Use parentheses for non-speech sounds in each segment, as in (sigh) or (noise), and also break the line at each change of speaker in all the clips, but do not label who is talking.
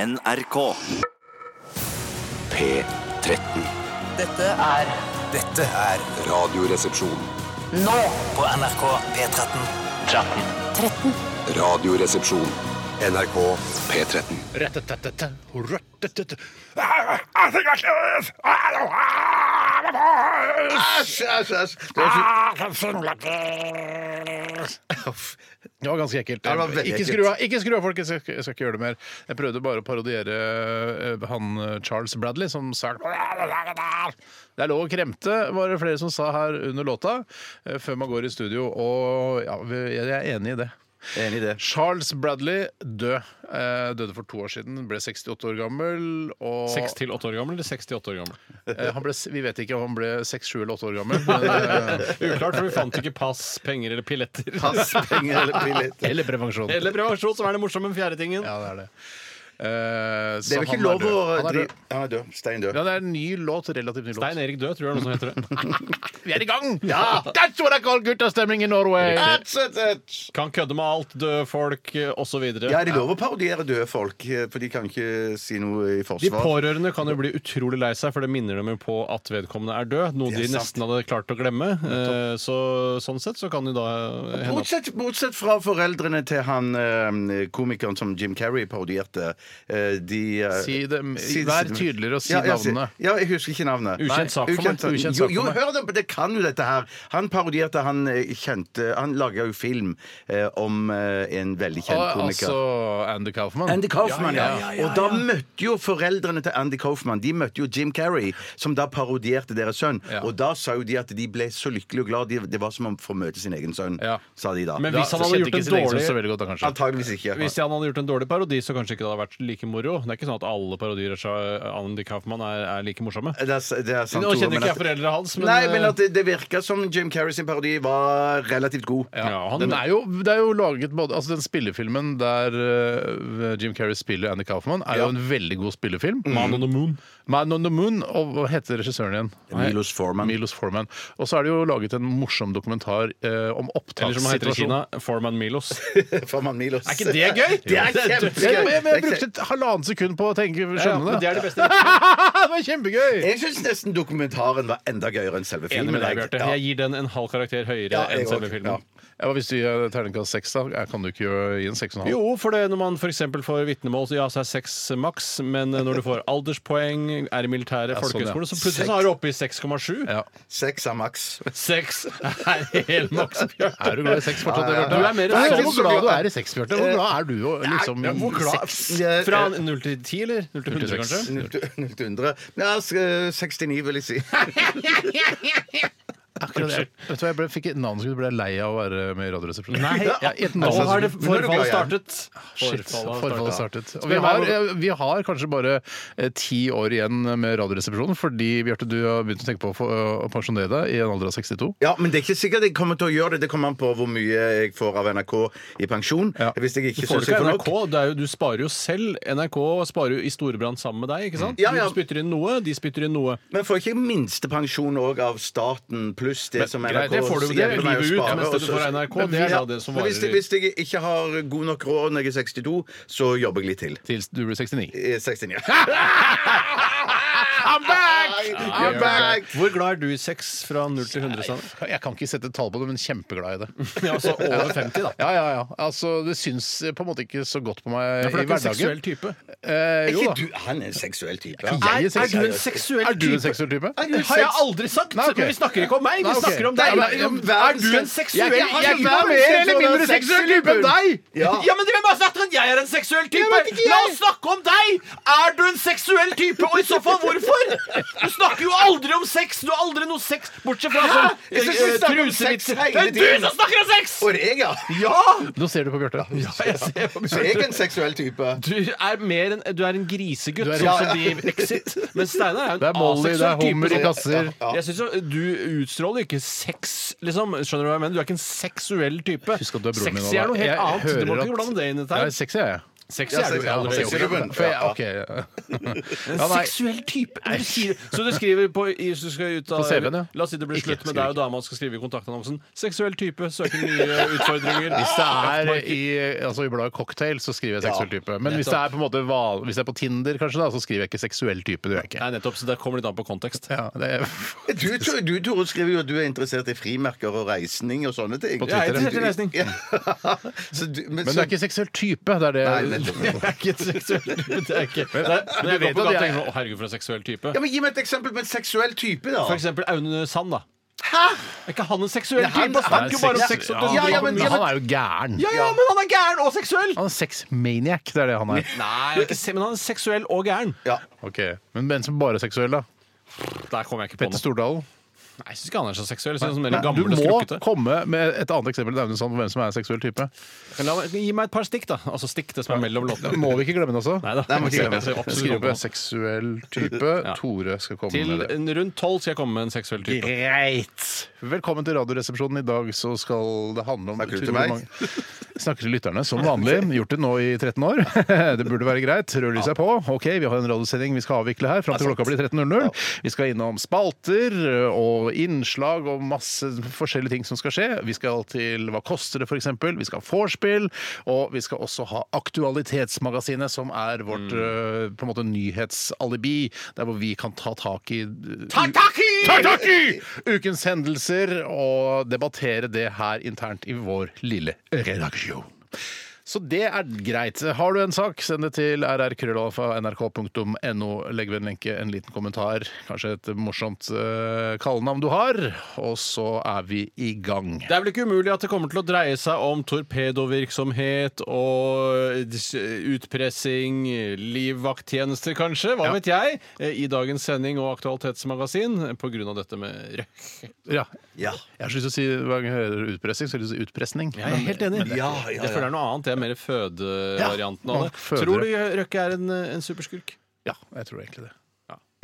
NRK.
P13.
Dette er
Dette er
Radioresepsjon.
nå
på NRK P13.
Radioresepsjon. NRK P13.
Rettetettete. Røttetete. Æsj, æsj, æsj. Det var fint. Uff. Det var ganske ekkelt.
Ja, det var veldig
ikke,
ekkelt.
skru av, ikke skru av, folkens. Jeg skal jeg skal ikke gjøre det mer. Jeg prøvde bare å parodiere eh, han eh, Charles Bradley som sang Det er lov å kremte, var det flere som sa her under låta, eh, før man går i studio. Og ja, jeg er enig i det.
Enig i det.
Charles Bradley død. Eh, døde for to år siden. Ble 68 år gammel. Og
Seks til åtte år gammel eller seks til åtte år
(laughs)
gammel?
eh, han ble, vi vet ikke om han ble seks, sju eller åtte år gammel. Men, eh,
(laughs) Uklart, for vi fant ikke pass, penger eller pilletter.
Pass, penger eller
(laughs)
billetter.
eller prevensjon.
Eller prevensjon, som er det morsomme med fjerde tingen.
Ja, det er det. Eh,
Det
så
er jo ikke
han
lov å
død. Han er
dri-
død.
Han er død. Stein død.
Ja, det er en ny låt. Relativt ny låt.
Stein Erik Død, tror jeg er noe som heter
(laughs)
det.
Vi er i gang! That's what I call guttastemning in Norway!
That's it, it.
Kan kødde med alt, døde folk eh, osv.
Ja, de lover å parodiere døde folk, eh, for de kan ikke si noe i
De
forsvar.
pårørende kan jo bli utrolig lei seg, for det minner dem jo på at vedkommende er død. Noe
Det er
de
sant.
nesten hadde klart å glemme. Eh, Så, sånn sett så kan de da hende at
Bortsett, bortsett fra foreldrene til han eh, komikeren som Jim Carrey parodierte. eh, De, eh,
Si dem-
si-
vær
si dem-
tydeligere og si
ja, ja,
navnene.
Ja, jeg husker ikke navnet.
Ukjent
Nei,
sak for meg.
Ukjent
jo,
sak for
jo,
meg.
hør da, på- det kan jo dette her. Han parodierte han eh, kjente Han laga jo film eh, om eh, en veldig kjent
Og
komiker.
altså Andy Kaufman.
Andy Kaufman, ja,
ja,
Og da møtte jo foreldrene til Andy Kaufman De møtte jo Jim Carrey, som da parodierte deres sønn.
Ja.
Og da sa jo de at de ble så lykkelige og glad. De, det var som om for å møte sin egen sønn,
Ja.
sa de da.
Men
Da
hvis han hadde
kjente
gjort
ikke
en
sin egen
dårlig-
sønn så veldig godt, da, kanskje.
Antageligvis ikke.
Hvis han hadde gjort en dårlig parodi, så kanskje ikke det hadde vært like moro. Det er eh, ikke sånn at alle parodier av Andy Kaufman er, er like morsomme.
Det er, det er sant,
Nå
Tore,
kjenner
men
ikke jeg
at-
foreldrene hans, men, eh,
Nei, men at det, det virka som Jim Carrey sin parodi var relativt god.
Ja,
eh, Ja, han-
den er jo, det er jo laget både Altså Den spillefilmen der eh, Jim Carrey spiller Andy Kaufman, er jo en veldig god spillefilm.
Man on the Moon.
Man on the Moon, og hva heter regissøren igjen?
Milos Forman.
Milos Forman. Og så er det jo laget en morsom dokumentar eh, om
Eller som han heter i
opptakssituasjonen.
Kina, Forman Milos.
(laughs) Forman Milos.
Er ikke det gøy?
(laughs) Det er
Jeg, jeg,
kjempegøy!
jeg, jeg brukte et halvannet sekund på å tenke skjønne
men
det.
det er det beste.
(laughs) det var kjempegøy!
Jeg syns nesten dokumentaren var enda gøyere enn selve
Enig
filmen.
med deg,
jeg.
Bjarte. Jeg gir den en halv karakter høyere
Ja, jeg
enn selve
også.
filmen.
Ja, hvis du gir terningkast seks, da, jeg kan du ikke gi en seks og en halv?
Jo, for det, når man f.eks. får vitnemål, så ja, så er seks maks. Men når du får alderspoeng, er i militæret,
Ja, sånn, ja.
folkehøyskole, så plutselig så er du oppe i 6,7.
Ja.
Seks av maks.
(laughs) Seks er helt maks, Bjarte.
Er du glad i sex fortsatt?
Ja, ja, ja.
Bjarte?
Du er mer
Nei,
enn
Hvor
så
glad
glad.
du er i sex, Bjarte?
Eh,
Hvor glad er du og liksom
Ja, hvor glad-
sex?
Ja,
Fra
eh,
0 til 10, eller? 0 til 100, kanskje?
0 til 0 til 100. Ja, s- eh, 69, vil jeg si.
Akkurat det. Vet du hva, jeg ble, fikk et navn som du ble lei av å være med i Radioresepsjonen.
Nei,
ja, i et
Nå
navn-
har det
Nå er du glad
forfallet startet.
Shit, forfallet startet. Og vi
Spør
har,
meg hvor-
eh, vi har kanskje bare eh, ti år igjen med Radioresepsjonen, fordi Bjarte, du har begynt å tenke på å få- å pensjonere deg i en alder av 62.
Ja, men det er ikke sikkert jeg kommer til å gjøre det. Det kommer an på hvor mye jeg får av NRK i pensjon.
Ja.
Hvis jeg ikke
Får
syns
du ikke
jeg får
NRK?
nok.
Det er jo, du sparer jo selv. NRK sparer jo i storbrann sammen med deg. ikke sant?
Ja, ja.
Du spytter inn noe, de spytter inn noe.
Men får ikke jeg minstepensjon òg av staten pluss det som
greit,
NRK
det får du- det
hjelper meg å
river ut,
spare,
mens det
og
du
så-
får av NRK, det er da det som
men hvis,
varer
jeg,
i-
hvis jeg ikke har god nok råd når jeg er 62, så jobber jeg litt til.
Til du blir
(laughs)
69.
Eh, 69.
I'm back!
You're back!
Hvor glad er du i sex fra 0 til 100? Sånn?
Jeg kan ikke sette et tall på det, men kjempeglad i det.
(laughs) Ja, altså over 50, da.
Ja, ja, ja. Altså, det syns på en måte ikke så godt på meg
Ja, for
i
det er ikke en
hverdagen.
seksuell type.
Eh,
Er
jo
ikke
da.
du, han er en seksuell type.
Jeg er
Er du en
seksuell.
seksuell
Er du en
type?
seksuell type?
du en
Har jeg
seks-
aldri sagt!
Nei, ok.
Men vi snakker ikke om meg, vi
Nei, ok.
snakker om
Nei,
deg.
men-
Er, du en seksuell
Jeg- jeg- jeg-
type?
jeg-
Ja.
Ja.
men Hvem har sagt at jeg er en seksuell type?
vet ikke
La oss snakke om deg! Er du en seksuell type, og i så fall hvorfor? Du snakker jo aldri om sex! Du har aldri noe sex bortsett fra sånn
Jeg synes vi
eh,
snakker om sex
trusevitser.
hele
Det er du
tiden.
som snakker om sex!
Og jeg, ja.
Ja!
Nå ser du på Bjarte.
jeg ser på
Så jeg er en seksuell type.
Du er mer en, du er en grisegutt,
Du er-
sånn som de i Exit. Men Steinar er jo
Det er
en
Molly, det
aseksuell
er hummer i
type.
kasser.
Ja. Jeg synes jo, Du utstråler ikke sex, liksom. Skjønner du hva jeg mener? Du er ikke en seksuell type.
Husk at du er broren min.
Sexy er noe helt annet. Du må ikke blande det inn i dette.
Jeg er
her.
sexy, jeg. Sexy er du
Ja,
allerede.
sexy er du.
For jeg- ok, ja. Ja, nei.
Seksuell type når du sier, det. Så du skriver på i- hvis du skal ut av,
På CV-en, ja.
La oss si det blir
Ikke,
slutt
skriver
med deg og dama skal skrive i kontaktannonsen. Seksuell type, søker nye utfordringer.
Hvis det er i, altså i bladet Cocktail, så skriver jeg seksuell type. Men hvis det er på en måte val, hvis det er på Tinder, kanskje da, så skriver jeg ikke seksuell type. Det gjør jeg ikke.
Nei, nettopp, så Det kommer litt an på kontekst.
Ja, det er,
Du, Tor- du Tore, skriver jo at du er interessert i frimerker og reisning og sånne ting.
På Twitter. Jeg er
interessert i
(laughs)
reisning.
Ja. Så du, men,
men det
så,
er ikke seksuell type. Det er det.
Nei, nettopp.
Det er ikke et seksuell (laughs) type. Det er ikke. Men, men jeg
vet
går på
at
gata og
jeg-
tenker sånn, Å, herregud, for en seksuell type.
ja, men Gi meg et eksempel på en seksuell type, da.
For eksempel Aune Sand, da. Er ikke han en seksuell
Nei, han-
type? Han
han er
snakker jo bare om
seksuell.
sex.
ja,
og-
Ja, ja,
men,
men-
han er jo gæren.
ja, ja, men han er gæren og seksuell!
Han er sexmaniac, det er det han (laughs) er.
Nei, han er ikke, se- men han er seksuell og gæren.
Ja.
Ok, Men menn som bare er seksuelle, da?
Der kom jeg ikke på
Petter
noe.
Stordalen?
Nei, jeg syns ikke han er så seksuell. Jeg synes han er mer
Du
gammel og
må
skrukkete.
komme med et annet eksempel enn Aune Sand på hvem som er en seksuell type.
Men la meg- Gi meg et par stikk, da. Altså stikk, det som er mellom låtene.
Må vi ikke glemme det også?
Neida.
Nei, må ikke glemme det.
Jeg ser absolutt
Skriv
på
på
noe.
seksuell type.
Ja.
Tore skal komme
Til
med det.
en- rundt tolv skal jeg komme med en seksuell type.
Greit. Velkommen til Radioresepsjonen. I dag så skal det handle om
Snakker du til
utrolig
meg?
mange- Snakker til lytterne, som vanlig. Gjort det nå i 13 år. (laughs) Det burde være greit. Rødlyset er på. Ok, vi har en radiosending vi skal avvikle her fram til klokka blir 13.00. Vi skal innom spalter og innslag og masse forskjellige ting som skal skje. Vi skal til Hva koster det, f.eks. Vi skal ha vorspiel. Og vi skal også ha Aktualitetsmagasinet, som er vårt
Mm.
øh, på en måte nyhetsalibi. Der hvor vi kan ta tak i Tataki! (laughs) Ukens hendelser og debattere det her internt i vår lille redaksjon. Så det er greit. Har du en sak, send det til rrkrøllalfa.nrk.no. Legg ved en lenke, en liten kommentar, kanskje et morsomt eh, kallenavn du har. Og så er vi i gang.
Det er vel ikke umulig at det kommer til å dreie seg om torpedovirksomhet og dis- utpressing, livvakttjenester kanskje, hva vet jeg, Eh, i dagens sending og aktualitetsmagasin på grunn av dette med røkk.
Ja.
Ja.
Jeg har så lyst til å si hver gang jeg hører utpressing, så har jeg lyst til å si utpressning.
Jeg er helt enig.
det- Ja, ja, ja.
Jeg føler det er noe annet. Det er mer fødevarianten
Ja,
av det.
føde.
Tror du Røkke er en, eh, en superskurk?
Ja, jeg tror egentlig det.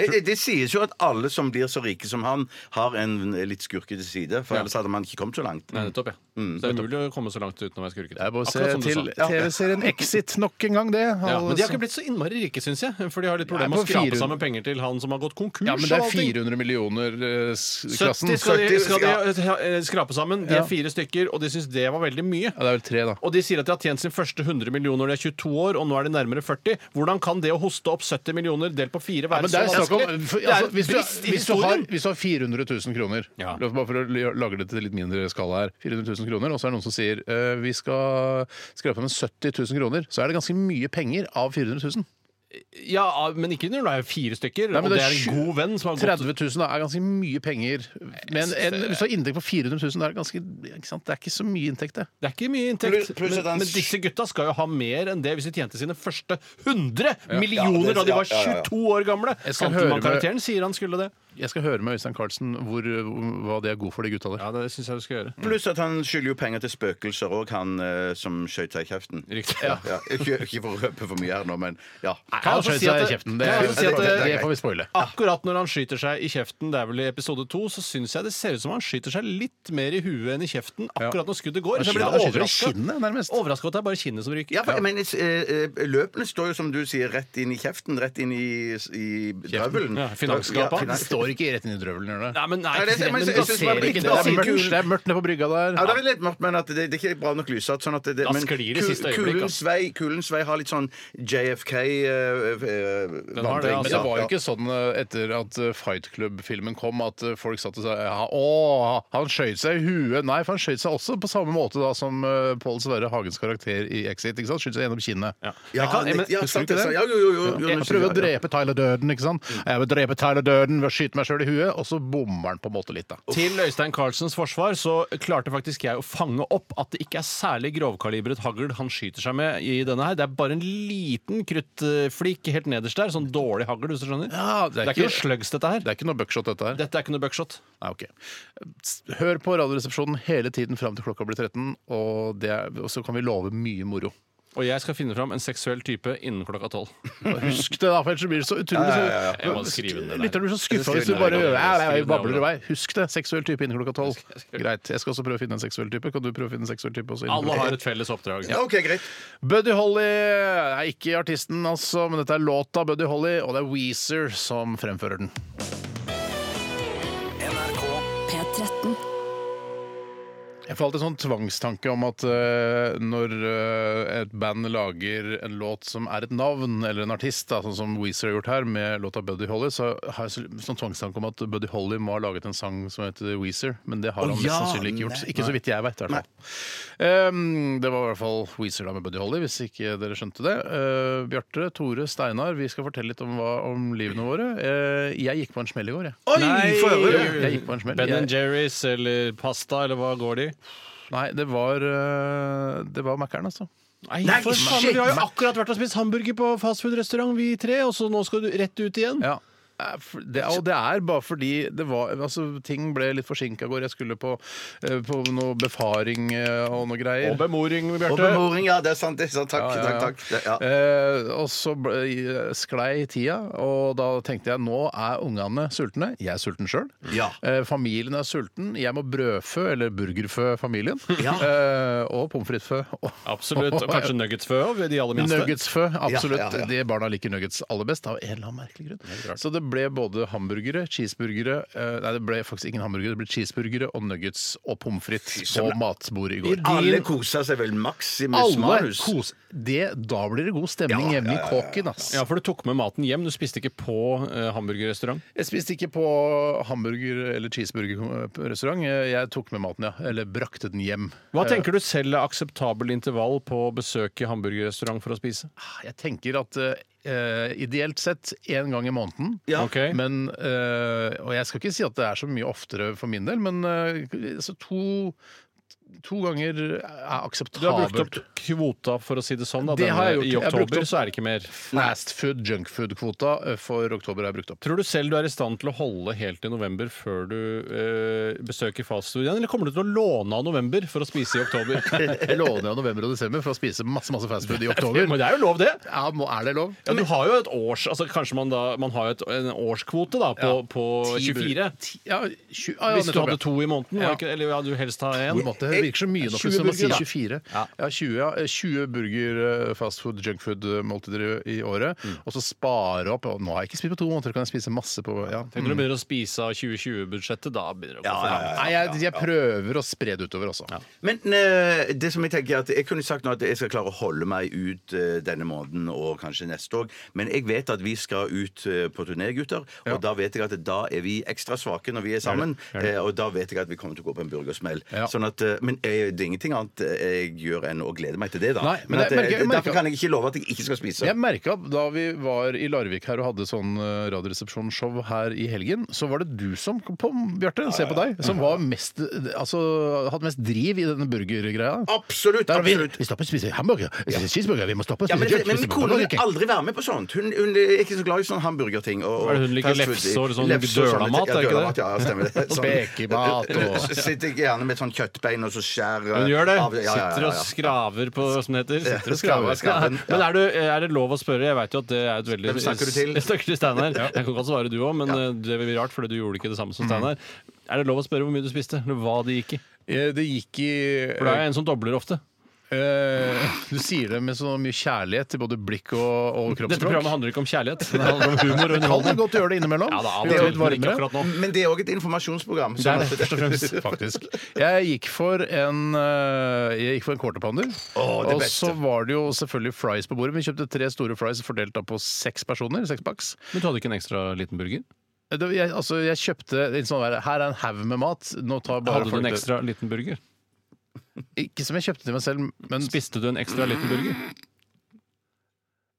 Eh, eh, Det sies jo at alle som blir så rike som han, har en litt skurkete side. For ellers hadde man ikke kommet så langt.
Nei, nettopp, ja. Så det er umulig å komme så langt uten å være skurkete.
Mm. Det er bare å se
Akkurat som du
til
sa.
TV-serien Exit nok en gang, det.
Ja, men de har
Altså-
ikke blitt så innmari rike, syns jeg. For de har litt
Nei,
problemer med å
på
skrape
400
sammen penger til han som har gått konkurs.
Ja, men det
og
er
allting.
400 eh, millioner-klassen.
70 skal de,
70,
skal de eh, skrape sammen. De
Ja.
er fire stykker, og de syns det var veldig mye.
Ja, det er vel tre, da.
Og de sier at de har tjent sin første 100 millioner når de er 22 år, og nå er de nærmere 40. Hvordan kan det å hoste opp 70 millioner delt på fire
Ja,
være
men det er
så
snakk om,
vanskelig?
for,
Det er
altså,
en
hvis, du,
brist i
hvis, du har,
historien.
hvis du har 400 000 kroner
Ja.
Bare for å l- lage det til litt mindre skala her. 400 000 kroner, Og så er det noen som sier eh, vi skal skrape med 70 000 kroner. Så er det ganske mye penger av 400 000.
Ja, ah, men ikke når det er fire stykker,
Nei, men
og
det
det
er
er en god venn som har
30
gått
000 da, er ganske mye penger. Men en, hvis du har inntekt på 400 000, da er det, ganske, ikke sant? det er ikke så mye inntekt, det.
Det er ikke mye
Pluss-
inntekt,
pluss
men,
at han-
men disse gutta skal jo ha mer enn det hvis de tjente sine første 100
Ja,
millioner
det-
da de
ja,
var
ja, ja, ja.
22 år gamle!
Jeg skal høre med-
Antelmann-karakteren sier han skulle det.
Jeg skal høre med Øystein Carlsen hvor, hva det er god for de gutta der.
Ja, det syns jeg du skal gjøre.
Mm.
Pluss at han skylder jo penger til spøkelser òg, han eh, som skøyt seg i kjeften.
Riktig.
Ja, ikke, ikke for å røpe for mye her nå, men ja.
Kan jeg
Han
også
skjøt
si
seg
at
i
det-
kjeften.
kan jeg også si at
det,
det-
det får vi spoile.
Akkurat når han skyter seg i kjeften, det er vel i episode to, så syns jeg det ser ut som han skyter seg litt mer i huet enn i kjeften akkurat når skuddet går. Så jeg
Han skyter
ble
i kinnet, nærmest.
overraska at det er bare kinnet som ryker.
Ja, for, Men eh, eh, løpene står jo, som du sier, rett inn i kjeften, rett inn i, i drøvelen.
Ja,
Ja,
finansgapa.
Det
finans-
står ikke rett inn i drøvelen, gjør det?
Nei, men nei,
Nei, det- men
men
jeg-
da
jeg synes
ser
det var
ikke
litt
det.
rart.
Det er
sier
mørkt,
kul.
det er mørkt nede på brygga der.
Ja, det er litt mørkt, men at det, det er ikke bra nok lyssatt. Sånn at det,
Da
men
sklir det siste
ku-
øyeblikk,
Kulens
altså.
vei, kulens vei har litt sånn eh, JFK-vandring.
har det, altså.
Men det var jo ikke sånn eh, etter at eh, Fight Club-filmen kom, at eh, folk satt og sa ja, Å, han skøyt seg i huet. Nei, for han skøyt seg også på samme måte da som eh, Pål Sverre Hagens karakter i Exit. ikke sant? Skøyt seg gjennom kinnet.
Ja.
Ja,
Jeg kan-
litt-
men-
ja,
husker
sant,
du ikke
jeg sa-
det?
ja, jo, jo, jo, jo,
Jeg Mm. prøver å
nå husker jeg, ja.
drepe Tyler Døden, ikke sant? Jeg vil drepe Tyler Døden ved å skyte meg sjøl i huet, og så bommer han på en måte litt, da.
Til Øystein Carlsens forsvar så klarte faktisk jeg å fange opp at det ikke er særlig grovkalibret hagl han skyter seg med i denne her. Det er bare en liten kruttflik helt nederst der. Sånn dårlig hagl, hvis du skjønner.
Ja, det er
det er
ikke-
ikke noe slugs, dette her.
Det er ikke noe buckshot, dette her.
Dette er ikke noe buckshot.
Nei, ok. Hør på Radioresepsjonen hele tiden fram til klokka blir 13, og, det er, og så kan vi love mye moro.
Og jeg skal finne fram en seksuell type innen klokka tolv.
Husk det, da, for ellers så blir det så utrolig
Ja, ja, ja, ja.
Jeg må skrive den der.
Lytteren blir så skuffa
Jeg
hvis du
skal skrive
bare
den der.
ja, ja, ja,
Skrive den
babler
der.
i vei. Husk det. Seksuell type innen klokka tolv. Greit. Jeg skal også prøve å finne en seksuell type. Kan du prøve å finne en seksuell type også? innen klokka
(laughs) Alle har et felles oppdrag.
OK, greit.
Buddy Holly er ikke artisten, altså, men dette er låta Buddy Holly, og det er Weezer som fremfører den.
NRK
P13.
Jeg får alltid sånn tvangstanke om at eh, når eh, et band lager en låt som er et navn, eller en artist, da, sånn som Weezer har gjort her med låta Buddy Holly, så har jeg så- sånn tvangstanke om at Buddy Holly må ha laget en sang som heter Weezer, men det har
Å,
han mest
ja,
sannsynlig ikke gjort.
nei,
Ikke så vidt jeg vet, i hvert fall. Um, det var i hvert fall Weezer da med Buddy Holly, hvis ikke dere skjønte det. Eh, Bjarte, Tore, Steinar, vi skal fortelle litt om, hva, om livene våre. Eh, jeg gikk på en smell i går, jeg.
Oi, få høre.
Jo, jeg gikk på en smell.
Ben
Jeg-
Jerry's eller pasta, eller hva går de?
Nei, det var, uh, det var Mækkern, altså.
Nei,
Nei,
for faen,
shit!
Vi har jo akkurat vært og spist hamburger på fastfood-restaurant, vi tre, og så nå skal du rett ut igjen.
Ja. Eh, for- Det, og det er bare fordi det var, altså, ting ble litt forsinka i går. Jeg skulle på, eh, på noe befaring eh, og noe greier.
Og bemoring,
Og
Bjarte.
bemoring, ja. Det er sant. Det er sant.
Ja, ja,
Takk,
ja.
takk, takk. Det- Ja.
Eh, og så ble, sklei tida, og da tenkte jeg nå er ungene sultne. Jeg er sulten sjøl.
Ja.
Eh, familien er sulten. Jeg må brødfø, eller burgerfø, familien.
Ja.
Eh, og pommes frites-fø. Og-
Absolutt. Og kanskje nuggetsfø òg, de aller minste.
Nuggets fø, absolutt.
Ja, ja, ja.
De barna liker nuggets aller best, av en eller annen merkelig grunn. Så det ble både hamburgere, cheeseburgere eh, Nei, det ble faktisk ingen hamburgere, det ble cheeseburgere og nuggets og pommes frites på matbordet i går.
Alle koser seg vel Maximus
Alle
Manus.
kos. Det, da blir det god stemning
Ja,
hjemme
ja, ja,
i kåken, ass.
Ja, for du tok med maten hjem. Du spiste ikke på eh, hamburgerrestaurant.
Jeg spiste ikke på hamburger- eller cheeseburgerrestaurant. Jeg tok med maten, ja. Eller brakte den hjem.
Hva tenker du selv er akseptabel intervall på å besøke hamburgerrestaurant for å spise?
Ah, Jeg tenker at eh, ideelt sett én gang i måneden.
Ja.
Ok.
Men, eh, og jeg skal ikke si at det er så mye oftere for min del, men eh, altså to, to ganger er
Du har brukt opp
akseptabelt.
kvota, for å si det sånn. Da,
Det har jeg gjort.
denne-
Jeg
I
har brukt
oktober
opp-
så er det ikke mer.
Fast food, junkfood-kvota eh, for oktober er brukt opp.
Tror du selv du er i stand til å holde helt til november før du eh, besøker fastfood igjen, eller kommer du til å låne av november for å spise i
(laughs)
oktober?
Jeg låner jo november og desember for å spise masse masse fast food i oktober.
Men det er jo lov, det!
Ja, må, er det lov?
Ja, du har jo et års altså Kanskje man da Man har jo et, en årskvote da på, på 24.
Ti- Ja, tju- ah, ja,
Hvis du
nettopp, ja.
hadde to i måneden, var
Ja.
det ikke, eller ja, du helst ha
Hvor
én.
måtte det virker så mye nå, plutselig,
20
når man
burger, da.
sier 24.
Ja.
Ja, 20, ja, eh, 20 burger, eh, fastfood, junkfood-måltider eh, i- i året.
Mm.
Og så spare opp. Og nå har jeg ikke spist på to måneder, kan jeg spise masse på ja.
Tenk når du begynner å spise av 2020-budsjettet, da begynner det å gå for langt.
Nei, jeg, jeg prøver å spre det utover også.
Men eh, det som jeg tenker er at jeg kunne sagt nå at jeg skal klare å holde meg ut eh, denne måneden og kanskje neste år, men jeg vet at vi skal ut eh, på turné, gutter, og da vet jeg at da er vi ekstra svake når vi er sammen, eh, og da vet jeg at vi kommer til å gå på en burgersmell.
Ja.
Sånn at, eh, men eh, det er ingenting annet eh, jeg gjør enn å glede meg til det, da.
Nei, men
men at,
jeg
eh,
merker- jeg merker-
derfor kan jeg ikke love at jeg ikke skal spise.
Jeg merka da vi var i Larvik her og hadde sånn eh, Radioresepsjon-show her i helgen, så var det du som kom på, Bjarte, se på deg, som var mest Altså hadde mest driv i denne burgergreia.
Absolutt!
Der, vi,
absolutt.
vi stopper å spise hamburger, vi spiser cheeseburger, vi må stoppe å
Ja,
spise
men,
kjøtt.
men
vi
min
stopper å
kone
drikke.
vil aldri være med på sånt. Hun, hun er ikke så glad i sånne hamburgerting. Og, og
Hva er det hun liker?
fast food.
Lefse og sånn
Lefse og sånne
dølamat,
ting.
er det ikke
dølamat,
det?
Ja, ja, stemmer
(laughs)
det.
Spekemat og-
Så (laughs) Sitter jeg gjerne med et sånn kjøttbein og så skjærer
Hun gjør det.
av ja, ja,
Sitter
ja,
og
ja.
skraver på, som det heter. Sitter og
skraver,
skraver.
skraver, ja.
(laughs) Men er, du, er det lov å spørre? Jeg vet jo at det er et veldig
Hvem snakker du til?
(laughs) Jeg snakker til Steinar. Jeg kan godt svare du òg, men eh, det vil bli rart, for du gjorde ikke det samme som Steinar. Er det lov å spørre hvor mye du spiste? Eller hva det gikk i?
Eh, Det gikk i
For det er en som dobler ofte.
Eh, du sier det med så mye kjærlighet til både blikk og, og
Dette
kroppsspråk.
programmet handler ikke om kjærlighet. Det handler om humor og
Kan det
underholdning.
godt gjøre det innimellom.
Ja, da, av og
Vi gjør det
til,
litt
men ikke
varmere.
akkurat nå.
Men det er òg et informasjonsprogram.
Det er
sånn
det,
at-
først og fremst.
Faktisk. Jeg gikk for en eh, Jeg gikk for en quarter pounder.
Å, det
og
beste.
så var det jo selvfølgelig fries på bordet. Vi kjøpte tre store fries fordelt da på seks personer. Seks packs.
Men du hadde ikke en ekstra liten burger?
Det, jeg, altså, jeg kjøpte en sånn der, Her er en haug med mat. Nå tar bare
Hadde du
folk
en
det.
ekstra liten burger?
Ikke som jeg kjøpte til meg selv, men
Spiste du en ekstra liten burger?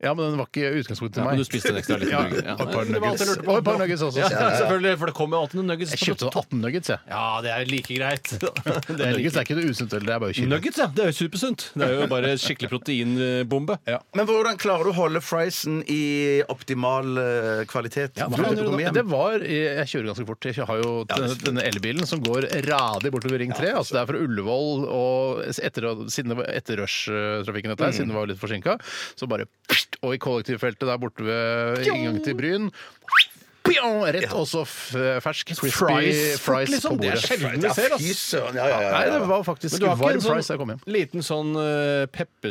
Ja, men den var ikke i utgangspunktet til
Ja,
meg.
men du spiste en ekstra liten
Ja,
burger. Ja.
Og et par
Det var alt jeg
nuggets.
lurte på.
Og et par nuggets også.
Ja, selvfølgelig, for det kommer alltid noen nuggets.
Jeg kjøpte 18 nuggets, jeg.
Ja, det er like greit. Det er
Nuggets er
like.
ikke noe usunt heller, det er bare kylling.
Nuggets, ja. Det er jo supersunt. Det er jo bare skikkelig proteinbombe.
Ja.
Men hvordan klarer du å holde friesen i optimal eh, kvalitet?
Ja, hva
Før
kan jeg
du
gjøre da?
kommer hjem?
det var, eh, jeg kjører ganske fort. Jeg har jo denne, denne elbilen som går radig bortover Ring 3. altså Det er fra Ullevål og etter, siden det var etter rushtrafikken, dette her, siden det var litt forsinka, så bare pst, Og i kollektivfeltet der borte ved inngang til Bryn pjong, Rett og så f- eh, fersk fries, fries på
liksom. Det er
bordet.
sjelden vi ser,
Fy
ass.
søren, ja, ja, ja,
Nei,
ja.
det var faktisk
Men du har ikke
varm
en sånn
fries da jeg kom hjem.
liten sånn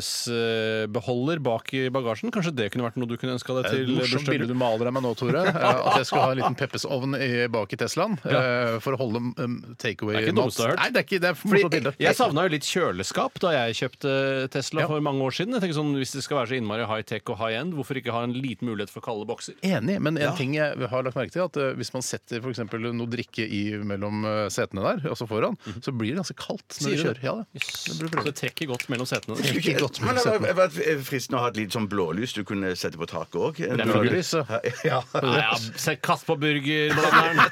Peppes-beholder bak i bagasjen? Kanskje det kunne vært noe du kunne ønska deg
Et
til
morsomt bilde
bursdagen?
du maler av meg nå, Tore.
(laughs)
eh, At jeg skal ha en liten Peppes-ovn i- bak i Teslaen eh, for å holde um,
Det
takeaway
er ikke dumt å ha hørt.
Nei, det er ikke det er et morsomt
Fordi
bilde.
jeg savna jo litt kjøleskap da jeg kjøpte Tesla
Ja.
for mange år siden. Jeg tenker sånn, Hvis det skal være så innmari high-tech og high-end, hvorfor ikke ha en liten mulighet for kalde bokser?
Enig, men en ting jeg har lagt merke til, er at eh, hvis man setter for eksempel noe drikke i mellom eh, setene der, altså foran, så blir det ganske kaldt når du
Mhm. Sier du
kjører.
det?
Ja, det.
Yes. Så det trekker Altså, godt mellom setene.
Det er ikke godt
Men
mellom
det
setene.
hadde vært fristende å ha et litt sånn blålys du kunne sette på taket òg.
Burgerlys, så.
(laughs) Ja.
Nei, ja, se- kast på
(laughs)
burgerblanderen.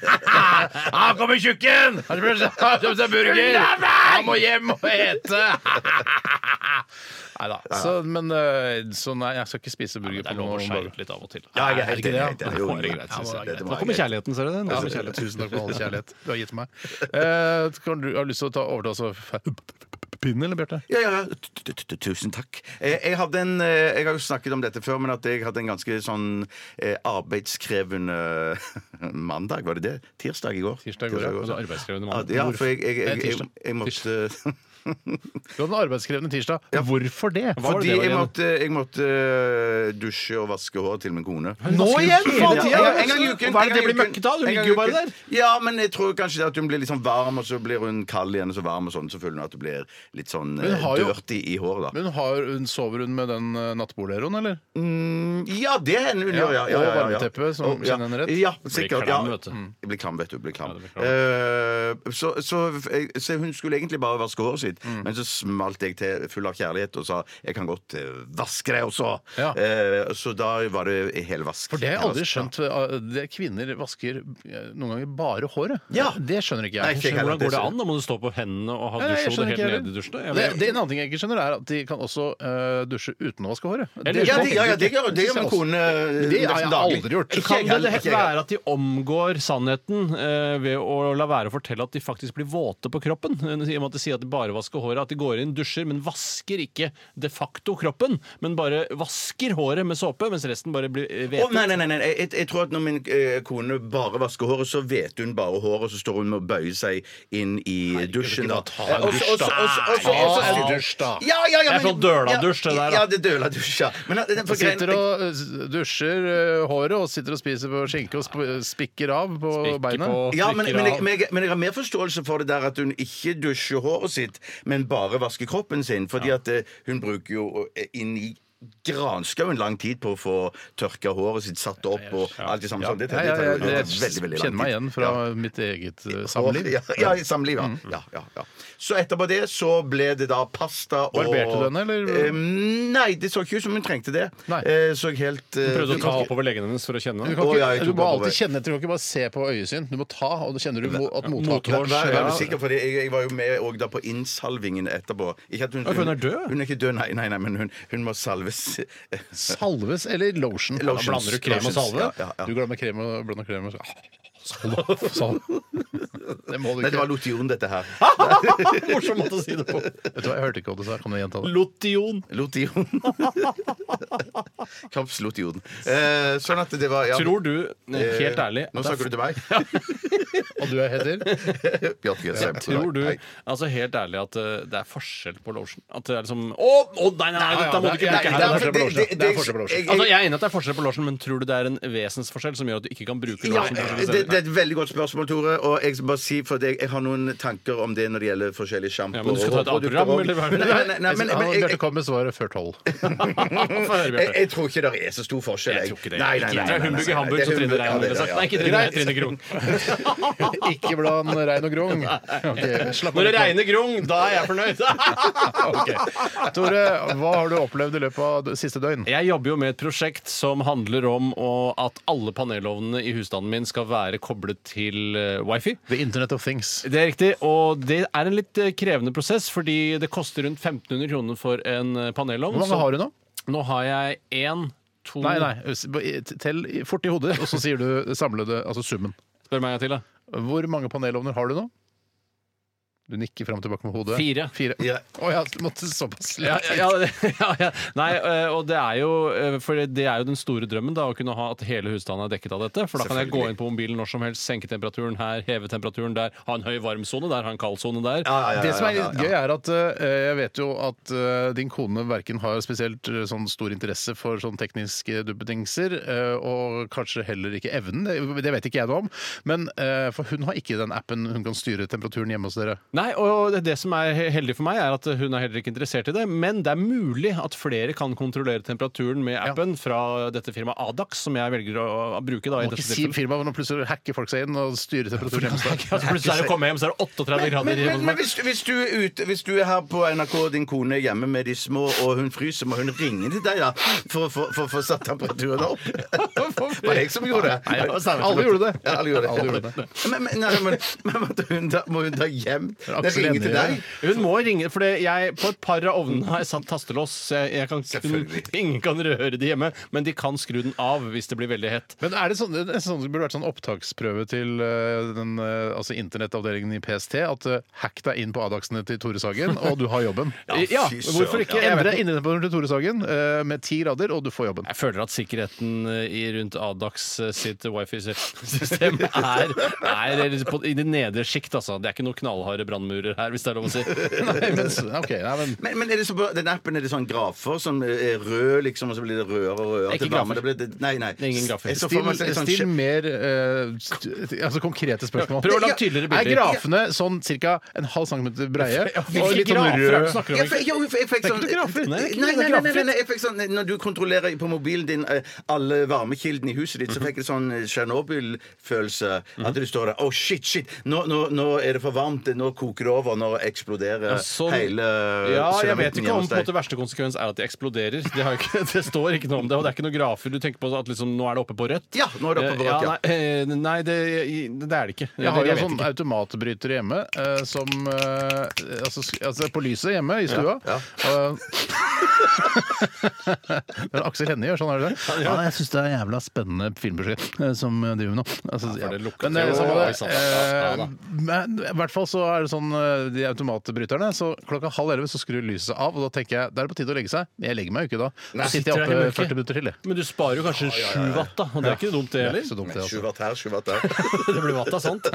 Han kommer tjukken! Han har kjøpt seg burger! Han må hjem og ete! Nei da. Så, men eh, så nei, jeg skal ikke spise burger
Det
på
er lov å
noen
skjære
dager.
ut litt av og til.
Ja, jeg
Er
er helt
det ikke det,
enig.
ja?
helt enig. Jo,
Det var
jo,
greit,
ja,
synes jeg.
det- det
Nå
var
kommer
greit.
kjærligheten, ser du det? Nå
Ja,
kommer (laughs)
kjærlighet.
kjærligheten.
Tusen takk for all kjærlighet du har gitt meg. Eh, kan du, har du lyst til å ta overta altså, f- pinnen, eller, Bjarte?
Ja, ja, ja. Tu- tu- tu- Tusen takk. Eh, Jeg, hadde en, eh, jeg har jo snakket om dette før, men at jeg hadde en ganske sånn eh, arbeidskrevende (laughs) mandag. Var det det? Tirsdag i går.
Tirsdag i går, ja.
Altså, arbeidskrevende
Ja,
mann.
Ja, for jeg, jeg, jeg, jeg,
tirsdag.
jeg måtte
Du hadde en arbeidskrevende tirsdag. Hvorfor det?
(laughs) Fordi
det var
jeg
igjen?
måtte, jeg måtte øh, dusje og vaske hår til min kone.
Nå igjen!
Ja,
Faen, tida!
ja, en gang i uken.
Hva
en gang
er det det
i
blir
uken.
møkket av?
En
Du
gang
ligger jo
i
bare
uken.
der.
Ja, men jeg tror kanskje at hun blir litt sånn varm, og så blir hun kald igjen, og så varm og sånn. Så føler hun at hun blir litt sånn
hun
eh,
har jo-
dirty i håret, da.
Men har, hun- sover hun med den eh, nattbordleroen, eller?
Ja, det er hun hun
Ja,
gjør, ja. ja, ja, ja.
og varmeteppet som
Og- ja.
kjenner henne rett.
Ja, sikkert.
klam,
ja.
vet du.
Mm. Jeg blir klam, vet du. Blir klam.
Ja, det blir
Eh, så, så, jeg- så hun skulle egentlig bare vaske håret sitt,
Mm.
men så smalt jeg til full av kjærlighet og sa jeg kan godt eh, vaske deg også.
Ja.
Eh, så da var det helvask.
For det har jeg aldri
Helvask, ja.
skjønt. eh, Det kvinner vasker eh, noen ganger bare håret.
Ja.
Det skjønner ikke
Nei,
jeg.
ikke jeg heller.
Hvordan går det an? Da må du stå på hendene og ha
Nei, jeg
dusjhodet
skjønner
helt
ikke
nede i
heller.
dusjen. Jeg
Det,
vet-
det er en annen ting jeg ikke skjønner, er at de kan også eh, dusje uten å vaske håret. sånn
Eller-
Ja,
skjønner jeg
det, ja, ja,
ikke.
det gjør det gjør min kone
Det har
eh,
jeg
nesten daglig.
aldri gjort.
Ikke
Kan
jeg
det
heller,
helt
ikke jeg heller.
være at de omgår sannheten eh, ved å la være å fortelle at de faktisk blir våte på kroppen? I og med at de sier at de bare vasker håret, at de går inn, dusjer, men vasker ikke de facto kroppen, men bare vasker håret med såpe, mens resten bare blir eh,
Å, nei,
hvete.
nei, nei, nei. Jeg, jeg tror at når min eh, kone bare vasker håret, så vet hun bare håret, og så står hun og bøyer seg inn i dusjen. da.
ta en
Eh, og så-
dusj, da.
og så- og så- og så-
Ta en dusj, da.
Ja, ja, ja,
Det er
men-
sånn døladusj, det der, da.
Ja, det er døladusj, ja. Men, at- for greien-
Sitter og eh, dusjer eh, håret og sitter og spiser på skinke og sp spikker av på
Spikker
beina.
på,
ja, men,
slikker
men, jeg,
av.
men, jeg, men jeg har mer forståelse for det der at hun ikke dusjer håret sitt, men bare vasker kroppen sin. Fordi at eh, hun bruker jo eh, inn i granskauen lang tid på å få tørka håret sitt, satt opp og alt det samme. sånn. Det,
Ja,
tar-
ja,
det tar
ja,
jo det tar veldig,
jeg
veldig lang tid.
kjenner meg igjen fra
Ja.
mitt eget eh,
Og-
samliv. Mm.
Ja, ja, i samliv, ja. ja, ja, ja. Så etterpå det så ble det da pasta og
Barberte du henne, eller?
Eh, nei, det så ikke ut som hun trengte det.
Nei.
Eh, så helt eh,
Prøvde å ta oppover legene hennes for å kjenne
Du,
den.
kan
Å,
ikke,
ja, jeg
du
tok
må
bare
alltid
på-
kjenne etter. Du kan ikke bare se på øyesyn. Du må ta, og da kjenner du mo- at mottakeren
mothårs-
Vær, vær
Ja.
sikker, fordi jeg, jeg var jo med og da på innsalvingen etterpå. Ikke at hun,
for hun er død?
Hun er ikke død, nei, nei, nei men hun, hun må salves.
salves eller lotion.
Lotions.
Da blander du krem og
Lotions,
salve.
ja, ja, ja.
Du glemmer krem og blander krem og salve.
(laughs)
salve. Det må du
Nei, det
ikke.
(laughs) var lotion, dette her.
Morsom måte å si det på.
Vet du hva, jeg hørte ikke hva du sa. Kan du gjenta det?
Lotion.
Lotion. (laughs) Kroppslotion. Eh, sånn at det var ja, eh,
Tror du, helt ærlig
Nå snakker du til
(laughs)
meg.
Og du heter?
Bjarte Gjesheim.
Tror du
Nei.
altså helt ærlig at eh, det er forskjell på lotion? At det er liksom Å, å, nei, nei, nei,
ja,
dette må
det
du
er-
ikke bruke
det
her!
er-
altså.
forskjell på lotion.
det- det-
Det er forskjell på lotion.
jeg- jeg-
Altså, jeg er enig i at det er forskjell på lotion, men tror du det er en vesensforskjell som gjør at du ikke kan bruke
Ja,
lotion?
det,
på forskjellige
det,
steder?
det er et veldig godt spørsmål, Tore. Og jeg skal bare si for deg, jeg har noen tanker om det når det gjelder forskjellige
Ja,
sjampoer.
men du skal ta et
og produkter
avprogram,
om-
eller hva?
Nei, nei, nei, nei, men, men,
Han-
jeg,
Bjarte kom med svaret før
(laughs)
tolv.
Få høre,
jeg,
Bjarte.
jeg tror ikke det er så stor forskjell.
Jeg tror ikke det.
Nei, nei, nei,
Ikke
nei,
det er
nei,
Humbug i
nei,
Hamburg,
det er
så Trine
Humbug,
Rein ville
ja,
sagt. Nei,
det er det,
ikke Trine Rein, Trine Grung.
Ikke blant rein og grung. Ok, slapp
Når det
litt nå.
regner Grung, da er jeg fornøyd.
(laughs)
Ok. Tore, hva har du opplevd i løpet av det siste døgn?
Jeg jobber jo med et prosjekt som handler om å- at alle panelovnene i husstanden min skal være koblet til eh, wifi.
The Internet of Things.
Det er riktig, og det er en litt eh, krevende prosess, fordi det koster rundt 1500 kroner for en eh, panelovn.
Hvor mange har du nå?
du? Nå har jeg én, to
Nei, nei. Tell fort i hodet, og så sier du det samlede, altså summen.
Spør meg en gang
(laughs)
til, da.
Hvor mange panelovner har du nå? Du nikker fram og tilbake med hodet.
Fire.
Fire. Å ja, du måtte såpass
Ja,
lenge.
ja, (laughs) ja, ja. Nei, eh, og det er jo eh, For det er jo den store drømmen, da, å kunne ha at hele husstanden er dekket av dette. For da kan jeg gå inn på mobilen når som helst, senke temperaturen her, heve temperaturen der, ha en høy varmsone der, ha en kald sone der.
Det som er litt gøy, er at eh, jeg vet jo at eh, din kone verken har spesielt eh, sånn stor interesse for sånn tekniske duppetingser, eh, og kanskje heller ikke evnen. Det, det vet ikke jeg noe om. Men eh, for hun har ikke den appen hun kan styre temperaturen hjemme hos dere.
Nei, og det- det som er he- heldig for meg, er at hun er heller ikke interessert i det. Men det er mulig at flere kan kontrollere temperaturen med appen fra dette firmaet Adax, som jeg velger å, å bruke. da i
Må
dette
ikke si
tilfellet.
firmaet når plutselig hacker folk seg inn og styrer temperaturen hjemme hos deg.
Ja, så plutselig er det å komme hjem, så er det 38 grader
Men,
hjemme hos
men, men
meg.
hvis, du- hvis, du er ute, hvis du er her på NRK, din kone er hjemme med de små, og hun fryser, må hun ringe til deg da for å få- for å få satt temperaturen
(laughs)
opp? Det var jeg som gjorde det.
Alle gjorde det.
Ja, alle gjorde det.
Alle gjorde det.
Men, men, nei, men, men måtte hun da, må hun da hjem? Det
Aksel
ringer til
Hennie,
deg?
Hun må ringe, for det- jeg, på et par av ovnene har jeg satt tastelås. Så jeg, jeg kan,
Selvfølgelig.
ingen kan røre de hjemme, men de kan skru den av hvis det blir veldig hett.
Men er det sånn, det er sånn det burde vært sånn opptaksprøve til eh, den, eh, altså internettavdelingen i PST? At eh, hack deg inn på Adaksene til Tore Sagen, og du har jobben.
(laughs) Ja,
fy søren.
hvorfor ikke? Jeg,
Endre
vet,
innettemperaturen til Tore Sagen eh, med ti grader, og du får jobben.
jeg føler at sikkerheten eh, i rundt Adax sitt wifi-system (laughs) er, er på, i det nedre sjikt, altså. Det er ikke noen knallharde brannmurer her, hvis det er lov å si.
Nei, (laughs) men, ok, nei, men
Men, men er det så på den appen er det sånn grafer som er rød, liksom, og så blir det rødere og rødere?
Ikke
til varme?
grafer.
Det blir, det, nei, nei.
Det er ingen grafer.
Jeg så
Still,
for meg sånn- sånn
still
skje-
mer eh, st- altså konkrete spørsmål.
Prøv å lage tydeligere bilder.
Er grafene sånn ca. en halv centimeter breie? sånn
Hvilke grafer er det du snakker om?
Jeg fikk, jo, jeg fikk
Det er
sånn,
ikke noe grafer. Nei,
nei, nei,
det er ikke noe
nei, nei,
grafer.
nei, nei, jeg fikk sånn Når du kontrollerer på mobilen din eh, alle varmekildene i huset ditt, så fikk jeg sånn Tsjernobyl-følelse. At du står der Oh, shit, shit! Nå, nå, nå er det for varmt. Nå koker det over. Nå eksploderer
sånn-
hele
Ja, jeg vet
ceramitten
ikke
hjemme
om
hos
på en
deg.
måte verste konsekvens er at de eksploderer. Det, har jo ikke, det står ikke noe om det, og det er ikke noen grafer. Du tenker på at liksom, nå er det oppe på rødt?
Ja, nå er det oppe på rødt, ja.
Eh, ja, nei, eh, nei det, det er det ikke.
Jeg har
det,
jo
vet
sånn
ikke.
automatbryter hjemme eh, som eh, altså, sk- altså på lyset hjemme i stua. (laughs) Eh, men Aksel Hennie gjør sånn, er det det? Ja, jeg syns det er jævla spennende filmprosjekt eh, som eh, driver med nå. Altså,
for
ja.
det lukter
Men eh,
jo-
samme
Oi,
det.
sant. Ja, ja da.
Eh, Men i hvert fall så er det sånn eh, de automatbryterne. Så klokka halv elleve så skrur lyset av, og da tenker jeg da er det på tide å legge seg. Men jeg legger meg jo ikke da. Da sitter
sitter
jeg
du her i
oppe
mørket?
40 minutter til, jeg.
Men du sparer jo kanskje 7 watt, da. Og det er ikke dumt, det
Det er
heller.
ikke så dumt, det, altså.
Sju watt her, sju watt der.
(laughs) Det blir vatt av sånt.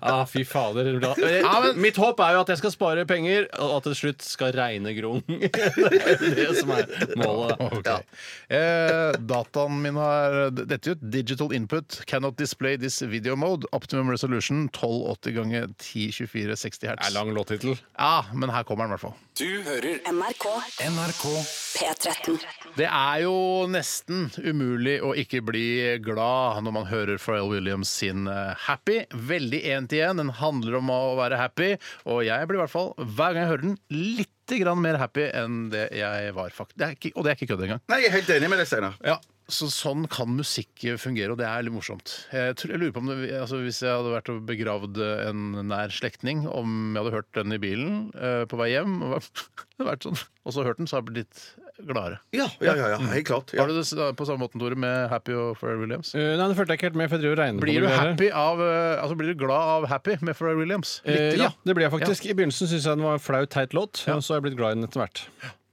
Ah, fy fader. Ja, men mitt håp er jo at jeg skal spare penger, og at det til slutt skal regne grung. (laughs) Det er det som er målet. da.
Ok. Eh, dataen min har dette ut. Digital input cannot display this video mode. Optimum resolution 1280 ganger 1024 60
Det er
hertz.
lang låttittel.
Ja, men her kommer den i hvert fall.
Du hører
NRK
NRK
P13.
Det er jo nesten umulig å ikke bli glad når man hører Pharrell Williams sin eh, Happy. Veldig én til én. Den handler om å være happy, og jeg blir i hvert fall, hver gang jeg hører den, litt grann mer happy enn det jeg var, faktisk. Det er ikke, og det er ikke kødd engang.
Nei, jeg er helt enig med deg, Steinar.
Ja, så Sånn kan musikk fungere, og det er litt morsomt. Jeg, tror, jeg lurer på om det, altså Hvis jeg hadde vært og begravd en nær slektning, om jeg hadde hørt den i bilen eh, på vei hjem, og hadde vært (laughs) sånn, og så hørt den, så hadde jeg blitt litt gladere.
Ja, ja, ja. ja helt klart. Ja.
Har du det s- da på samme måten, Tore, med Happy og Pharrell Williams?
Eh, nei, det følte jeg ikke helt med, for jeg driver og regner
Blir
på
du,
det. greier.
happy av, eh, altså blir du glad av Happy med Pharrell Williams?
Eh,
Litt
ja,
grann.
det blir jeg faktisk. I begynnelsen syntes jeg den var en flau, teit låt, og så har jeg blitt glad i den etter hvert.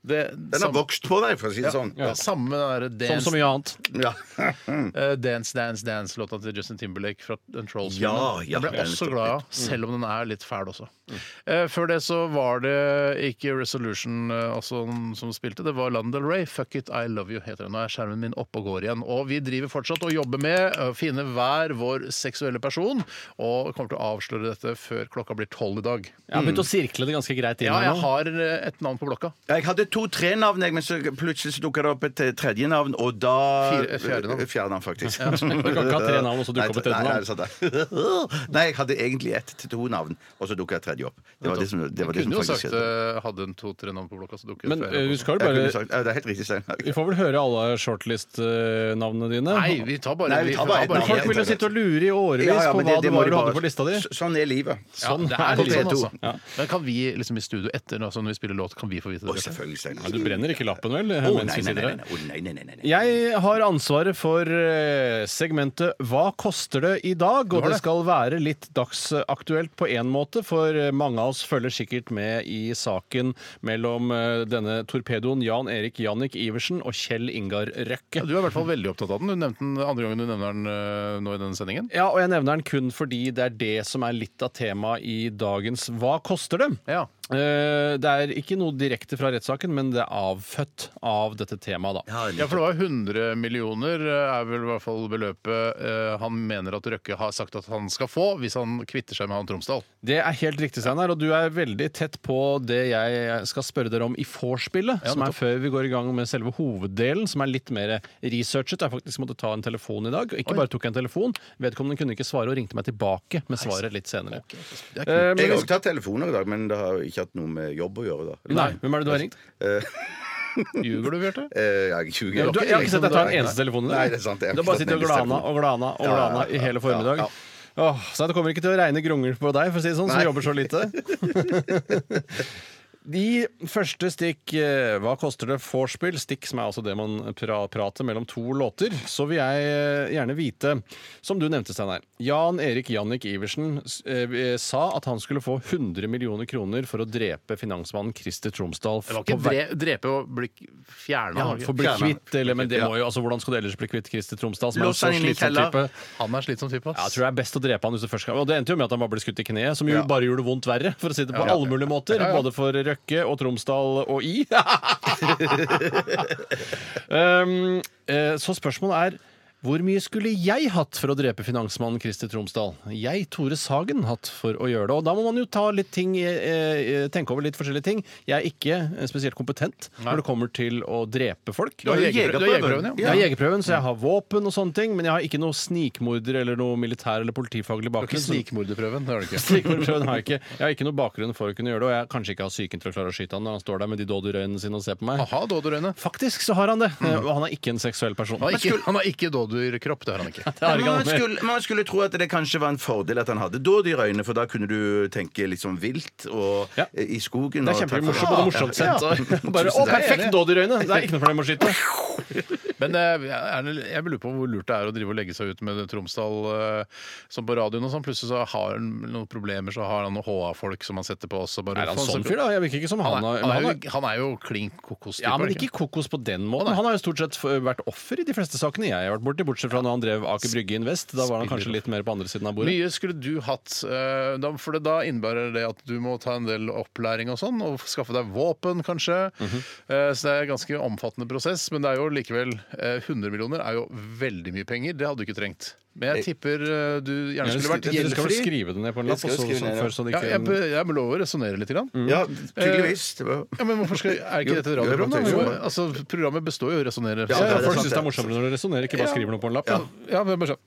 Det,
Den har
samme,
vokst på deg, for å si det sånn.
ja, samme der
Som
dance,
så mye annet.
Ja.
eh, dance, Dance, Dance-låta til Justin Timberlake fra den Trolls.
Ja, ja,
jeg ble
den er Mm.
også
nettopp
glad i den, selv om den er litt fæl også. Eh, før det så var det ikke Resolution eh, altså, som spilte, det var Lana Del Rey. Fuck It, I Love You heter den. Nå er skjermen min oppe og går igjen. Og vi driver fortsatt og jobber med å finne hver vår seksuelle person, og kommer til å avsløre dette før klokka blir tolv i dag.
Jeg har begynt å sirkle det ganske greit inn
Ja,
her
jeg
nå.
har eh, et navn på blokka.
Jeg hadde to-tre navn, jeg, men så plutselig så dukka det opp et eh, tredje navn, og da Eh,
Fire- fjerde navn.
Fjerde navn, faktisk.
Du kan ikke ha
(laughs)
tre navn, og så dukker
Nei,
opp et tredje
nei,
navn.
nei, sant det. (laughs) Nei, jeg hadde egentlig ett til to navn, og så dukka et tredje opp. Det var det som, det var det
Jeg
som
kunne jo
faktisk
sagt
skjedde.
eh, hadde en to-tre navn på blokka, så dukker det
Men
flere
eh,
opp.
vi skal jo
Jeg
bare
kunne sagt, ja, det er helt riktig, Steinar.
Vi får vel høre alle shortlist-navnene dine.
Nei, vi tar bare
Nei, vi tar bare et
Men
navn.
folk vil jo sitte og lure i årevis
Ja, ja,
på
men
hva
det- det
det
må
var
de
du hadde
bare-
på lista di.
Så- Sånn er livet.
Sånn
det
er
er litt
det.
sånn,
P2.
altså. Men kan vi liksom i studio etter altså, når vi spiller låt, kan vi få vite
Å,
det?
selvfølgelig, Steinar.
Du brenner ikke lappen, vel?
Å,
mens
nei, nei,
vi sitter
nei,
her?
nei, Å, nei, nei, nei, nei, nei.
Jeg har ansvaret for eh, segmentet Hva koster det i dag? Og det skal være litt dagsaktuelt på én måte, for eh, mange av oss følger sikkert med i saken mellom eh, denne torpedoen Jan Erik Jannik Iversen og Kjell Ingar
Ja,
Røkke.
du er i hvert fall veldig opptatt av den. Du nevnte den andre gangen du nevner den eh, nå i denne sendingen.
Ja, og jeg nevner den kun fordi det er det som er litt av temaet i dagens Hva koster det?
Ja.
Eh, Det er ikke noe direkte fra rettssaken, men det er avfødt av dette temaet, da.
Ja, for det var 100 millioner, eh, er vel i hvert fall beløpet eh, han mener at Røkke har sagt at han skal få, hvis han kvitter seg med han Tromsdal.
Det er helt riktig, Steinar, og du er veldig tett på det jeg skal spørre dere om i vorspielet, som er før vi går i gang med selve hoveddelen, som er litt mer researchet. Jeg faktisk måtte ta en telefon i dag. og Ikke bare tok jeg en telefon, vedkommende kunne ikke svare og ringte meg tilbake med svaret litt senere. Eh,
Jeg
men
har
vi-
også tatt telefoner i dag, men det har jo ikke hatt noe med jobb å gjøre. da
Nei, hvem er det du har ringt?
Ljuger du, Bjarte?
Eh, Jeg er 20
Ja,
år.
du, jeg har ikke sett deg ta en eneste telefon. i dag.
Nei, liksom det er sant, jeg har
Du har
ikke
bare
tatt
sittet og
en eneste
glana og glana og
Ja, ja,
glana i
ja,
hele
ja,
formiddag.
ja.
Åh, så det kommer ikke til å regne grungild på deg, for å si det sånn, som
Nei.
jobber så lite.
(laughs)
De første stikk eh, Hva koster det vorspiel? Stikk, som er altså det man pra prater mellom to låter. Så vil jeg eh, gjerne vite, som du nevnte, Steinar Jan Erik Jannik Iversen s- eh, sa at han skulle få 100 millioner kroner for å drepe finansmannen Christer Tromsdal.
Det var ikke
på vei-
dre drepe og bli fjerna.
ja, for å bli
Fjerne.
kvitt, eller, men det må jo, altså, Hvordan skal du ellers bli kvitt Christer Tromsdal, som er en
Lås
så
han inn i
slitsom
kjeller.
type?
han er slitsom type,
Ja, jeg
ass.
tror det er best å drepe han hvis du først skal Og det endte jo med at han bare ble skutt i kneet, som jo
Ja.
bare gjorde det vondt verre, for å si det på
Ja.
alle mulige måter.
Ja, ja.
Både for Røkke og Tromsdal og I. (laughs) um, eh, så spørsmålet er hvor mye skulle jeg hatt for å drepe finansmannen Christer Tromsdal? Jeg, Tore Sagen, hatt for å gjøre det. Og da må man jo ta litt ting, eh, eh, tenke over litt forskjellige ting. Jeg er ikke eh, spesielt kompetent når det kommer til å drepe folk.
Du har
jo
jegerprø- du har
jegerprøven,
jegerprøven,
Jeg har jegerprøven, så jeg har våpen og sånne ting, men jeg har ikke noe snikmorder eller noe militær eller politifaglig
Du har ikke
bakgrunn. så- (laughs)
snikmorderprøven, det har du ikke.
Snikmorderprøven har jeg ikke. Jeg har ikke noe bakgrunn for å kunne gjøre det, og jeg kanskje ikke har psyken til å klare å skyte han når han står der med de dodderøynene sine og ser på meg.
Aha, dådyrøyne.
Faktisk så har han det,
Mm.
eh, og han er ikke en seksuell person.
Han har ikke, han har ikke dådyrkropp, det har han ikke.
Det har
Men
ikke han
Man
med.
skulle, man skulle tro at det kanskje var en fordel at han hadde dådyrøyne, for da kunne du tenke litt sånn vilt og
Ja.
eh, i skogen.
Det er
og ta-
kjempemorsomt og morsomt
Ja,
sett.
ja.
Og
(laughs)
(laughs) Bare, å, perfekt dodderøyne! Det er ikke noe problem å skyte.
Men eh, er det, jeg lurer på hvor lurt det er å drive og legge seg ut med det Tromsdal eh, som på radioen og sånn. Plutselig så har han noen problemer, så har han noen HA-folk som han setter på også. Bare,
Er han
faen, så-
sånn fyr, da? Jeg virker ikke som han.
Han er,
har-
han,
men
er, jo- han er jo klink kokos.
Ja, men ikke kokos på den måten. Han har jo stort sett f- vært offer i de fleste sakene jeg har vært borti, bortsett fra når han drev Aker Brygge Invest. Da var han kanskje litt mer på andre siden av bordet.
mye skulle du hatt, eh, da- for det- da innebærer det at du må ta en del opplæring og sånn, og skaffe deg våpen kanskje.
Mhm.
Eh, Så det er en ganske omfattende prosess, men det er jo likevel eh, 100 millioner er jo veldig mye penger. Det hadde du ikke trengt. Men jeg tipper eh, du gjerne skulle vært
Dere skal vel
gjeldfri.
skrive det ned på en lapp?
Jeg
Og
skal
så,
skrive
så,
ned, ja.
først, så det
Ja,
ikke,
jeg, be- jeg må lov å resonnere litt. Grann.
Ja, tydeligvis. Det var...
Ja, men hvorfor skal, er ikke dette et
Mm. Jo, jo,
radioprogram? da?
jo, jo.
Jo, Altså, programmet består jo av å resonnere.
ja,
det er
folk
sant,
syns det er morsommere når dere resonnerer, ikke bare skriver noe på en lapp.
Ja,
da.
ja, men bare sånn.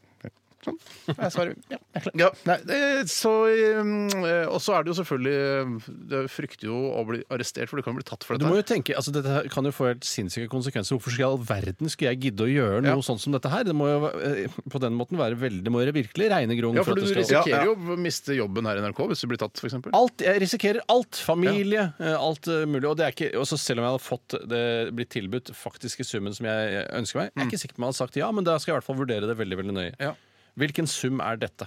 Sånn. Jeg svarer. Ja, jeg er klar.
Ja.
Nei, eh, så, eh, og så er det jo selvfølgelig Du frykter jo å bli arrestert, for du kan bli tatt for
Du
dette.
må
her.
jo tenke, altså Dette her kan jo få helt sinnssyke konsekvenser. Hvorfor skal i all verden skulle jeg gidde å gjøre
Ja.
noe sånt som dette her? Det må jo eh, på den måten være veldig, det må jo virkelig regne grunn
Ja,
for
for
at
du
det skal
risikerer jo å miste jobben her i NRK hvis du blir tatt, f.eks.
Alt, jeg risikerer alt. Familie, eh, alt eh, mulig. Og det er ikke, også selv om jeg hadde fått det, blitt tilbudt faktiske summen som jeg eh, ønsker meg, jeg er ikke sikker på om jeg hadde sagt ja, men da skal jeg i hvert fall vurdere det veldig veldig nøye.
Ja.
Hvilken sum er dette?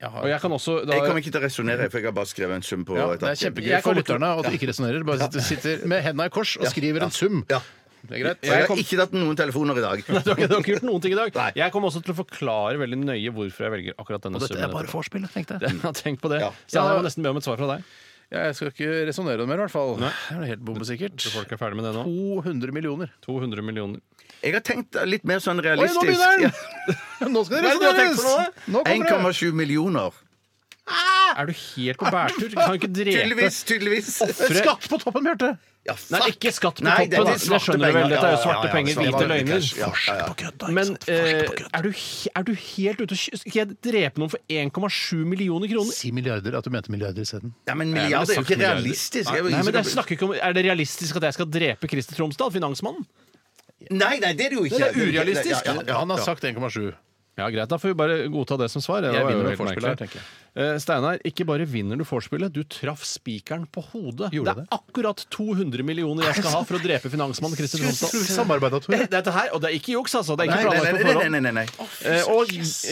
Jeg har-
Og jeg kan også da,
Jeg kommer ikke til å resonnere, for jeg har bare skrevet en sum på
ja,
et
det er
ark.
kjempegøy
Jeg
for
kommer til-
lytterne at du ikke resonnerer, bare sitter, sitter med henda i kors og skriver en sum.
Ja.
Det er greit.
Så jeg har ikke tatt noen telefoner i
(laughs)
dag.
Du har ikke, du har ikke gjort noen ting i dag. Jeg kommer også til å forklare veldig nøye hvorfor jeg velger akkurat denne
Dette er
summen.
bare vorspiel, tenkte jeg.
Jeg (laughs) har tenkt på det.
Ja.
Steinar, jeg må nesten be om et svar fra deg.
Ja, jeg skal ikke resonnere mer, i hvert fall. Det er helt bombesikkert.
Tror folk er ferdig med det nå.
200 millioner.
200 millioner.
Jeg har tenkt litt mer sånn
Oi, nå
realistisk.
begynner den!
Ja.
Nå skal det
Hva er det du har tenkt
resonneres!
for noe, da?
Nå kommer det!
1,7 millioner.
Er du helt på bærtur? Kan du ikke drepe
Tydeligvis, tydeligvis.
Skatt på toppen, Bjarte!
Ja,
Nei,
fuck.
ikke skatt på
Nei,
toppen.
det er
da.
de
Det
svarte
skjønner du vel.
pengene.
Dette
Ja,
er jo
ja,
svarte
ja,
penger,
svarte
hvite
penger,
løgner.
cash. Ja, ja, ja.
Men eh, er, du, he- er du helt ute å kjøre? Skal jeg drepe noen for 1,7 millioner kroner?
Si milliarder. At du mente milliarder isteden.
Ja, men milliarder er jo
sagt
ikke
milliarder.
realistisk. Jeg vil-
Nei, men jeg snakker ikke om, Er det realistisk at jeg skal drepe Christer Tromsdal, finansmannen?
Nei, nei, det er det jo ikke.
Det er urealistisk.
Ja, ja, ja.
Han har sagt 1,7.
Ja, Greit, da får vi bare godta det som svar. Det
Jeg
var jo
vinner med
helt
vorspielet her,
merkelig.
tenker jeg.
Eh, Steinar, ikke bare vinner du vorspielet, du traff spikeren på hodet.
Gjorde
det
det?
er akkurat 200 millioner jeg skal ha for å drepe finansmann Christer Tromsdal.
Samarbeida, Tore.
Dette her, og det er ikke juks, altså. Det er
Nei,
ikke
nei, nei,
planlagt på
nei,
forhånd.
nei, nei, nei.
Eh, og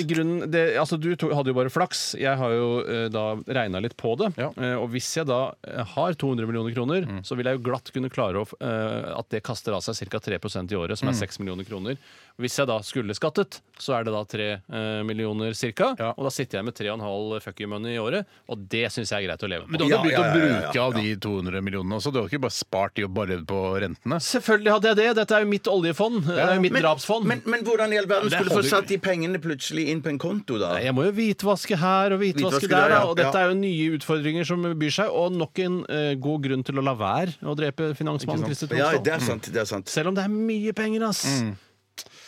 grunnen det, Altså, du to, hadde jo bare flaks. Jeg har jo eh, da regna litt på det.
Ja.
Eh, og hvis jeg da eh, har 200 millioner kroner, så vil jeg jo glatt kunne klare å, f- eh, at det kaster av seg ca. 3 i året, som er 6 millioner kroner. Hvis jeg da skulle skattet, så er det da 3 eh, millioner ca.
Ja.
Og da sitter jeg med 3,5 fuck you money i året, og det syns jeg er greit å leve
Men
på.
du hadde
Ja,
begynt å
ja, ja, ja, ja,
bruke av de 200 millionene også. Du har ikke bare spart de og bare levd på rentene.
Selvfølgelig hadde jeg det! Dette er jo mitt oljefond. Det er jo mitt
Men-
drapsfond.
Men, men hvordan i all verden
det
skulle du få
holder jo
satt de pengene plutselig inn på en konto, da?
Nei, Jeg må jo hvitvaske her og
Hvitvaske
hvitvaske, der,
der, ja.
da, og
Ja.
dette er jo nye utfordringer som byr seg, og nok en eh, god grunn til å la være å drepe finansmannen Christer
Ja,
Tromsdal.
det er Mm. sant. det er sant
Selv om det er mye penger, ass.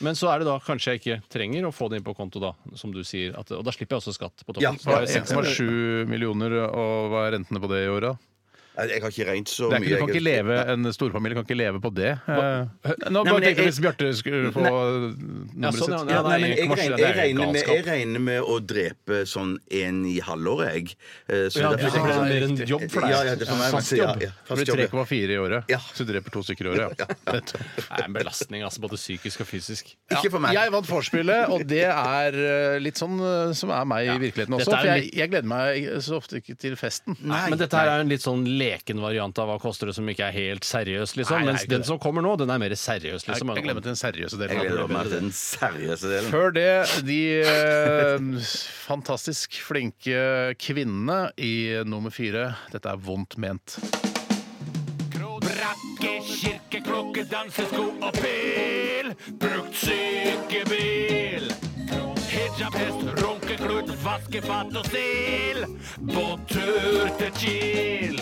Men så er det da kanskje jeg ikke trenger å få det inn på konto, da, som du sier. At, og da slipper jeg også skatt på
Ja,
toppen.
Så
Så
det
har jeg
er
seks-
6,7 millioner, og hva er rentene på det i året?
Nei, Jeg har ikke regnet så
Det
mye.
er ikke, du kan
jeg-
ikke leve, En storfamilie kan ikke leve på det. Eh, Nå
Nei,
bare
men
tenkte
jeg-
jeg hvis Bjarte skulle få
Ja,
nummeret
sånn, ja,
sitt.
ja,
Nei, men jeg,
nei,
regner, jeg, regner med, jeg regner med å drepe sånn en i halvåret, jeg. Eh, Så
Ja,
derfor-
du tenker det er mer en jobb for deg.
Ja, ja, det er for meg.
Fast
men- ja,
jobb.
ja,
Det
fast
blir
jobb.
3,4 i året.
Ja.
Så du dreper to stykker i året, ja. (laughs) Nettopp.
Det er en belastning, altså, både psykisk og fysisk.
Ikke for meg.
Jeg vant vorspielet, og det er eh, litt sånn eh, som er meg i virkeligheten også.
Dette er
For jeg,
litt-
jeg gleder meg så ofte ikke til festen.
Men dette her er en litt sånn leken variant av hva koster det som ikke er helt seriøs, liksom.
Nei, det er
Mens
ikke
den
det.
som kommer nå, den er mer seriøs,
Jeg,
liksom.
jeg gleder meg til den seriøse
Jeg gleder
delen.
meg til den seriøse delen.
Før det, de eh, fantastisk flinke kvinnene i nummer fire. Dette er vondt ment.
Brakke, kirke, klokke, dansesko og pil. Brukt sykebil. Hijab, hest, runkeklut, vaskefat og stil. På tur til Kiel.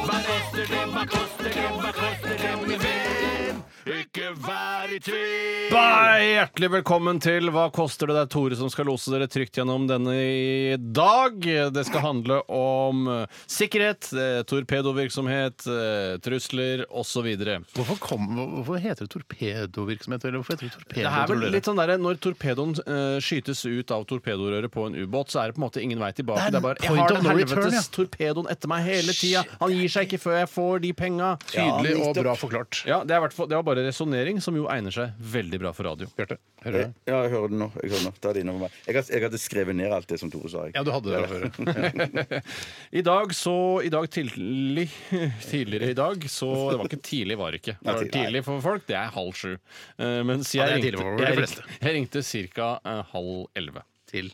Hva koster det, hva koster det, hva koster det, min venn? Ikke vær i tvil.
Hei, hjertelig velkommen til Hva koster det? Det er Tore som skal lose dere trygt gjennom denne i dag. Det skal handle om eh, sikkerhet, eh, torpedovirksomhet, eh, trusler osv. Det
Hvorfor, kom, hvorfor heter det torpedovirksomhet? Eller hvorfor heter det torpedo?
er vel
tror dere?
litt sånn der, Når torpedoen eh, skytes ut av torpedorøret på en ubåt, så er det på en måte ingen vei tilbake.
Det er
Det er bare, Jeg
point
har
of
den
no
helvetes
return, ja.
torpedoen etter meg hele tida. Han gir seg ikke før jeg får de penga.
Tydelig og bra forklart.
Ja, det, er hvertfall- det var bare resonnering, som jo egner seg veldig bra for radio.
Bjarte, hører du?
Ja, jeg hører den nå. Jeg, hører den nå. Ta det innover meg. jeg, had- jeg hadde skrevet ned alt det som Tore sa. jeg.
Ja, du hadde det fra før.
I dag så I dag tidlig (laughs) Tidligere i dag så Det var ikke tidlig, var det ikke. Det var
Nei, tidlig,
tidlig for folk. Det er halv sju. Eh, Mens jeg
det er tidlig
ringte,
for de
jeg
fleste.
ringte, jeg ringte ca. halv elleve.
(laughs) Til.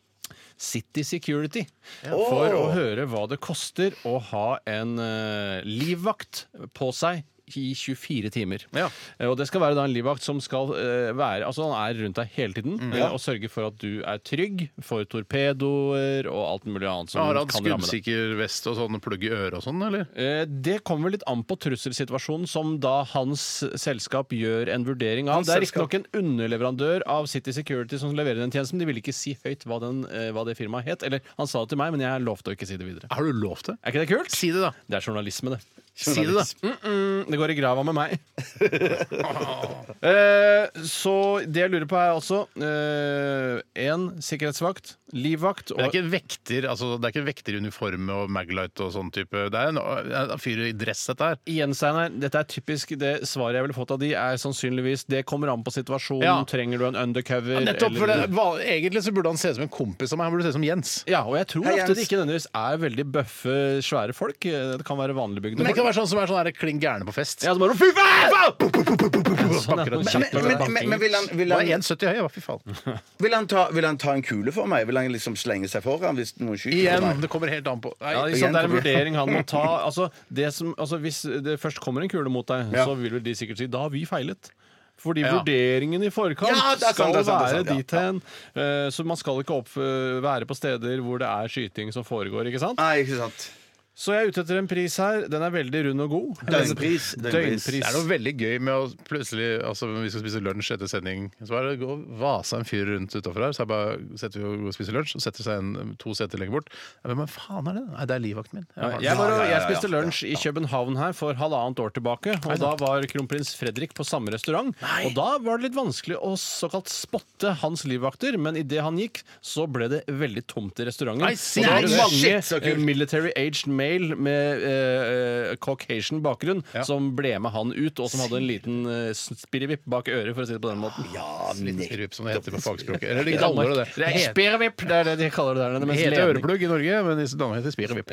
City Security for å høre hva det koster å ha en eh, livvakt på seg i 24 timer.
Ja.
Eh, Og det skal være da en livvakt som skal eh, være Altså han er rundt deg hele tiden
Mm.
eh, og sørge for at du er trygg for torpedoer og alt mulig annet som
Har han
kan ramme deg.
skuddsikker vest og sånn og plugg i øret og sånn, eller?
Eh, Det kommer vel litt an på trusselsituasjonen, som da hans selskap gjør en vurdering av.
Hans
Det er
selskap.
riktignok en underleverandør av City Security som leverer den tjenesten. De ville ikke si høyt hva, den, eh, hva det firmaet het. Eller han sa det til meg, men jeg lovte å ikke si det videre.
Har du lov til det?
Er ikke det kult?
(laughs) Si det, da.
Det er journalisme, det.
Si det, da.
Det går i grava med
(laughs)
meg. Eh, så det jeg lurer på, er altså én sikkerhetsvakt, livvakt
Det er
og
ikke vekter altså, det er ikke vekter i uniform og Maglite og sånn type. Det er en, en fyr i dress, dette her.
Igjen, Steinar, dette er typisk det svaret jeg ville fått av de, er sannsynligvis det kommer an på situasjonen.
Ja.
Trenger du en undercover?
Nettopp, for det,
eller-
hva- Egentlig så burde han se ut som en kompis av meg. Han burde se ut som Jens.
Ja, og jeg tror
Hei,
ofte
Jens.
det ikke nødvendigvis er veldig bøffe, svære folk. Eh, Det kan være vanligbygde
Men det
folk.
kan være sånn som er sånn her kling gærne på fest.
Ja, så bare, fy faen!
Sånn, ja.
Men-
Men, men, men, men vil, han, vil,
Bare
han,
1,70 høy, hva fy faen.
vil, han ta, vil han ta en kule for meg? Vil han liksom slenge seg foran hvis noen skyter på
Igjen,
meg?
det kommer helt an på Nei,
Ja, ikke sant, Det er en
igjen,
vurdering han må ta. Altså, det som, altså, hvis det først kommer en kule mot deg, så vil vel de sikkert si da har vi feilet. Fordi
Ja.
vurderingen i forkant
Ja, det er sant,
skal
det er sant, det er
være
sant, ja.
dit hen. Eh, Så man skal ikke opp, eh, være på steder hvor det er skyting som foregår, ikke sant?
Nei, ikke sant.
Så jeg er ute etter en pris her. Den er veldig rund og god.
Døgnpris, døgnpris.
Døgnpris.
Det er noe veldig gøy med å plutselig altså Når vi skal spise lunsj etter sending, så er det gå og vase en fyr rundt utafor her. Så jeg bare setter vi og går og spiser lunsj, og setter seg en, to seter lenger bort. Ja, Hvem faen er det? Nei, det er livvakten min. Ja,
Jeg, var,
ja, ja,
jeg
ja,
spiste
ja,
lunsj i København her for halvannet år tilbake. Og da var kronprins Fredrik på samme restaurant. Og da var det litt vanskelig å såkalt spotte hans livvakter, men idet han gikk, så ble det veldig tomt i restauranten.
Nei,
Og da var det
shit,
mange
så kult.
eh, military aged male med eh, eh, caucasian bakgrunn som ble med han ut, og som hadde en liten eh, spirrevipp bak øret, for å si det på den måten.
Ja, nett.
Rup, som det heter på fagspråket. Eller de
I
kaller det det.
Danmark. Det er
heter-
spirrevipp, det er det de kaller det der nede.
det
mens
heter
ledning-
øreplugg i Norge, men i Danmark heter det spirevipp.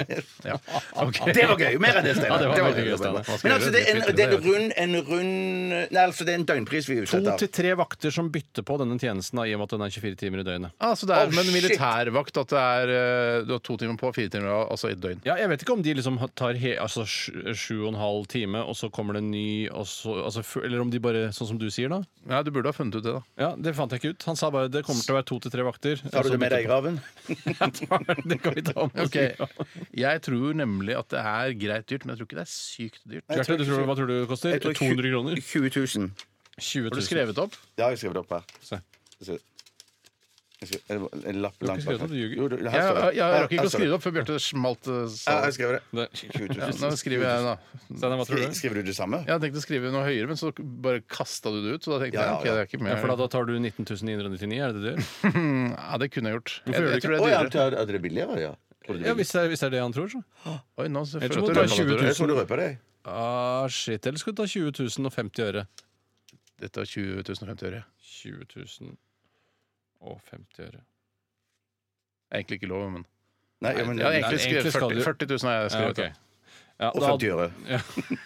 Ja. ok.
Det var gøy. Mer enn det, Steinar.
Ja, det var
Det var
veldig
gøy,
gøy,
det var
Steinar.
bra. Men altså, det er en, det er en rund, en rund Nei, altså, det er en døgnpris vi er ute
To
etter.
til tre vakter som bytter på denne tjenesten, da, i og med at den er 24 timer i døgnet.
Ah, så det er
Oh,
med en
shit.
militærvakt at det er eh, du har to timer på, fire timer av, altså i et døgn.
Ja, jeg vet ikke om de liksom tar he, altså, sju, sju og en halv time, og så kommer det en ny og så, altså, f- Eller om de bare, sånn som du sier, da.
Nei, du burde ha funnet ut det, da.
Ja, Det fant jeg ikke ut. Han sa bare det kommer til å være to til tre vakter.
Har du det
altså,
med deg i graven?
(laughs) det kan vi ta om. oss.
Ok. Jeg tror nemlig at det er greit dyrt, men jeg tror ikke det er sykt dyrt.
Bjarte, du tror, hva tror du det koster?
Jeg tror
200 kroner?
20 000.
20
Har du
000.
skrevet opp?
Ja, jeg skrev det opp her.
Se.
Jeg skal- jeg skal- en- En lapp
har
langt
ikke skrevet opp, du ljuger.
Jo, du- her
Jeg,
står det.
jeg, jeg rakk
Her
ikke å
står
skrive det opp før Bjarte smalt eh,
Ja,
sa
jeg skrev det.
Der.
20 000.
ja, Nå skriver jeg, da.
Steinar, hva tror du?
Skriver du det samme?
Jeg hadde tenkt å skrive noe høyere, men så bare kasta du det ut. Så da tenkte
Ja, ja,
jeg ok, det er ikke
Ja,
mer. Mm,
for da, da tar du 19 999, er det det du gjør?
Ja, det kunne jeg gjort.
Hvorfor gjør du
tror
Å
det
ja,
er dyrere.
at at det er billigere, ja. Tror du det er
Ja, hvis det, er, hvis det er det han tror, så.
Oi, nå så føler jeg
Jeg
at
tror det
det
er 20
røper.
billigere?
000.
Jeg tror du røper deg.
Ah, shit. Eller skal du ta 20 000 og 50 øre?
Dette er 20 050 øre.
20 000 og 50 øre.
Det er Egentlig ikke lov, men
Nei, ja, men
Jeg har egentlig
ja,
Nei, egentlig
skrevet
skal
40,
du-
40 000 har jeg
Ja,
skrevet.
ok. Ja,
Og
da-
50 øre.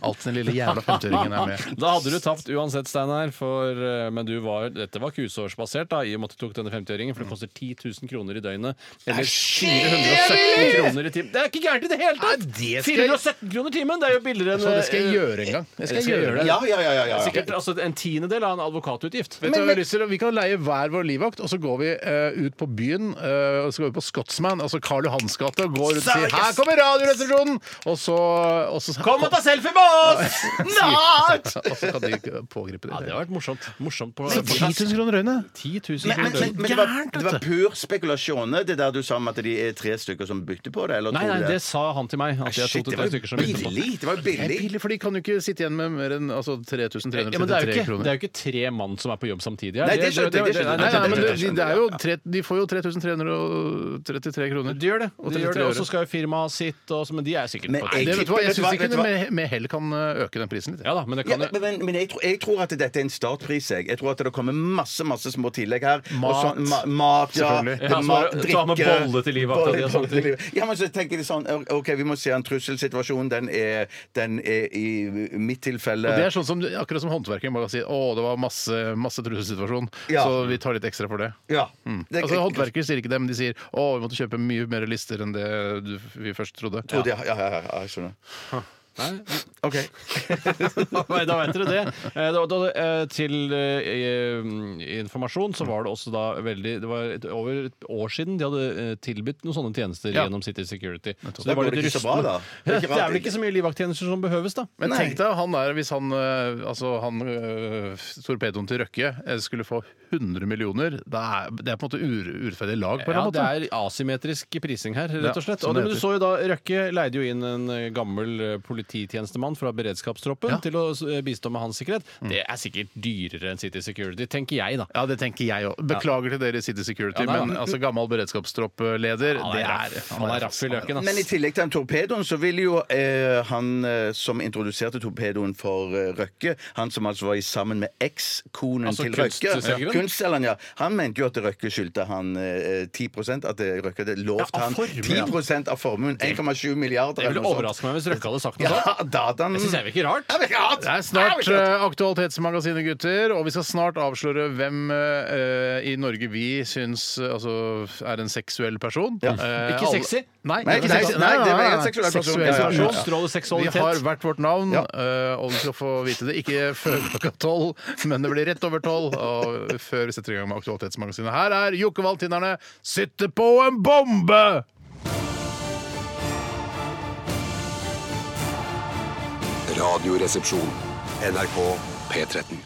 Alt den lille jævla 50-øringen er med.
Da hadde du tapt uansett, Steinar. For, eh, men du var, dette var kusårsbasert, da, i og med at du tok denne 50-øringen. For det koster 10 000 kroner i døgnet. Eller 417 kroner i timen. Det er ikke gærent i det hele tatt!
det skal jeg-
417 kroner timen! Det er jo billigere enn
Så det skal
eh,
jeg gjøre en gang. Det skal jeg gjøre.
Ja, ja, ja. ja, ja.
Sikkert altså, en tiendedel av en advokatutgift.
Vet du hva jeg har lyst til? Vi kan leie hver vår livvakt, og så går vi eh, ut på byen. eh, og så går vi på Scotsman, altså Karl Johans gate, og går ut og sier 'Her kommer Radioresepsjonen!' Og så, (laughs) og så
Kom og ta selfie med oss! Snart!
(laughs) Og så kan de ikke pågripe det.
Ja, det har vært morsomt. Morsomt på
Men 10 000 kroner døgnet!
10 000
Men, men,
kroner.
men, men det, var,
Gærent, vet
det
du.
var pur spekulasjon, det der du sa om at de er tre stykker som bytter på det? Eller
Nei,
tror
nei,
du
det sa han til meg. At jeg
Shit, det
tok tre
var jo
stykker som begynte på.
billig! Det var jo billig.
Pille, for de kan jo ikke sitte igjen med mer enn altså,
Ja, men det er, jo
3333
ikke, det
kroner.
er jo ikke tre mann som er på jobb samtidig. her.
Nei, det skjønte jeg, det skjønte jeg.
nei,
Nei,
nei,
nei, men
men
det, de, det er jo tre, de får jo 3333 kroner.
De gjør det.
Og
De gjør
33
det, Og så
øre.
skal jo firmaet sitt, og så- men de er sikkert
Men
på
Nei,
det.
det, vet du hva? Jeg
Vet du
syns
hva?
ikke
Vet du
de
hva?
med, med hell kan eh, øke den prisen litt.
Ja da, men det
Ja,
kan jo
men men, men jeg, tror, jeg tror at dette er en startpris. Jeg Jeg tror at det kommer masse masse små tillegg her. Og
Mat.
sånn, ma mat ja,
Selvfølgelig.
det er
Ja, så
mat,
du har med
drikke,
bolle til livvakta
bolle-
di og sånne
bolle til liv- Ja, men så tenker de sånn OK, vi må se en trusselsituasjon. Den er, den er i mitt tilfelle
Og det er sånn som, akkurat som håndverkere bare sier 'Å, det var masse, masse trusselsituasjon,
Ja.
så vi tar litt ekstra for det'.
Ja. Det,
Altså Håndverkere sier ikke det, men de sier 'Å, vi måtte kjøpe mye mer lister enn det du, vi først trodde'.
Ja, ja, ja, ja, ja, jeg skjønner.
Nei, (laughs) da vet dere det. Eh, Da, da, eh, til eh, eh, informasjon så var det også da veldig Det var et, over et år siden de hadde eh, tilbudt noen sånne tjenester
Ja.
gjennom City Security. Så
Da går det ikke så bra, da.
(laughs) Det
Det
er
er ikke rart
vel ikke så mye livvakttjenester som behøves, da.
Men
Nei.
tenk deg han der, hvis han øh, altså han øh, torpedoen til Røkke eh, skulle få 100 millioner. Det er, det er på en måte ur, urettferdig lag, på en
Ja,
måte.
det er asymmetrisk prising her, rett
Ja,
og slett.
som
Og det,
det
men du
heter.
så jo da, Røkke leide jo inn en eh, gammel eh, polit, polititjenestemann fra beredskapstroppen
Ja. Mm.
til å eh, bistå med hans sikkerhet, det er sikkert dyrere enn City Security, tenker jeg, da.
Ja, det tenker jeg òg. Beklager til dere i City Security,
Ja, nei,
men
nei.
altså, gammel beredskapstroppleder
Han
det
er
er
raff. Han er raff i løken,
Men i
ass.
tillegg til den torpedoen, så ville jo eh, han eh, som introduserte torpedoen for eh, Røkke, han som altså var i sammen med ekskonen
Altså
til Røkke
kunstselgeren?
Ja. Kunstselgeren, ja. Han mente jo at Røkke skyldte han eh, 10 at eh, Røkke hadde lovt
Ja, av
han
formuen.
10 av formuen. 1,7 milliarder
Det
eller
ville
noe sånt.
overraske meg hvis Røkke hadde sagt noe sånt.
Ja, dataen
altså. Det syns jeg virker rart.
Ja, men ja,
Det er snart eh, Aktualitetsmagasinet, gutter, og vi skal snart avsløre hvem eh, i Norge vi syns eh, altså, er en seksuell person.
Ja.
Eh,
Ikke
alle-
sexy.
Nei,
Nei, ikke sexy. Nei, det er en seksuell person.
Seksuell
Ja, ja, ja.
person.
Utstråler seksualitet.
Vi har hvert vårt navn,
Ja.
eh, og du skal få vite det ikke før klokka tolv, men det blir rett over tolv og før vi setter i gang med Aktualitetsmagasinet. Her er Jokke Valtinnerne 'Sitter på en bombe'!
Radioresepsjon. NRK P13.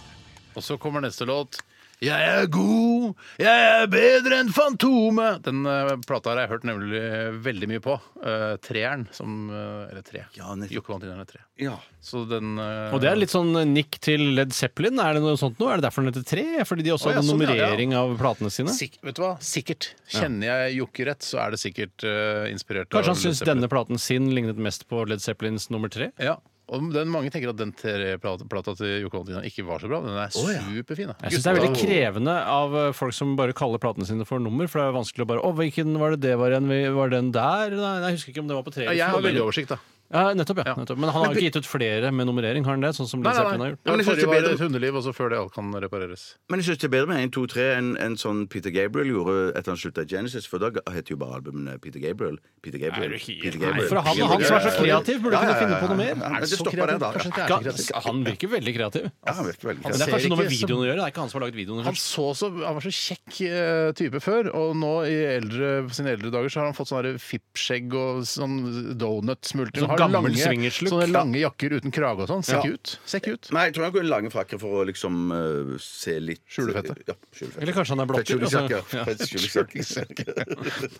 Og så kommer neste låt. Jeg er god, jeg er bedre enn Fantomet. Den eh, plata her har jeg hørt nemlig veldig mye på. Eh, treeren som eh, Eller tre.
Ja, nettopp.
Jokke Valtinerne tre.
Ja.
Så den eh,
Og det er litt sånn nikk til Led Zeppelin. Er det noe sånt nå? Er det derfor den heter Tre? Fordi de også
Å, ja,
hadde
sånn, ja, ja.
nummerering av platene sine?
Sik vet du hva? Sikkert. Kjenner jeg Jokke rett, så er det sikkert eh, inspirert
Kanskje han
Led
syns
Zeppelin.
denne platen sin lignet mest på Led Zeppelins nummer tre?
Ja. Og den, mange tenker at den tre-plata til Jokke Valtinerne ikke var så bra, men den er superfin. da.
Jeg syns det er veldig
Gutta-
krevende av eh, folk som bare kaller platene sine for nummer, for det er vanskelig å bare Å, hvilken var det det var igjen? Var den der? Nei, jeg husker ikke om det var på tre.
Ja, Jeg har veldig oversikt, da.
Ja, nettopp, ja.
Ja.
Nettopp. Men han har jo ikke gitt ut flere med nummerering, har han det? Sånn som Led Zeppelin har gjort.
Ja,
Men
men
jeg synes
Forrige
det
var
er bedre-
et hundeliv, og så før det alt kan repareres.
Men jeg syns det er bedre med 1, 2, 3 enn enn sånn Peter Gabriel gjorde etter han slutta i Genesis, for da heter jo bare albumene Peter Gabriel. Peter Gabriel. Peter Gabriel.
For han og han som er så kreativ,
Ja,
burde
ja,
kunne
ja,
finne på
ja.
noe mer.
Ja, men det stopper der, da.
Kanskje det er
Ga-
kreativt.
Han virker veldig kreativ.
Ja, han virker veldig
Men
kreativ.
det er kanskje
ser
noe med
ikke som-
videoen å gjøre. Det er ikke han som har lagd videoen.
Han, så så, han var så kjekk eh, type før, og nå i eldre, på sine eldre dager så har han fått sånne fippskjegg og sånn donut-smultring.
Sånn
Har
gammel
lange-
swingerslook.
Sånne lange jakker uten krage og sånn. Ser
Ja.
ikke ut. Ser ikke ut.
Nei, jeg tror han kunne lange frakker for å liksom eh, se litt
Skjule fettet.
Ja, skjule fettet.
Eller kanskje han er blokker,
Skjulesekk, ja.
altså. Ja.
(laughs)
Skjulesekk.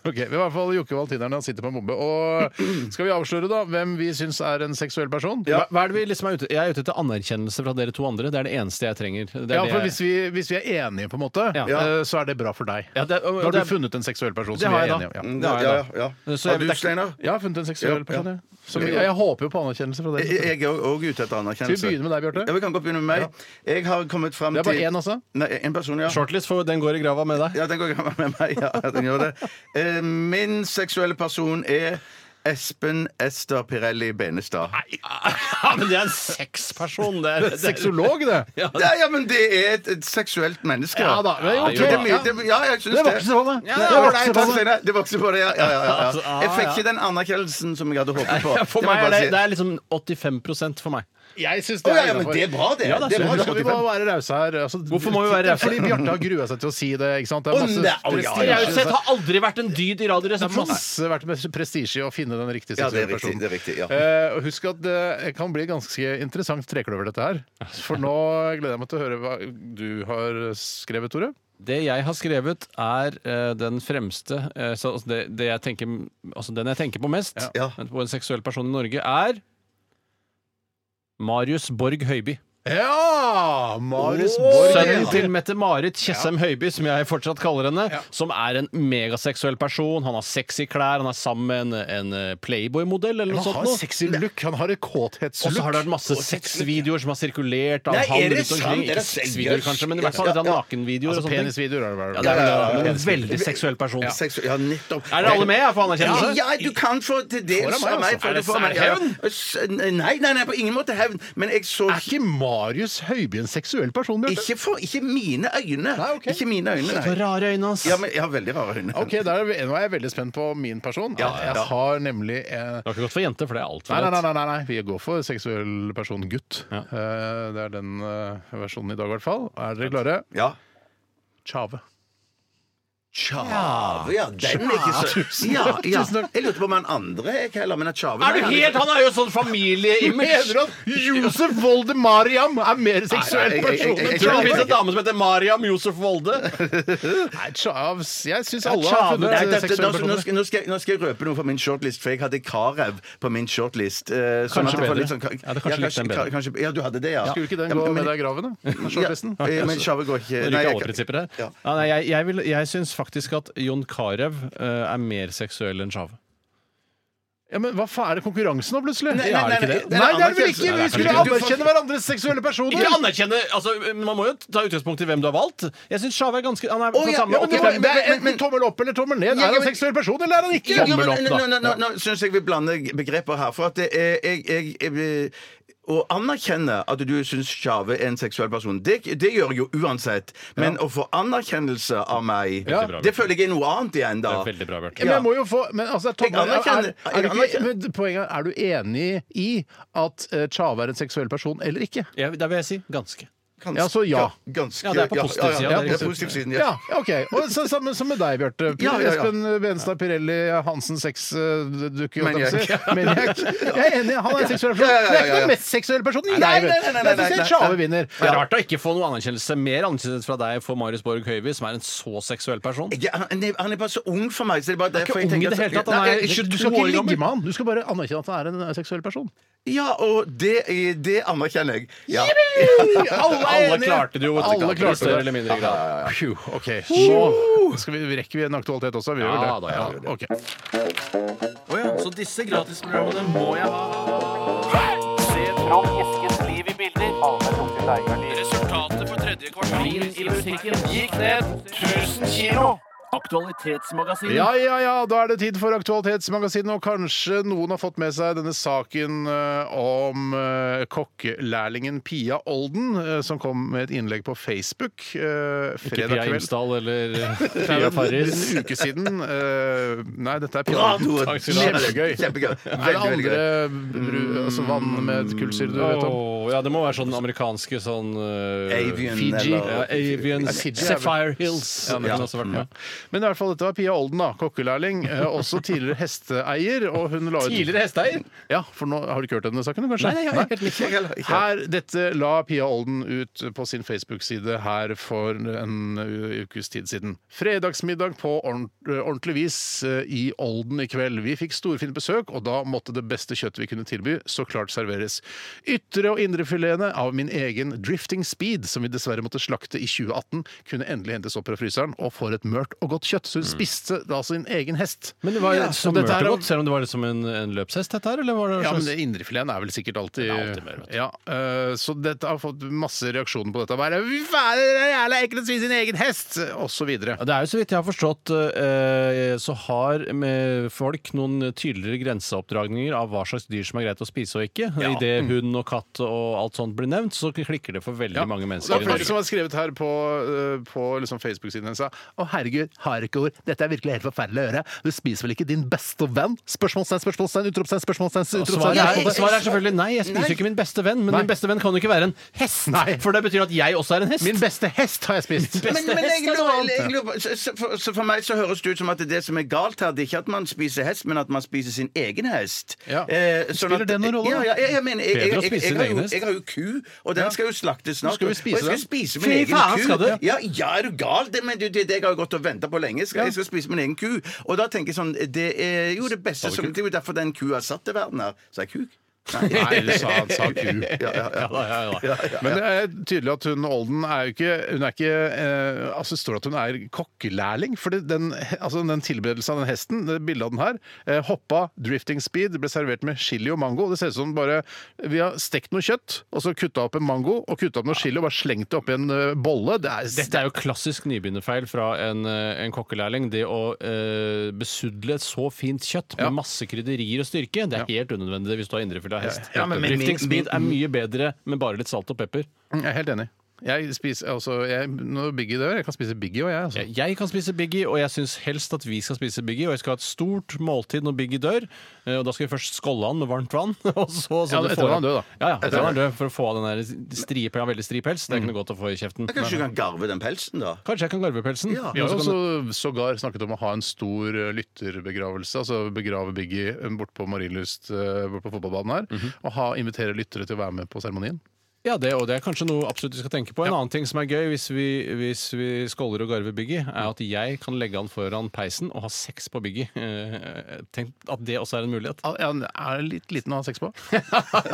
Ok, men I hvert fall Jokke Valtinerne han sitter på en bombe. Og skal vi avsløre da hvem vi syns er en seksuell person?
Hva, hva er det vi liksom er ute Jeg er ute etter anerkjennelse fra dere to andre. Det er det eneste jeg trenger. Det er
Ja, for
det-
hvis vi, hvis vi er enige, på en måte,
Ja.
eh, så er det bra for deg.
Ja, det er- og-
da har
det
du
er-
funnet en seksuell person
Det
som vi
har
er
jeg,
enige
da. Mm.
om. Ja.
Ja, ja, ja.
Så jeg-
Har du,
det er ikke-
Steinar?
Jeg har funnet en seksuell
Ja,
person,
ja.
jeg. Som, jeg, jeg håper jo på anerkjennelse fra
Jeg
dere.
jeg er òg ute etter anerkjennelse.
Skal vi begynne med deg, Bjarte?
Ja, vi kan godt begynne med meg. Jeg har kommet fram
Det
til
er bare én, altså.
Nei, en person, ja.
Shortlist, for den går i grava med deg.
Ja, den går gammel med meg. Ja, den gjør det. Eh, min seksuelle person er Espen Ester Pirelli Benestad.
Ja, men det er en sexperson! Det er,
Sexolog, det!
Ja,
(laughs)
ja, men det er et, et seksuelt menneske.
Ja da, men ok,
det, er mye-
ja.
det, ja, jeg syns
Det
det.
vokser på det.
Ja,
Det
det var
vokser
deg,
på
takk,
det.
Steinar. Det vokser på det, ja. ja, ja,
Altså,
ja.
ah,
Jeg fikk
ja.
ikke den anerkjennelsen som jeg hadde håpet på.
For
Det må jeg
meg
bare
er det,
si.
det er liksom 85 for meg.
Jeg syns
Å,
det
ja,
er
ja, men
innenfor.
det er bra, det.
Ja, det er
det er
Men
bra,
da skal vi bare
75.
være rause her. Altså,
Hvorfor må vi være rause?
Fordi Bjarte har grua seg til å si det. ikke sant? Det
Å, nei, å, ja,
prestisje.
ja,
Raushet har aldri vært en dyd i
altså, Det har
Radioresepsjonen.
masse vært med prestisje i å finne den riktige
Ja, det er
seksuelle
riktig,
personen.
det er riktig, ja.
Eh, og husk at det kan bli ganske interessant trekløver, dette her. For nå gleder jeg meg til å høre hva du har skrevet, Tore.
Det jeg har skrevet, er eh, den fremste eh, så, altså, det, det jeg tenker, altså, Den jeg tenker på mest
Ja.
på en seksuell person i Norge, er Marius Borg Høiby.
Ja! Marius Borg.
Sønnen til Mette-Marit Tjessem Høiby, som jeg fortsatt kaller henne. Som er en megaseksuell person. Han har sexy klær, han er sammen med en, en eh, Playboy-modell eller noe
Han
sånt.
har
noe.
sexy look. Han har Altså, et
Og så har det vært
kåthetslook.
masse sexvideoer som har sirkulert av
Nei,
han
er det
rundt
sant? Er
omkring.
det
Ikke sexvideoer,
seriøst?
kanskje, men i hvert
Ja,
fall litt av
ja.
nakenvideoer
Altså
og sånne ting.
penisvideoer er det
Ja,
vel.
det er, vel-
Ja, ja, ja, ja.
men en veldig seksuell person.
Seksu- Ja, nettopp.
Er dere alle med her for anerkjennelse?
Ja, ja, du kan få til dels
meg,
av meg.
altså.
for
Er
du
det-
får
er
meg,
det
ja, ja. S- Nei, nei, nei, på ingen måte hevn. Men jeg så
Er ikke Marius Høiby en seksuell person, Bjarte?
Ikke, for, ikke mine øyne.
Nei, ok.
Ikke mine øyne,
Så
nei.
rare øyne hans.
Ja, men jeg har veldig rare øyne.
Ok, da er vi- Nå er jeg veldig spent på min person.
Ja, ja.
Jeg har nemlig eh,
Det har ikke gått for jenter, for det er altfor
Nei, nei,
lett.
nei, nei, nei. vi går for seksuell person gutt.
Ja.
Eh, Det er den eh, versjonen i dag, i hvert fall. Er dere klare?
Ja.
Tjave.
Tjave, ja. Den er ikke så ja, ja. Jeg lurte på om han andre er heller, men at Tjave
Er du
Nei,
helt Han er jo sånn familieimage.
Mener du at Josef Voldemariam er mer seksuell
Nei, nei,
person
jeg- jeg- jeg-
enn
jeg-
Tror du det
Trump?
finnes en dame som heter Mariam
(laughs)
Josef Volde?
Nei, Tjav Jeg syns alle har
Tjave.
funnet
Nei,
eh,
dette-
seksuelle
da- nå,
personer.
skal, nå, skal jeg, nå skal jeg røpe noe fra min shortlist, for jeg hadde Karev på min shortlist. eh,
Kanskje
sånn at det var
bedre.
litt sånn-
Ja, det er kanskje litt den bedre.
ka- kanskje- ja, du hadde det, ja.
Skulle ikke
Ja,
den gå
men-
med deg i graven, da? Shortlisten?
Ja, eh, men Tjave går ikke
Nei,
jeg-
alle prinsipper her.
Ja.
Ja, nei, jeg jeg, vil- jeg syns faktisk at Jon Carew eh, er mer seksuell enn Chave.
Ja, men Hva faen er det konkurransen nå, plutselig?
Nei,
Ja,
nei,
er det
nei,
ikke det?
nei,
Nei, det er det vel
anerkjennelse.
ikke! Vi skulle
Nei, anerkjennelse.
anerkjenne hverandres seksuelle
Ikke
personer!
anerkjenne, altså, Man må jo ta utgangspunkt i hvem du har valgt. Jeg syns Chave er ganske Han er på
Å, ja,
samme
Ja, men det var-
Ok, men-
det er
men-
Enten tommel opp eller tommel ned. Er
Ja,
han
men-
seksuell person, eller er han ikke?
Ja, men
Tommel opp,
nå-
da.
nå- nå- Nå syns jeg vi blander begreper her. For at det er, jeg, jeg, jeg å anerkjenne at du syns Tjave er en seksuell person, det, det gjør jeg jo uansett. Men å få anerkjennelse av meg,
Veldig bra,
det føler jeg er noe annet igjen, da.
Det er veldig bra, Bjarte.
Men jeg må jo få men altså, er,
Jeg
er,
anerkjenner-
er, du ikke,
jeg anerkjenner.
men poenget er, er du enig i at eh, Tjave er en seksuell person eller ikke?
Ja, det vil jeg si ganske.
Ganske-
Ja, så ja.
Ganske,
Ja, det er på positiv side,
Ja,
det er
det er
riktig.
positiv siden, ja.
Ja, OK. Og så, samme som med deg, Bjarte.
Ja, ja, ja.
Espen Benstad Pirelli Hansen eh, sexdukke.
(laughs) Maniac.
Maniac. Jeg er enig, han er en seksuell person.
Ja, ja, ja,
Men jeg er ikke
ja, ja.
den mest seksuelle personen
Nei,
jeg
nei, nei, nei,
vet! Derfor
nei,
sier
nei.
jeg Tjave vinner.
Det er rart å ikke få noe anerkjennelse, mer anerkjennelse fra deg for Marius Borg Høivi, som er en så seksuell person.
Jeg, han, er- han er bare så ung for meg. Så det er bare derfor jeg
ung i
tenker
det hele tatt, han
Nei,
er-
jeg-
Du skal
22
ikke
år
ligge
gammel.
med han, du skal bare anerkjenne at han er en eh, seksuell person.
Ja, og det, det anerkjenner jeg. Ja.
Alle klarte det jo. vet du,
Alle klarte
i større
det.
eller mindre grad.
Phew, OK. Nå skal vi, rekker vi en aktualitet også. Vi gjør vel
Ja,
det.
da, ja.
ok.
Så disse gratisprogrammene må jeg ha. Resultatet for tredje kvartal gikk ned 1000 kilo. Aktualitetsmagasinet.
Ja, ja, ja, da er det tid for Aktualitetsmagasinet, og kanskje noen har fått med seg denne saken eh, om uh, kokkelærlingen Pia Olden, eh, som kom med et innlegg på Facebook eh,
Ikke
fredag
Pia
kveld.
Imsdal (laughs) eller
Det er
Pia
jo
Farris.
En uke siden. eh, nei, dette er Pia
Bra,
Olden.
Tore.
Takk skal du ha.
Kjempegøy.
Kjempegøy. Kjempegøy.
Er det
Veldig, veldig
andre
gøy.
bru- altså vann med kullsyre du vet om?
Åh, ja, det må være sånn amerikanske sånn eh,
Avian
Fiji.
ja,
eller
Avian
Fiji er vel-
Sapphire Hills. Ja, det
Ja.
kunne også vært med.
Men i hvert fall, dette var Pia Olden, da, kokkelærling. eh, også tidligere hesteeier. Og hun la ut
Tidligere hesteeier.
Ja, for nå har du ikke hørt denne saken, kanskje?
Nei, nei, jeg har helt
Ikke jeg heller, ikke jeg.
Her, dette la Pia Olden ut på sin Facebook-side her for en u- ukes tid siden. Fredagsmiddag på ordent- ordentlig vis eh, i Olden i kveld. Vi fikk storfint besøk, og da måtte det beste kjøttet vi kunne tilby, så klart serveres. Ytre- og indrefiletene av min egen Drifting Speed, som vi dessverre måtte slakte i 2018, kunne endelig hentes opp fra fryseren, og for et mørt og godt kjøtt. Så hun spiste da sin egen hest.
Mm. Men det var
Ja,
så
og
mørkt
dette
og
er-
godt, selv om det var liksom en, en løpshest, dette her? Eller var det
ja, men
slags-
det indrefileten er vel sikkert alltid,
Den er alltid mer, vet du.
ja, eh, Så dette har fått masse reaksjoner på dette. Bare "Fy faen, det er jævla ekkelt å spise sin egen hest! Og så videre.
Ja, Det er jo så vidt jeg har forstått, eh, så har med folk noen tydeligere grenseoppdragninger av hva slags dyr som er greit å spise og ikke. I Idet hund og katt og alt sånt blir nevnt, så klikker det for veldig
Mm. Ja.
mange
Det
mennesker
er
i
flere som
Norge.
har skrevet her på, eh, på liksom Facebook-siden hennes Å herregud, har ikke ord. Dette er virkelig helt forferdelig å gjøre. Du spiser vel ikke din beste venn? Spørsmålstegn, spørsmålstegn, utropstegn, spørsmålstegn,
Og Svaret er,
utropstegn.
svaret er selvfølgelig nei, jeg spiser ikke min beste venn. Men
sånn- Nei.
min beste venn kan jo ikke være en hest,
Nei.
for det betyr at jeg også er en hest.
Min beste hest har jeg spist!
Beste
Men, men jeg
hest er noe
lurer,
annet.
jeg lurer, på- så, så, for, så for meg så høres det ut som at det som er galt her, det er ikke at man spiser hest, men at man spiser sin egen hest. Eh, sånn
Ja. Spiller det noen rolle, da?
Ja, ja, jeg, jeg mener, jeg, jeg,
Bedre å
jeg, jeg,
spise sin
har
egen
jo,
hest.
jeg har jo ku, og den skal jo slaktes
Nå
snart.
skal vi spise
og jeg skal
den.
spise
Fy
min egen
faen,
ku.
skal du?
Ja, ja, er du gal? Det, men, det, det, det jeg har jo gått og venta på lenge. Skal,
Ja.
Jeg skal spise min egen ku. Og da tenker jeg sånn Det er jo det beste som Det er jo derfor den kua er satt til verden her. Sa jeg kuk? Nei.
Nei, du sa, sa ku.
(laughs) Ja, ja, ja.
Ja, da, ja, da.
Men det er tydelig at hun Olden er jo ikke Hun er ikke eh, Altså det står at hun er kokkelærling. For den, altså den tilberedelsen av den hesten, det bildet av den her, eh, hoppa drifting speed, ble servert med chili og mango. Det ser ut som bare Vi har stekt noe kjøtt, og så kutta opp en mango og kutta opp noe chili og bare slengt det oppi en eh, bolle. Det er,
Dette er jo klassisk nybegynnerfeil fra en, eh, en kokkelærling. Det å eh, besudle et så fint kjøtt med
Ja.
masse krydderier og styrke, det er helt unødvendig hvis du har indrefilet av hest.
Ja, ja, men
Drifting
min- min-
speed er mye bedre med bare litt salt og pepper.
jeg er helt enig. Jeg spiser, altså, jeg, når Biggie dør, jeg kan spise Biggie og jeg. Altså.
Jeg- Jeg kan spise Biggie, og jeg syns helst at vi skal spise Biggie. Og jeg skal ha et stort måltid når Biggie dør. Eh, Og da skal jeg først skålle han med varmt vann. (laughs) Og så, så
Ja,
det
etter
får-
han Mm. er død, da.
Ja, ja, etter han er død, for å få av den der strie, han har veldig stri pels. Det er ikke noe godt å få i kjeften.
Kanskje du kan garve den pelsen, da?
Kanskje jeg kan garve pelsen.
Ja.
Vi har
Og så kan-
også sågar snakket om å ha en stor eh, lytterbegravelse. Altså begrave Biggie eh, bort på Marienlyst, eh, bort på fotballbanen her. Og ha, invitere lyttere til å være med på seremonien.
ja, det, og det er kanskje noe absolutt vi skal tenke på. En annen ting som er gøy hvis vi, hvis vi skåler og garver Biggie, er at jeg kan legge han foran peisen og ha sex på Biggie. Eh, Tenk at det også er en mulighet.
Ah, ja, han er litt liten å ha sex på.
Ja,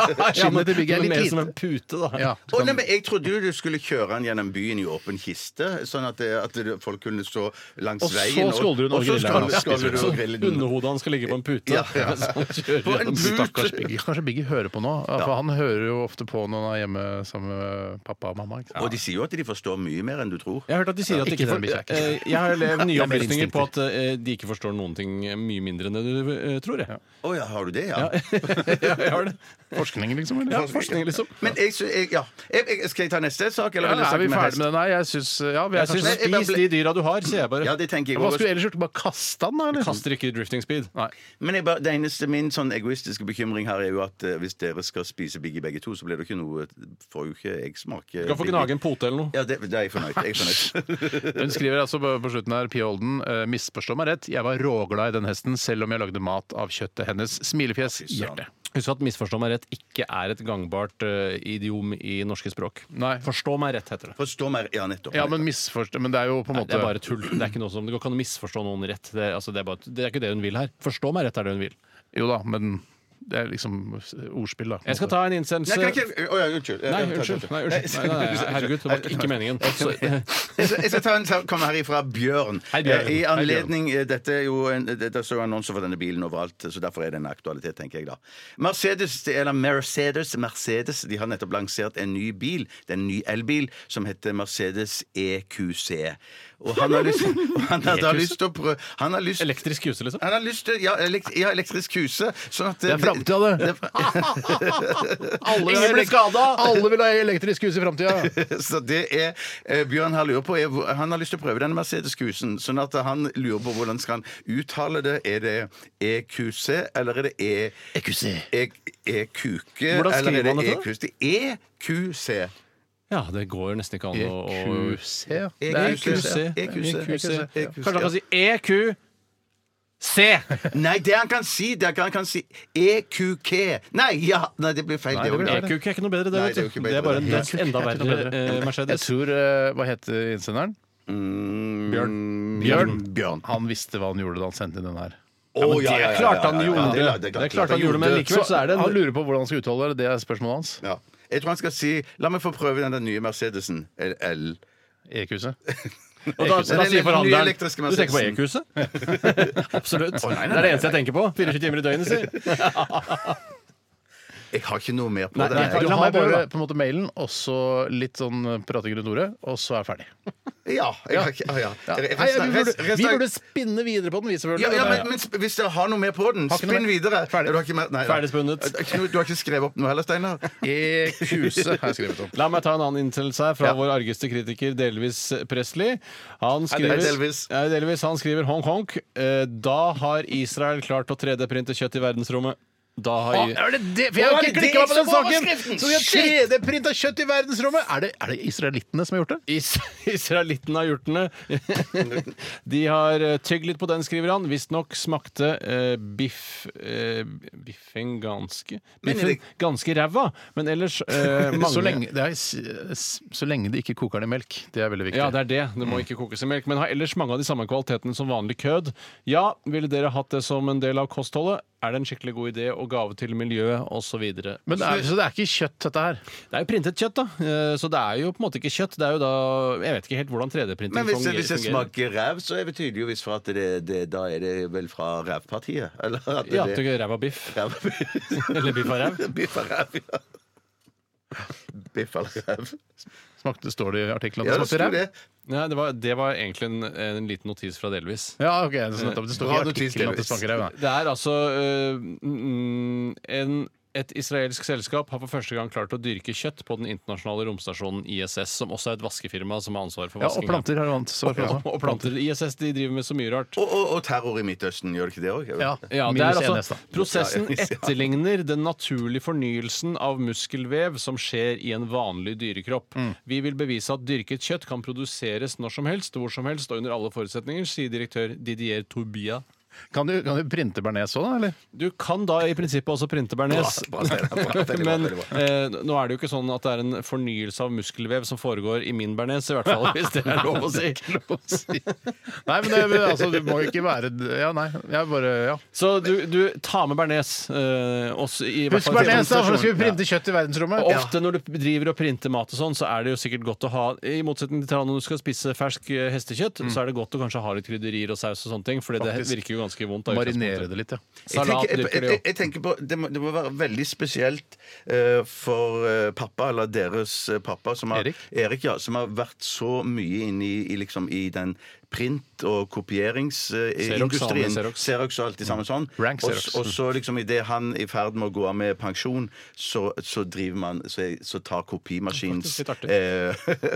men-
Skinnet til Biggie er
men
litt
Mer som en
lite.
pute,
(laughs)
da.
Ja,
Å, nei, men jeg trodde jo du skulle kjøre han gjennom byen i åpen kiste, sånn at, det, at det- folk kunne stå langs
Og så
veien.
skålder hun
og
og
så
griller
skål-
han og spiser
skålder du
Så
og griller den.
sånn underhodet hans skal ligge på en pute.
Ja, ja.
(laughs) Så han kjører
På en
gjennom-
pute.
Stakkars Biggie.
Biggie, kanskje Biggie hører på nå? Ja, For han hører jo ofte på når han er hjemme sammen med pappa og mamma. Ikke sant?
Og de sier jo at de forstår mye mer enn du tror.
Jeg har hørt at de sier at de
ikke
ikke
den
for,
bikkja, ikke
eh, Jeg har levd nye
Det er mer
opplysninger på at
instinkter.
eh, de ikke forstår noen ting eh, mye mindre enn det du eh, tror. Jeg.
Å ja, har du det, ja?
Ja, (laughs) jeg har det.
Forskning, liksom? Eller?
Ja, forskning, liksom.
(laughs) Men jeg, sy- jeg, ja. jeg, jeg, skal jeg ta neste sak, eller
Ja,
vil jeg
er
snakke
vi
med
ferdig
hest?
med det? Nei, jeg syns ja, vi er
Jeg syns
kanskje-
jeg bare
spis
ble-
de dyra du har, sier jeg bare.
Ja, det tenker jeg
Hva
også.
skulle du ellers gjort? Bare kaste han, da? liksom? Eller?
Kaster ikke drifting speed.
Nei.
Men jeg bare, det eneste min sånn egoistiske bekymring her er jo at eh, hvis dere skal spise Biggie begge to, så blir det ikke noe Får jo ikke jeg smake
Du kan få
Biggie.
gnage en pote eller noe.
Ja, det, det er jeg fornøyd. Jeg er fornøyd.
Hun skriver altså på, på slutten her, Pia Olden, eh, misforstå meg rett, jeg var råglad i den hesten selv om jeg lagde mat av kjøttet hennes. Smilefjes, hjerte.
Husk at 'misforstå meg rett' ikke er et gangbart eh, idiom i norske språk.
Nei.
Forstå meg rett, heter det.
Forstå mer. Ja, nettopp.
Ja, men misforstå Men det er jo på en
Nei,
måte
det er bare tull. Det er ikke noe som, det går ikke an å misforstå noen rett. Det, er- altså, det, er bare, det er ikke det hun vil her. Forstå meg rett er det hun vil.
Jo da, men det er liksom ordspill, da.
Jeg skal ta en innsendelse
Nei, kan ikke Å ja, unnskyld.
Nei, unnskyld. Nei, unnskyld. Nei, nei, nei, herregud, det var ikke meningen.
Jeg skal, jeg skal ta en som kommer her ifra Bjørn.
Hei, Bjørn.
Eh, I anledning eh, dette er jo en, det, det står jo annonser for denne bilen overalt, så derfor er det en aktualitet, tenker jeg da. Mercedes, eller Mercedes, Mercedes, de har nettopp lansert en ny bil. Det er en ny elbil som heter Mercedes EQC. Og han har
(laughs)
lyst, og han har
E
da lyst til å prøve Han har lyst
(laughs) Elektrisk kuse, liksom.
han har lyst til ja, elekt, ja, elektrisk huse. Sånn at,
Det er framtida, det! Alle vil ha
Ingen blir
elekt-
skada!
Alle vil ha E elektrisk hus i
(laughs)
framtida!
Så det er eh, Bjørn her lurer på er, hvor- Han har lyst til å prøve den Mercedes-kusen, sånn at han lurer på hvordan skal han uttale det. Er det EQC, eller er det E... E- EQQ,
Hvordan
eller
skriver
er det
man det da?
EQC? Det er E EQC.
Ja, det går jo nesten ikke an å å-
EQC. Det er
E
EQC.
EQC.
EQC.
Kanskje han kan si E EQC! E
Nei, det han kan si, det han kan si EQK. Nei, ja, nei, det blir feil.
Nei, det blir
også.
feil.
EQQ er ikke noe bedre, det.
Nei,
vet
det er jo
du.
ikke
Det
bedre,
er bare
det.
en
Nei,
det er enda verre eh,
Jeg
Mercedes.
tror eh, Hva heter innsenderen?
Mm,
Bjørn.
Bjørn.
Han visste hva han gjorde da han sendte inn den her.
Å,
men det klarte han gjorde.
det er klart-
Det er klart han gjorde, men likevel-
Så
så er det en-
Han lurer på hvordan han skal uttale det. Det er spørsmålet hans.
Ja. Jeg tror han skal si La meg få prøve den der nye Mercedesen. L. L.
EQC.
Og da,
EQC.
da
Den
sier
nye
forhandleren Du
elektriske
tenker på
Mercedesen.
EQC? (laughs) Absolutt.
Å, nei, nei,
Det er det
nei,
eneste jeg tenker på. 24 timer i døgnet, sier
Jeg har ikke noe mer på
Nei,
det.
nei,
Du
La
har
meg prøve,
bare
da.
på en måte mailen, og så litt sånn prating rundt ordet, og så er jeg ferdig.
Ja, jeg har ikke, å, ja.
Nei, vi, burde, vi burde spinne videre på den, vi selvfølgelig.
ja, ja, men, men sp- hvis dere har noe mer på den,
Har ikke noe
spinn
mer.
videre.
Ferdig.
Du har ikke mer- nei, nei.
Ferdigspunnet.
Eh, Knut, du har ikke skrevet opp noe heller, Steinar?
EQC har jeg skrevet opp.
La meg ta en annen innsendelse her fra vår argeste kritiker, delvis eh, Presley. Han skriver,
Hei, delvis.
Hei, delvis. Han skriver honk honk. eh, Da har Israel klart å 3D-printe kjøtt i verdensrommet. Da har
Å,
i-
er det det? For jeg har
Å, er
ikke
det
klikka på
det
den
som var
saken!
overskriften?
Så de har 3D-printa kjøtt i verdensrommet! Er det, er det israelittene som har gjort det?
Is Israelitten har gjort den. (laughs) De har eh, tygd litt på den, skriver han. Visstnok smakte eh, biff eh, biffen ganske
Men er
biffen
det-
ganske ræva, men ellers
(laughs)
eh, mange
Så lenge, det er, s- s- så lenge de ikke koker den i melk. Det er veldig viktig.
Ja, det er det. Det
Mm.
må ikke kokes i melk. Men har ellers mange av de samme kvalitetene som vanlig kød. Ja, ville dere hatt det som en del av kostholdet? Er det en skikkelig god idé og gave til miljøet osv.?
men det er, så det er ikke kjøtt, dette her?
Det er jo printet kjøtt, da. Eh, Så det er jo på en måte ikke kjøtt. Det er jo da Jeg vet ikke helt hvordan 3D-printing
Men hvis,
fungerer.
hvis det
fungerer.
smaker ræv, så er vi tydeligvis for at det, det, da er det vel fra rævpartiet? Eller at det,
Ja, at det er ræva biff.
(laughs) ræv.
Eller biff av ræv.
(laughs) Biff og ræv, ja. Biff eller ræv.
Smakte, står det i artikkelen
Ja,
at
det
det smakte
sto
ræv?
det.
Nei, det var, det var egentlig en, en liten notis fra Delvis.
Ja, ok, så nettopp, det står
Bra
ikke i
notis,
artikkelen at det
delvis.
smaker ræv. nei.
Det er altså eh, øh, mm, en Et israelsk selskap har for første gang klart å dyrke kjøtt på den internasjonale romstasjonen ISS, som også er et vaskefirma som har ansvar for
Ja, og
vasking.
planter har du vant. svar på
Ja,
også.
og planter. ISS de driver med så mye rart.
Og, og, og terror i Midtøsten, gjør det ikke det òg?
Ja.
Ja, det
Minus
er
en
altså,
hest, da.
prosessen
Ja, (laughs) ja, ja.
etterligner den naturlige fornyelsen av muskelvev som skjer i en vanlig dyrekropp.
Mm.
Vi vil bevise at dyrket kjøtt kan produseres når som helst, hvor som helst og under alle forutsetninger, sier direktør Didier Tourbia.
Kan du, kan du printe bearnés òg, da? eller?
Du kan da i prinsippet også printe bearnés.
Bra, bra, bra, bra, veldig
(laughs)
bra,
Men
veldig bra.
eh, nå er det jo ikke sånn at det er en fornyelse av muskelvev som foregår i min bearnés, i hvert fall hvis (laughs) det er lov å
(laughs)
si.
(laughs) Nei, men det, altså, det må jo ikke være Ja, nei. Jeg bare Ja.
Så du, du tar med bearnés. Eh, også i hvert
Husk
fall-
bearnés, da, for nå skal vi printe kjøtt i verdensrommet.
Og ofte når du driver og printer mat og sånn, så er det jo sikkert godt å ha I motsetning til når du skal spise fersk eh, hestekjøtt, så er det godt å kanskje ha litt krydderier og saus og sånne ting, for det
Faktisk.
virker jo ganske vondt. da, i
Marinere
utgangspunktet.
det litt, ja.
Jeg
Salat
tenker, jeg,
dyrker de
jeg,
jo.
jeg tenker på, det, må, det må være veldig spesielt eh, for eh, pappa, eller deres eh, pappa, som har,
Erik?
ja, som har vært så mye inne i, i, liksom, i den print- og
Xerox,
kopieringsindustrien.
samme Xerox. Mm.
og alt det samme sånn.
Rank
Og,
Xerox.
og så liksom idet han er i ferd med å gå av med pensjon, så, så driver man Så, så tar kopimaskins
Det er faktisk litt (laughs)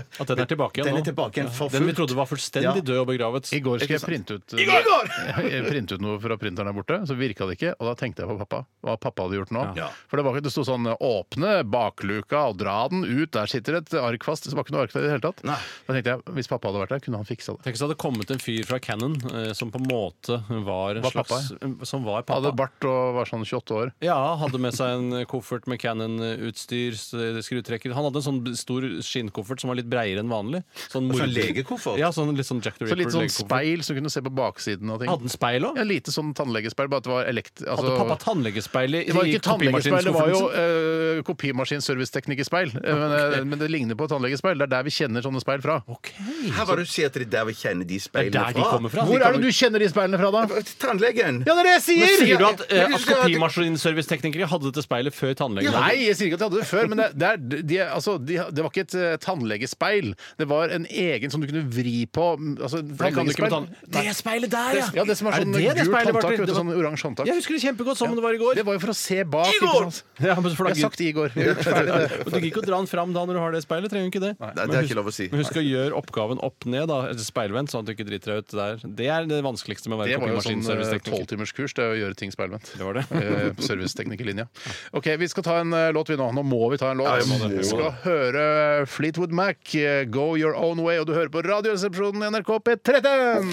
eh,
At den er tilbake igjen
(laughs) Den er
nå.
tilbake igjen for
Den vi
fullt.
trodde var fullstendig
Ja.
død og begravet.
I går skulle jeg printe ut,
I går,
(laughs)
i går!
Jeg printe ut noe fra printeren der borte, så virka det ikke. Og da tenkte jeg på pappa. Hva pappa hadde gjort nå.
Ja.
For det var ikke det sto sånn 'åpne bakluka og dra den ut', der sitter et ark fast. Det var ikke noe ark der i det hele tatt.
Nei.
Da tenkte jeg hvis pappa hadde vært der, kunne han fiksa det.
Tenk hvis det hadde kommet en fyr fra Cannon eh, som på en måte var en
Var pappa,
slags eh, Som var pappa.
Hadde bart og var sånn 28 år.
Ja, hadde med seg en eh, koffert med Cannon-utstyr, s- eh, skrutrekker Han hadde en sånn stor skinnkoffert som var litt breiere enn vanlig. Sånn,
Sånn
mord-
legekoffert?
Ja, sånn, litt sånn Jack the
Så litt sånn
Ripper-legekoffert.
speil som kunne se på baksiden og ting.
Hadde han speil òg?
Ja, lite sånn tannlegespeil, bare at det var elekt...
Hadde
altså-
pappa tannlegespeil i
Det var ikke
i
tannlegespeil, det var jo
kopimaskinskufferten sin?
uh, kopimaskinserviceteknikerspeil. Eh, Men, eh, men det ligner på tannlegespeil. Det er der vi kjenner sånne speil fra.
Ok.
Her var det du sier at det er der vi kjenner de
Det er
speilene
der de kommer fra.
Hvor er det du kjenner de speilene fra, da?
Tannlegen!
Ja, det er det jeg
Men
sier!
sier du at,
Men
eh,
du
at
sier at-
kopimaskinserviceteknikere hadde dette speilet før tannlegen? hadde?
Nei, jeg sier ikke at de hadde det før, men det, det, er, de, altså, de, det var ikke et eh, tannlegespeil. Det var en egen som du kunne vri på. mm, Altså,
For det kan du ikke med tann...
tannlegespeil-
Det speilet der, ja!
Ja, det som er sånn
det det
gult
speilet,
håndtak,
Bartel?
vet du,
Det var-
sånn oransje håndtak.
Jeg husker det kjempegodt som det var i går.
Det var jo for å se bak.
I
ikke
går!
sant?
Ja, men
Jeg
så
har sagt (laughs)
flagget.
i går. Vi er ferdig med det.
Og Du gidder ikke å dra den fram da når du har det speilet. trenger du ikke det.
det er
Men
ikke lov å si.
Men husk å gjøre oppgaven opp ned, da, eller speilvendt, sånn at du ikke driter deg ut der. Det er det vanskeligste med å
Det var jo sånn
være kopimaskinservicetekniker.
tolvtimerskurs, det er å gjøre ting speilvendt.
Det var det.
Eh, Serviceteknikerlinja. OK, vi skal ta en eh, låt, vi nå. Nå må vi ta en låt.
Ja, vi må det.
vi skal høre Fleetwood Mac, eh, 'Go Your Own Way', og du hører på Radioresepsjonen i NRK P13!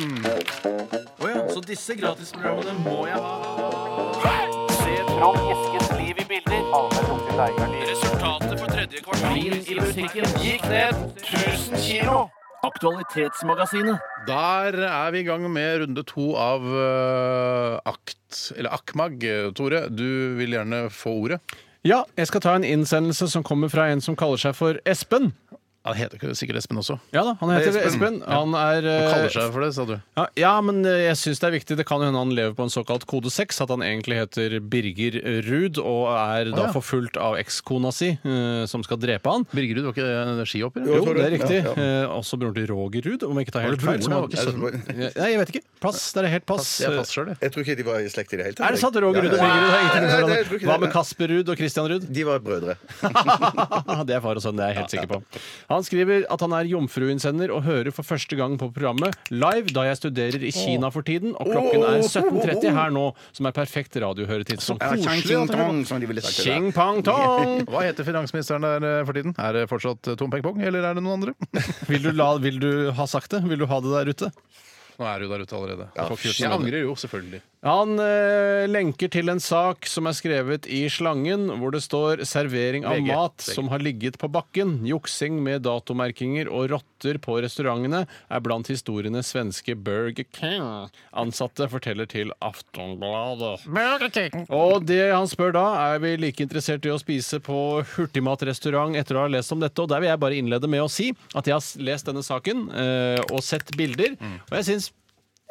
Der er vi i gang med runde to av eh, ACT, eller AKMAG. Tore, du vil gjerne få ordet.
Ja, jeg skal ta en innsendelse som kommer fra en som kaller seg for Espen.
Ja, det heter ikke sikkert Espen også.
Ja da, han heter Espen. Han er
Han
eh,
kaller seg for det, sa du.
Ja, ja, men eh, jeg syns det er viktig. Det kan jo hende han lever på en såkalt kode 6, at han egentlig heter Birger Ruud og er
ja.
da forfulgt av ekskona si, eh, som skal drepe han.
Birgerud, var ikke eh, det skihopper?
Jo, det er riktig. Eh, også broren til Roger Ruud, om jeg ikke tar helt feil. som
Broren,
han-
det var ikke sønnen.
Nei, jeg vet ikke. Pass. Det er helt pass.
Jeg passer selv, jeg.
Jeg tror ikke de var i slekt i det hele tatt.
Er det sant? Roger Ruud og Birger Ruud har
Nei,
ingenting med
nei,
hverandre.
jeg tror ikke
Hva
det.
med Kasper Ruud og Christian Ruud?
De var brødre.
(laughs) det er far og sønn, det er jeg helt sikker på. Han skriver at han er jomfruinnsender og hører for første gang på programmet live da jeg studerer i Kina for tiden, og klokken er 17.30 her nå, som er perfekt radiohøretidspunkt.
Ja, Chang Ching Tong, som de ville sagt.
Ching pang (laughs) tong!
Hva heter finansministeren der eh, for tiden? Er det fortsatt eh, Tom Peng Pong, eller er det noen andre? (laughs)
Vil du, la, vil du ha sagt det? Vil du ha det der ute?
Nå er du der ute allerede.
fuck you,
jeg angrer jo, selvfølgelig.
Han eh, lenker til en sak som er skrevet i Slangen, hvor det står 'servering av
VG.
mat
VG.
som har ligget på bakken'. Juksing med datomerkinger og rotter på restaurantene er blant historiene svenske Burger King-ansatte forteller til Aftonbladet. Og det han spør da, er vi like interessert i å spise på hurtigmatrestaurant etter å ha lest om dette, og der vil jeg bare innlede med å si at jeg har s- lest denne saken eh, og sett bilder, og jeg syns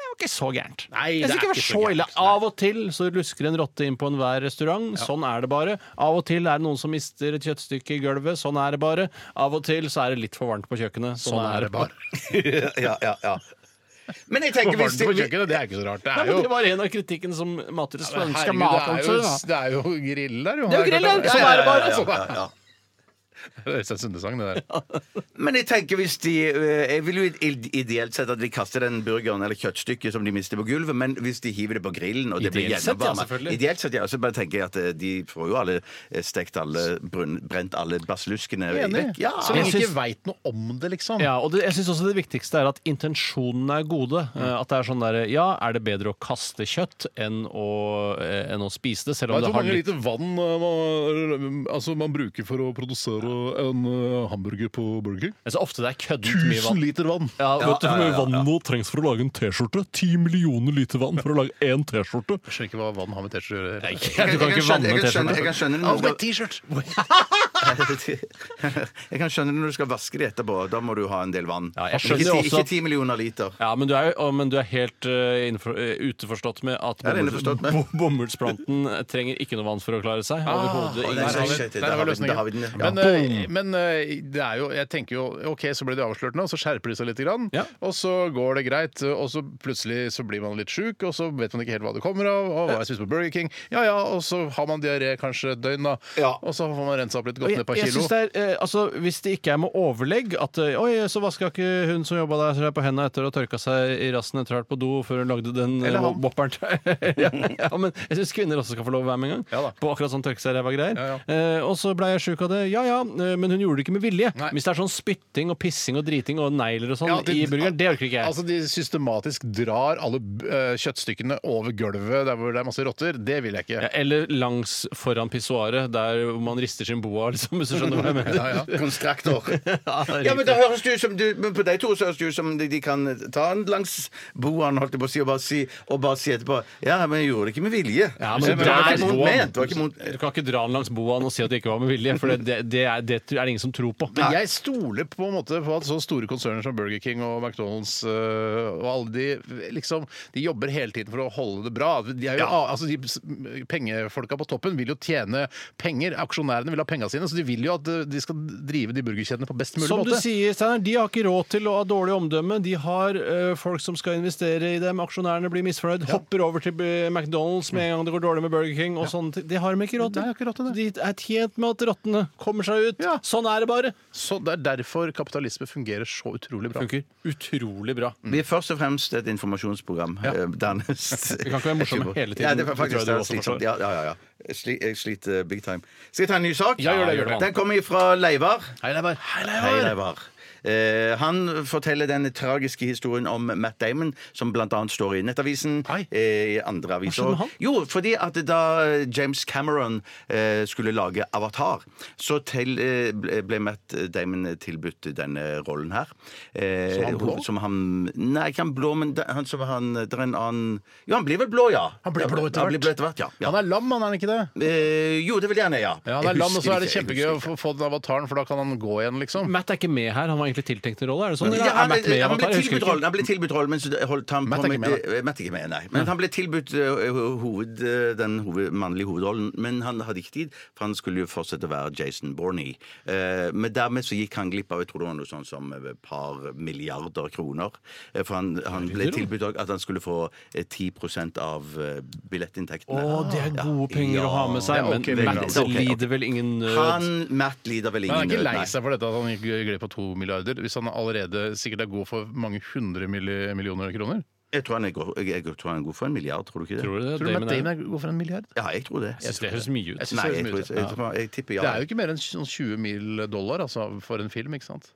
det var ikke så gærent.
Nei,
jeg
det
synes
er
ikke det var
ikke så
så
gærent.
ille. Av og til så lusker en rotte inn på enhver restaurant. Sånn er det bare. Av og til er det noen som mister et kjøttstykke i gulvet. Sånn er det
Sånn
sånn
(laughs)
bare. Av og til så er det litt for varmt på kjøkkenet. Sånn, er det bare.
Ja, ja, ja. Men jeg
På
tenker hvis
varmt på kjøkkenet, det er ikke så rart. Det
Nei,
er
men
jo
det var en av kritikken som Matrus svenske
Herregud,
mat
det er jo, det er jo grill der, jo.
Det er jo grill der, sånn er det bare.
Sånn er det.
ja.
Det er Øystein Sunde-sang, det der.
Men jeg tenker hvis de eh, Jeg vil jo ide- ideelt sett at de kaster den burgeren eller kjøttstykket som de mister på gulvet, men hvis de hiver det på grillen og det blir
Ideelt sett, ja,
gjennomvarmet-
selvfølgelig.
Ideelt sett, ja. Så bare tenker jeg at eh, de får jo alle eh, stekt alle, brun, brent alle basilluskene
Enig.
vekk. Ja.
Så lenge
Jeg
de ikke
syns-
veit noe om det, liksom.
Ja, og det, jeg synes også det viktigste er at intensjonene er gode.
Mm.
Eh, At det er sånn der, ja, er det bedre å kaste kjøtt enn å, eh, enn å spise det? Selv om
Vet du
det
hvor
har
mange
litt
liter vann eh, man, altså, man bruker for å produsere en eh, hamburger på Burger King?
Jeg synes ofte det er køddent mye
1000
vann.
liter vann!
Ja, vet du hvor
ja,
mye
ja,
vann nå trengs for å lage en T-skjorte? Ti millioner liter vann for å lage én T-skjorte.
Jeg skjønner ikke hva vann har med T-skjorte å gjøre.
Du kan ikke vanne
jeg kan skjønne, jeg
T-skjorte.
kan skjønne det når du skal-
T-shirt!
(laughs) jeg kan skjønne det når du skal vaske det etterpå. Da må du ha en del vann.
Ja, jeg
ikke,
skjønner
ti-
også at-
ikke ti millioner liter.
Ja, men du er, jo- å, men du er helt eh, innenfor, eh, uteforstått med at
er
bomull-
innforstått med.
bo- bomullsplanten trenger ikke noe vann for å klare seg. Overhodet.
og
ingen-
Ah, det er
Der
så
har vi-
shit,
der
der
har vi
har vi den, der har vi den,
løsningen.
ja.
Men, eh, men eh, det er jo Jeg tenker jo OK, så ble de avslørt nå, så skjerper de seg litt. Grann,
Ja.
Og så går det greit, og så plutselig så blir man litt sjuk, og så vet man ikke helt hva det kommer av. Og hva jeg spiste på Burger King. Ja ja, og så har man diaré kanskje et døgn, da.
Ja.
Og så får man rensa opp litt, gått
Og
ned
Jeg,
et par
jeg
kilo.
synes det er, eh, altså, Hvis det ikke er med overlegg at eh, Oi, så vaska ikke hun som jobba der seg på henda etter å ha tørka seg i rassen etter å ha vært på do før hun lagde den
Eller
eh,
han.
bopperen. til- (laughs) ja, ja, men jeg syns kvinner også skal få lov å være med en gang.
Ja da.
på akkurat sånn tørke seg i ræva greier.
Ja,
Eh, og så blei jeg sjuk av det. Ja ja, eh, men hun gjorde det ikke med vilje.
Nei.
Hvis det er sånn spytting og pissing og driting og negler og sånn
Ja, det-
i burgeren, det orker ikke jeg.
Altså De systematisk drar alle eh, kjøttstykkene over gulvet der hvor det er masse rotter. Det vil jeg ikke.
ja, eller langs foran pissoaret, der hvor man rister sin boa, liksom, hvis du skjønner hva jeg mener.
Ja, ja.
(laughs)
Konstraktor.
Ja, det er
Ja, men
riktig.
det høres det ut som du, men På de to så høres det ut som de, de kan ta den langs boene holdt jeg på å si, og, bare si, og bare si etterpå Ja, men jeg gjorde det ikke med vilje.
Ja,
Så
men
det var ikke
der-
mot ment. Det var ikke mot
Du kan ikke dra den langs boaen og si at det ikke var med vilje, for det, det, det, er, det er det ingen som tror på.
Men jeg stoler på en måte på at så store konserner som Burger King og McDonald's øh, og alle de liksom, de jobber hele tiden for å holde det bra. De, er jo, altså, de s- pengefolka på toppen vil jo tjene penger. Aksjonærene vil ha penga sine, så de vil jo at øh, de skal drive de burgerkjedene på best mulig
Som du
måte.
sier, Steinar, de har ikke råd til å ha dårlig omdømme. De har eh, folk som skal investere i dem, aksjonærene blir misfornøyd, hopper over til eh, McDonald's med en gang det går dårlig med Burger King og sånne ting. Det har de ikke råd
Nei,
til.
jeg har ikke råd til
De er tjent med at rottene kommer seg ut.
Ja.
Sånn er det bare.
Så Det er derfor kapitalisme fungerer så utrolig bra.
Funker utrolig bra.
Vi er først og fremst et informasjonsprogram. eh, dernest.
Vi kan ikke være morsomme hele tiden.
Ja, det er
Det tror jeg
faktisk
du
det er
også
slitsomt.
forstår.
Ja, ja, ja, ja. Jeg sli- Jeg sliter eh, big time. Skal jeg ta en ny sak?
Ja, gjør det, gjør det.
Den kommer fra Leivar.
Hei, Leivar.
Hei, Leivar. Eh, han forteller den tragiske historien om Matt Damon, som bl.a. står i Nettavisen.
Hei.
eh, I andre aviser
skjedde med
også.
han?
Jo, fordi at da eh, James Cameron eh, skulle lage Avatar, så til, eh, ble ble Matt Damon tilbudt denne rollen her. Eh,
Som han blå?
Som han, nei, ikke han blå, men da- han som han Det er en annen Jo, han blir vel blå, ja.
Han blir blå etter
Han blir
hvert.
blå etter hvert, ja. ja.
Han er lam, han er han ikke det?
Eh, jo, det vil jeg gjerne, ja.
Ja, han
Jeg
er lam, og
husker
så er det
ikke, jeg
kjempegøy
husker
å få få den avataren, for da kan han gå igjen, liksom.
Matt er ikke med her, han var egentlig tiltenkt en rolle. Er det sånn?
Ja,
Eller er
han,
Matt med
han,
i
ble
Avatar? Jeg husker
tilbudt
ikke.
rollen, han ble tilbudt rollen, men så holdt han
Matt
på
er ikke
med
med,
eh, Matt er ikke med, nei. Men han ble tilbudt eh, hoved, eh, den hoved, mannlige hovedrollen, men han hadde ikke tid, for han skulle jo fortsette å være Jason Bourne. Eh, men dermed så gikk han glipp av jeg tror det var noe sånn som et par milliarder kroner. Eh, for han, han ble tilbudt også at han skulle få eh, 10 av eh, billettinntektene.
Å, det er gode penger
Ja.
å ha med seg,
Det er ok,
men
penger,
Matt
altså. Det er ok,
lider vel ingen nød?
Han, Matt lider vel
Men
ingen
Han er ikke
nød,
lei
nei.
seg for dette at han gikk glipp av to milliarder, hvis han allerede sikkert er god for mange hundre milli- millioner kroner?
Jeg tror han er, god, jeg, jeg tror han er god for en milliard, tror du ikke det?
Tror du det?
Tror du
Damon
Matt
er-
Damon er god for en milliard?
Ja, jeg tror det.
Jeg synes det høres mye ut.
Jeg synes
Nei,
det høres
jeg,
mye
tror,
ut,
jeg,
ja.
jeg, tror- jeg tipper ja.
Det er jo ikke mer enn sånn 20 mill. dollar altså, for en film, ikke sant?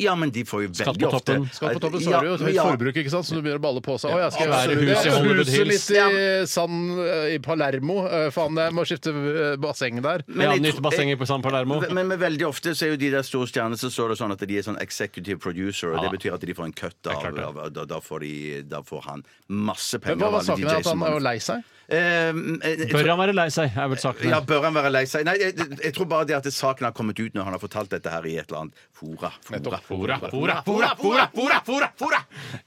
Ja, men de får jo
Skatt
veldig
på
ofte
toppen.
Skal på toppen så har du jo et høyt forbruk, ikke sant? så du begynner å balle på seg. Å, jeg skal
Absolutt.
være i
Huset i
huset,
Hollywood
huset
Hills.
litt i sand eh, i Palermo. Eh, Faen, jeg må skifte eh, basseng der.
Men
ja,
jeg
nytt
tror-
basseng i San Palermo.
(laughs) Men, men veldig ofte så er jo de der store stjernene så står det sånn at de er sånn executive producer, og det betyr at de får en cut av,
klart det.
av, da, da, får de, da får han masse penger.
Men hva
av
var
alle de
saken her? At han
Jason
er jo
Bourne.
lei seg?
Ehm, eh, jeg
Bør
tror-
han være lei seg, er vel saken.
Ja,
her.
bør han være lei seg? Nei, jeg, jeg tror bare det at saken har kommet ut når han har fortalt dette her i et eller annet fora. fora.
Fora, fora, fora, fora, fora, fora, fora.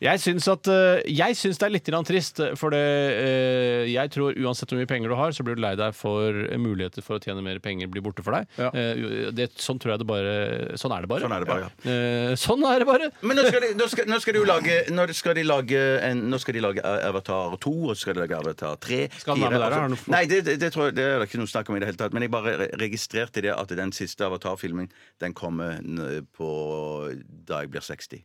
Jeg syns, at, eh, jeg syns det er litt grann trist, for det, eh, jeg tror uansett hvor mye penger du har, så blir du lei deg for eh, muligheter for å tjene mer penger blir borte for deg.
Ja.
Eh, det, sånn tror jeg det bare Sånn er det bare.
Sånn er det bare, ja.
Eh, sånn er det bare.
Men nå skal de, nå skal, nå skal de jo lage Nå skal de lage, en, nå skal de lage Avatar 2, og så skal de lage Avatar 3
Skal den
4,
være der,
altså-
har du noe-
Nei, det, det, det, tror jeg, det er det ikke noe snakk om i det hele tatt. Men jeg bare re- registrerte det at den siste Avatar-filmen Den kommer n- på da jeg blir 60.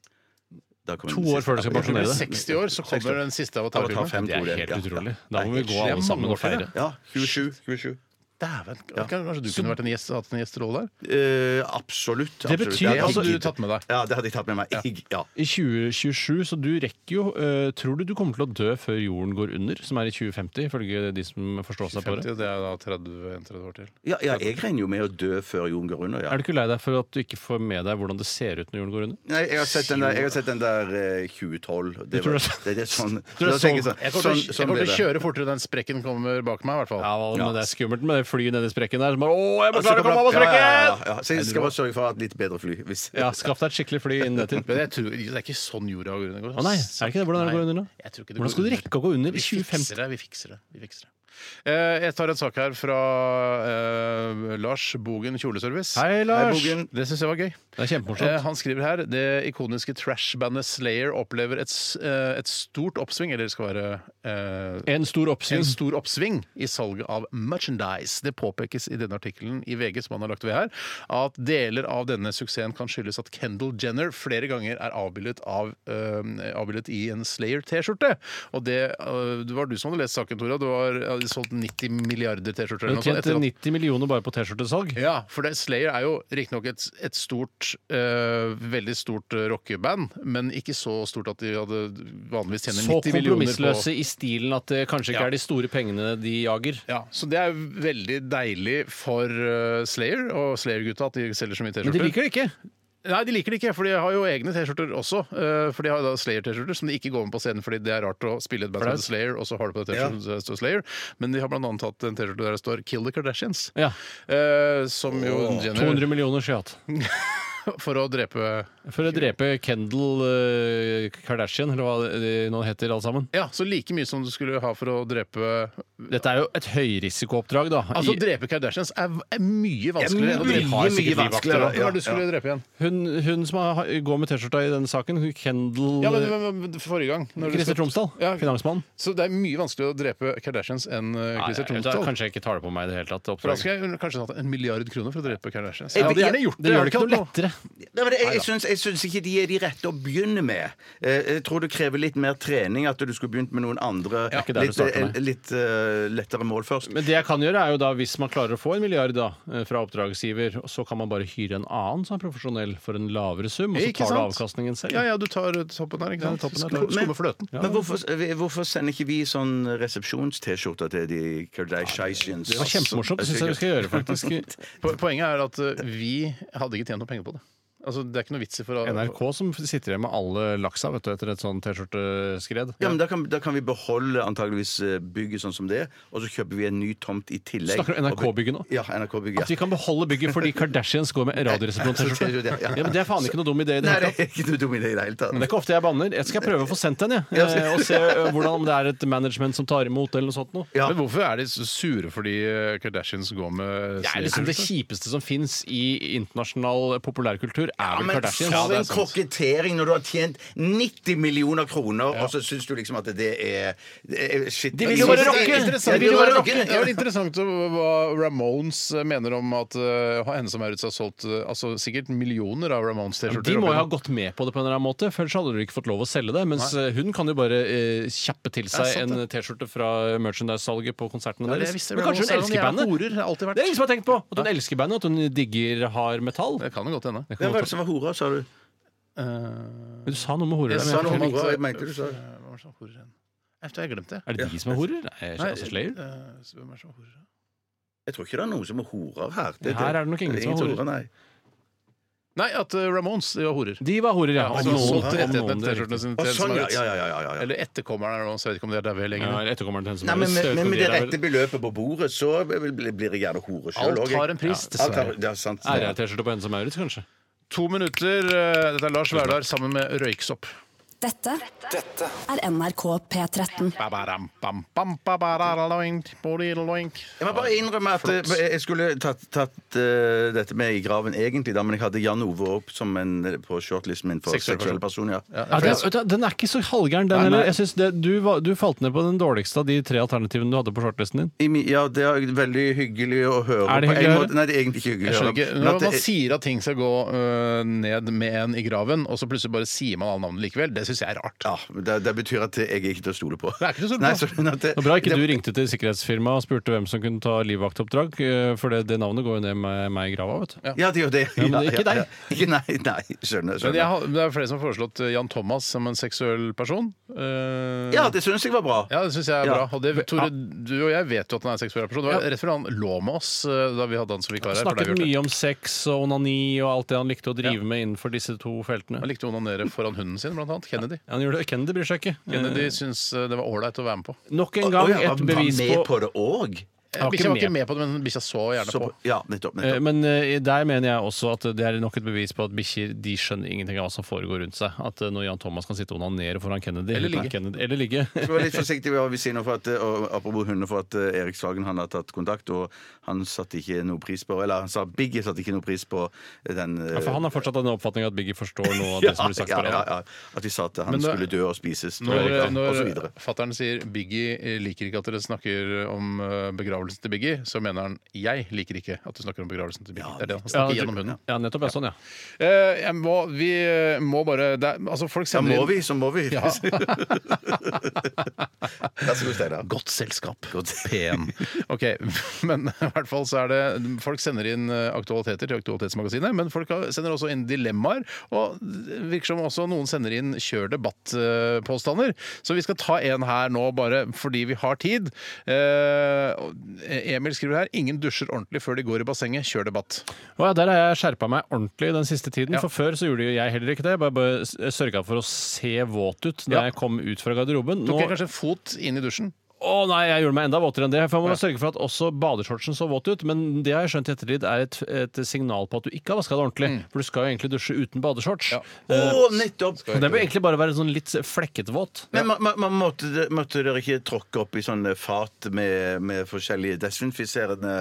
Da kommer
To
den
år
siste.
før du skal
Når du
pensjonere
blir
deg.
60 år, så
60 år.
kommer den siste
Avatar
Avatar-filmen.
5,
Det
tror
er
jeg.
helt
Ja.
utrolig.
Ja.
Da må vi
Det
gå
er
alle
mange
sammen
år
og feire.
Ja, 27. 27.
Dæven. Kanskje du kunne vært en gjest, hatt en gjesterolle der?
Eh, absolutt.
Det
absolutt. Jeg
betyr
Det
hadde
hadde du
giddet.
tatt med deg.
Ja, det hadde jeg tatt med meg. Jeg, ja.
I 2027, så du rekker jo eh, Tror du du kommer til å dø før jorden går under, som er i 2050, ifølge de som forstår seg på det?
50, det er da 30, 30 år til.
Ja, ja, jeg regner jo med å dø før jorden går under. Ja.
Er du ikke lei deg for at du ikke får med deg hvordan det ser ut når jorden går under?
Nei, jeg har sett den der, jeg har sett den der eh, 2012. Det,
tror
var,
det-
det, det er sånn,
tror det er
da tenker jeg
sånn-
Jeg kommer
sånn, sånn,
til å- jeg
sånn
kommer til å
blir det.
kjøre fortere den sprekken kommer bak meg, i hvert fall.
Ja, men
Ja.
Det er skummelt med det flyet nedi sprekken der. Som bare, Åh, jeg må
Så
klare å komme av på
kommer- ja, ja, ja,
sprekken!
ja. Så jeg skal bare sørge for å ha et litt bedre fly. Hvis,
Ja, Skaff deg et skikkelig fly innen det tid.
Men jeg tror, det er ikke sånn jorda går under.
Å nei, er det ikke det? Hvordan er det går under nå?
Jeg tror ikke det
Hvordan skal
går
du
under.
rekke å gå under i
Vi
2050?
fikser det. Vi fikser det. Vi fikser det. Eh, Jeg tar en sak her fra eh, Lars Bogen Kjoleservice.
Hei, Lars!
Bogen.
Det syns jeg var gøy.
Det er
Eh,
kjempemorsomt.
han skriver her det ikoniske trashbandet Slayer opplever et, s- eh, et stort oppsving, eller det skal være eh,
En stor
en
oppsving.
stor oppsving i salget av merchandise. Det påpekes i denne artikkelen i VG som han har lagt ved her, at deler av denne suksessen kan skyldes at Kendal Jenner flere ganger er avbildet, av, øhm, avbildet i en Slayer-T-skjorte. Og det, øh, det var du som hadde lest saken, Tora. Du har ja, solgt 90 milliarder T-skjorter.
Du
eller noe sånt etter
tjente
at-
90 millioner bare på T-skjortesalg.
ja, for det, Slayer er jo riktignok et, et stort, øh, veldig stort øh, rockeband, men ikke så stort at de hadde vanligvis tjener
Så
90 millioner på
kompromissløse i stilen at det kanskje ikke
Ja.
er de store pengene de jager.
Ja, så det er veldig deilig for eh, Slayer og Slayer-gutta at de selger så mye T-skjorter.
Men de liker det ikke.
Nei, de liker det ikke, for de har jo egne T-skjorter også. eh, For de har da Slayer-T-skjorter som de ikke går med på scenen fordi det er rart å spille et band som
Flaut.
heter Slayer, og så har du på deg T-skjorten som det står Slayer. Men de har blant annet hatt en T-skjorte der det står 'Kill the Kardashians'.
Ja.
Eh, som jo Jenner
200 millioner skjøt.
For å drepe
For å drepe Kendal eh, Kardashian, eller hva de nå heter alle sammen.
Ja, så like mye som du skulle ha for å drepe
Dette er jo et høyrisikooppdrag, da.
Altså,
I-
drepe Kardashians er, er mye vanskeligere enn å drepe
mye, mye
Hvem var
vanskeligere,
det
ja,
du skulle drepe igjen?
hun, hun som har, går med T-skjorta i denne saken, hun Kendal eh,
Ja, men, men, men forrige gang når du
Christer
skulle-
Tromsdal,
Ja.
finansmann.
Så det er mye vanskeligere å drepe Kardashians enn eh, Christer
Nei, jeg-
Tromsdal.
Kanskje jeg ikke tar det på meg i det hele tatt. det
For da
oppdraget.
skulle jeg kanskje hatt en milliard kroner for å drepe Kardashians.
Jeg-
Jeg hadde
jeg-
gjerne gjort det.
Det gjør
jeg
det ikke
hadde
noe
hatt
lettere.
Nei, men jeg, jeg, syns, jeg syns ikke de er de rette å begynne med. Eh, Jeg tror det krever litt mer trening at du skulle begynt med noen andre
Ja, ikke der du
litt,
starter med.
eh, litt eh, lettere mål først.
Men det jeg kan gjøre er jo da, hvis man klarer å få en milliard da, eh, fra oppdragsgiver, så kan man bare hyre en annen som er profesjonell for en lavere sum, og så
Ikke
tar du
sant?
avkastningen selv.
Ja, ja, du tar eh, toppen der, ikke sant?
toppen er
Skum-
klar.
Skummer fløten.
Men hvorfor, hvorfor sender ikke vi sånn resepsjons-T-skjorter til de Kardashians?
Det var kjempemorsomt. Det syns jeg vi skal gjøre, faktisk.
Po- Poenget er at eh, vi hadde ikke tjent noe penger på det. Altså, Det er ikke noe vits i for å
NRK som sitter igjen med alle laksa vet du, etter et sånn T-skjorteskred.
Ja, men da kan, da kan vi beholde antageligvis eh, bygget sånn som det er, og så kjøper vi en ny tomt i tillegg.
Snakker du om NRK-bygget nå?
Ja, NRK-bygget.
At vi kan beholde bygget fordi Kardashians går med radioresepsjon-T-skjorte.
Ja, ja.
Ja, men det er faen ikke noe dum idé i det
Nei,
hele
det
tatt.
er ikke noe dum idé i det hele tatt.
Men det er ikke ofte jeg banner. Jeg skal prøve å få sendt en, jeg. eh, Og se eh, hvordan, om det er et management som tar imot, eller noe sånt noe.
Ja.
Men hvorfor er de så sure fordi eh, Kardashians går med
Det er liksom det kjipeste som fins i internasjonal populærkultur, er
Ja,
vel
men
Kardashians.
for
det
en
er sant.
kokettering når du har tjent 90 millioner kroner, og så syns du liksom at det er, det er shit.
De vil jo bare rocke!
Interessant.
De vil jo bare rocke!
Det er vel interessant å- hva Ramones mener om at eh, henne som er ute, har solgt eh, altså, sikkert millioner av Ramones-T-skjorter.
De må jo ha
opp igjennom.
gått med på det på en eller annen måte, for ellers hadde du ikke fått lov å selge det. Mens eh, hun kan jo bare eh, kjappe til seg
sant,
en T-skjorte fra merchandise-salget på konsertene
Ja, det
deres.
visste
Men
Ramones
kanskje hun
er noen
elsker
jævla
bandet?
horer, har alltid vært.
Det er ingen som har tenkt på! At hun elsker bandet, at hun digger hard metall.
Det kan jo godt hende.
Hvem var det som var hora, sa du?
Men du sa noe med
Jeg
horer. der, men
Sa
jeg
noe om
husker ikke.
hora, jeg mente du sa.
Hvem er det som horer hen? Jeg tror jeg har glemt det.
Er det de som er horer? Nei, altså Slayer?
eh, så hvem er det som horer?
Jeg tror ikke det er noen som er horer her.
Her er det nok ingen som er horer.
nei.
Nei, at eh, Ramones de var horer.
De var horer, ja.
Ja,
Om
altså,
noen-
solgte
om noen
rettighetene til
det er
T-skjortene
riktig.
sine
Å,
til
sånn,
som er
ja,
ut.
ja, ja, ja, ja, ja.
Eller etterkommeren av Ramones. Jeg vet ikke om de er daue lenger.
Ja, etterkommeren til henne som
Nei,
er
men,
støt,
men
og
med det
de er
rette beløpet på bordet, så blir blir jeg gjerne hore sjøl
Alt har en pris,
Alt har,
dessverre.
det er sant.
vel- RR-T-skjorte på henne som er ute, kanskje.
To minutter. eh, Dette er Lars Vaular sammen med Røyksopp.
Dette er NRK P13.
Ba-ba-dam, bam, bam, ba-ba-da-da-doink, bo-di-da-doink.
Jeg må bare innrømme at eh, jeg skulle tatt, tatt eh, dette med i graven egentlig, da, men jeg hadde Jan Ove opp som en, på shortlisten min for
Seksuell
seksuell person. ja.
Ja, den, vet du, den er ikke så halvgæren, den
Nei, nei.
heller. Jeg synes det, du, var- du falt ned på den dårligste av de tre alternativene du hadde på shortlisten din.
I mi- Ja, det er veldig hyggelig å høre.
Er det
på en
hyggelig å
måte.
høre?
Nei, det er egentlig ikke hyggelig
Jeg
å høre.
skjønner ikke.
Men
Når
at
man
det-
sier at ting skal gå øh, ned med en i graven, og så plutselig bare sier man alle navnene likevel, det syns jeg er rart.
Ja, men det, det betyr at jeg er ikke til å stole på.
Det er ikke til å stole på.
Nei, sånn at det,
Det var bra ikke
det,
du ringte til sikkerhetsfirmaet og spurte hvem som kunne ta livvaktoppdrag, eh, for det, det navnet går jo ned med meg i grava, vet du.
Ja, det gjør det.
Ja, men det er ikke
Ja,
deg.
ja. Ikke nei, nei, skjønner.
Men
skjønner.
jeg, har- det er flere som har foreslått øh, Jan Thomas som en seksuell person. Eh,
Ja, det syns jeg var bra.
Ja, det syns jeg er
Ja.
bra. Og det, Tore, du og jeg vet jo at han er en seksuell person. Det var rett før han lå med oss øh, da vi hadde han som vikar her. for da har vi
Snakket
gjort det.
mye om sex og onani og alt det han likte å drive med innenfor disse to feltene.
Han likte å onanere foran hunden sin, blant annet. Kennedy.
Han gjorde det. Kennedy bryr seg ikke.
Kennedy syntes øh, det var ålreit å være med på.
Eh, Nok en
Å,
gang
ja,
et
han
bevis
var med på det òg.
var ikke
Bikkja var ikke
med.
med på det, men bikkja så gjerne
Så
på.
på- Ja, nettopp.
Eh,
nettopp.
Men eh, der mener jeg også at det er nok et bevis på at bikkjer de skjønner ingenting av hva som foregår rundt seg. At eh, når Jan Thomas kan sitte og onanere foran Kennedy
Eller ligge.
Kennedy, eller ligge.
(laughs)
Jeg var litt forsiktig med hva vi sier nå, for at, eh, og apropos hunder, for at eh, Erik Sagen han har tatt kontakt, og han satte ikke noe pris på Eller han sa Biggie satte ikke noe pris på den eh,
Ja, for han har fortsatt den oppfatninga at Biggie forstår
(laughs)
noe av det
ja,
som blir sagt.
ja,
på
ja,
radio.
ja. At de sa at han
Men da-
skulle dø og spises.
Når,
tror
eh,
jeg, ja, og så
når
videre.
fattern sier 'Biggie eh, liker ikke at dere snakker om eh, begravelsen til Biggie', så mener han 'jeg liker ikke at du snakker om begravelsen til Biggie'. det er det han snakker
Ja,
gjennom hunden.
Ja, nettopp. Ja, sånn, ja.
Eh, jeg må, vi eh, må bare det er, Altså, folk
Ja,
sender
må
inn
vi, så må vi. (laughs)
Ja. (laughs)
Vær så god, Steinar.
Godt selskap. Pen. (laughs) OK. Men i hvert fall så er det Folk sender inn eh, aktualiteter til Aktualitetsmagasinet, men folk har- sender også inn dilemmaer. Og det virker som også noen sender inn kjør debatt-påstander. Så vi skal ta en her nå, bare fordi vi har tid. Eh, og Emil skriver her ingen dusjer ordentlig før de går i bassenget. Kjør debatt.
Å ja, der har jeg skjerpa meg ordentlig den siste tiden.
Ja.
For før så gjorde jo jeg heller ikke det. Jeg bare, bare sørga for å se våt ut da
Ja.
jeg kom ut fra garderoben.
Tok
Nå-
jeg kanskje en fot inn i dusjen?
Å nei, jeg gjorde meg enda våtere enn det. For Man må sørge for at også badeshortsen så våt ut. Men det har jeg skjønt i ettertid er et, et signal på at du ikke har vaska det ordentlig. For du skal jo egentlig dusje uten badeshorts. Eh,
Ja.
Å, nettopp!
Og Den bør egentlig bare være sånn litt flekkete-våt.
Men man, man, man måtte, måtte dere ikke tråkke opp i sånne fat med, med forskjellige desinfiserende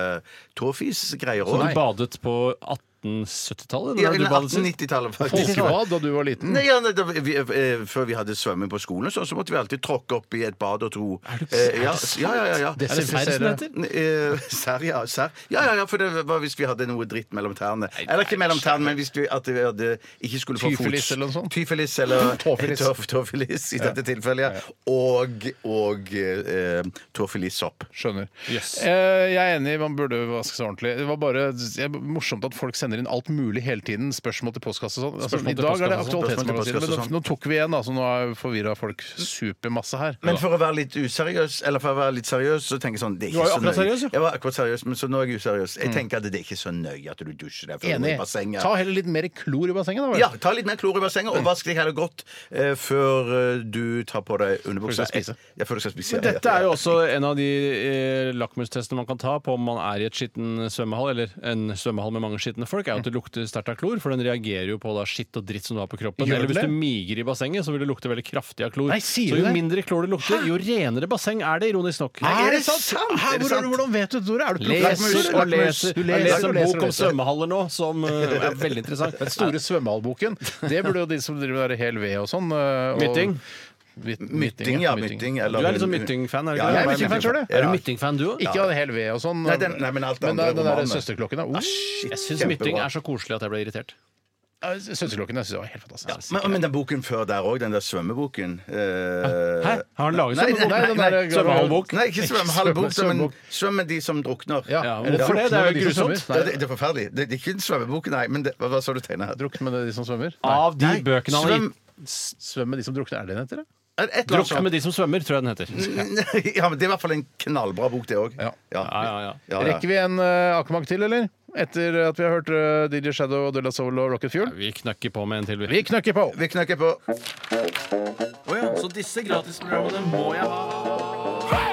tåfisgreier
Så du
òg?
badet på 1870-tallet?
Ja,
når du
eller
badet sist?
1890-tallet, faktisk.
Folkebad da du var liten?
Nei, ja, nei, da, vi, eh, før vi hadde svømming på skolen, sånn, så, så måtte vi alltid tråkke opp i et bad og to.
Er det-
Eh,
er
ja,
det sant?
ja, ja, ja, ja.
Er det serr som heter?
Eh, Serr, ja. Serr. Ja, ja, ja, for det var hvis vi hadde noe dritt mellom tærne. Eller ikke mellom tærne, men hvis du at vi hadde, ikke skulle få
Tyfilis
fots-
eller noe sånt?
Tyfilis eller
Tåfilis.
Tåf- Tåfilis i dette tilfellet, ja. Og, og eh, tåfilissopp.
Skjønner.
Yes.
Eh, jeg er enig, man burde vaske seg ordentlig. Det var bare jeg, morsomt at folk sender inn alt mulig hele tiden. Spørsmål til postkasse og sånn. Altså,
Spørsmål
I
til
dag er det
postkasse og
sånn. Spørsmål til
Aktualitetsmagasinet, men
postkasse og
nå, nå tok vi igjen, da, så nå har forvirra folk supermasse her.
Men for å være litt useriøs, eller for å være litt seriøs, så tenker jeg sånn det er
Du var
ikke
jo
så nøye.
akkurat seriøs, Mm. jo.
Jeg var akkurat seriøs, men så nå er jeg useriøs. Jeg tenker at det er ikke så nøye at du dusjer deg før du
Enig.
er i bassenget.
Ta heller litt mer klor i bassenget, da. vel?
ja, ta litt mer klor i bassenget,
Mm.
og vask deg heller godt eh, før eh, du tar på deg
Før du
underbuksa.
skal spise.
Ja, før du skal spise.
Men dette er jo også en av de eh, lakmustestene man kan ta på om man er i et skitten svømmehall, eller en svømmehall med mange skitne folk, er jo at det lukter sterkt av klor, for den reagerer jo på da skitt og dritt som du har på kroppen.
Gjør
Eller hvis
det?
du miger i bassenget, så vil det lukte veldig kraftig av klor.
Nei, sier
så
du
jo
det?
mindre klor det lukter, jo renere basseng er det, ironisk nok.
Er det
det
sant?
sant?
Hæ,
Er det
hvor-
sant?
Hvordan vet du, Tore? Er du
Leser og leser.
Du
Jeg
leser
leser
og
en
leser. og
bok om
leser.
svømmehaller nå som eh, er veldig
(laughs)
interessant.
Store svømmehallboken. Det burde jo de som driver med det her hel ved og sånn. eh, og-
Mytting.
Myt-
Mytting, ja. Mytting.
Du
Eller,
er litt sånn myttingfan, er du
Ja,
ikke
Jeg er
det?
jeg
myttingfan
myttingfan.
sjøl, jeg.
Er du myttingfan, du òg?
Ikke av hel ved og sånn.
Nei, den- nei, men alt det
men
andre
den der
romanen.
søsterklokken da, uh,
Jeg syns
Kjempebra.
mytting er så koselig at jeg ble irritert.
Ja, Søsterklokken jeg synes jeg var helt fantastisk.
Men, men den boken før der òg, den der svømmeboken eh,
Hæ? Har han laget
Nei,
sånn?
nei, den der-
Svømmehallbok?
Nei, ikke svømmehallbok,
Svømme-
men
svømmebok.
svømmen de som drukner.
Ja, hvorfor det? Det
Drukne
er jo
med de som
grusomt.
svømmer.
Det, det er forferdelig. Det, det er ikke en svømmebok, nei. Men det, hva, hva sa du, Tegne?
Nei, Drukne med de som svømmer?
Av de
Nei,
bøkene han har
svøm-
gitt.
Svøm med de som drukner, er det den heter? det?
Drukk
altså-
med de som svømmer, tror jeg den heter.
(laughs) Ja, men Det er i hvert fall en knallbra bok, det òg.
Ja.
Ja, ja, ja.
Rekker vi en uh, akemakk til, eller? Etter at vi har hørt eh, DJ Shadow, De La Soul og Rocket Fuel?
Vi knakker på med en til.
Vi knøkker på!
Vi knakker på.
Så disse gratisprogrammene må jeg ha.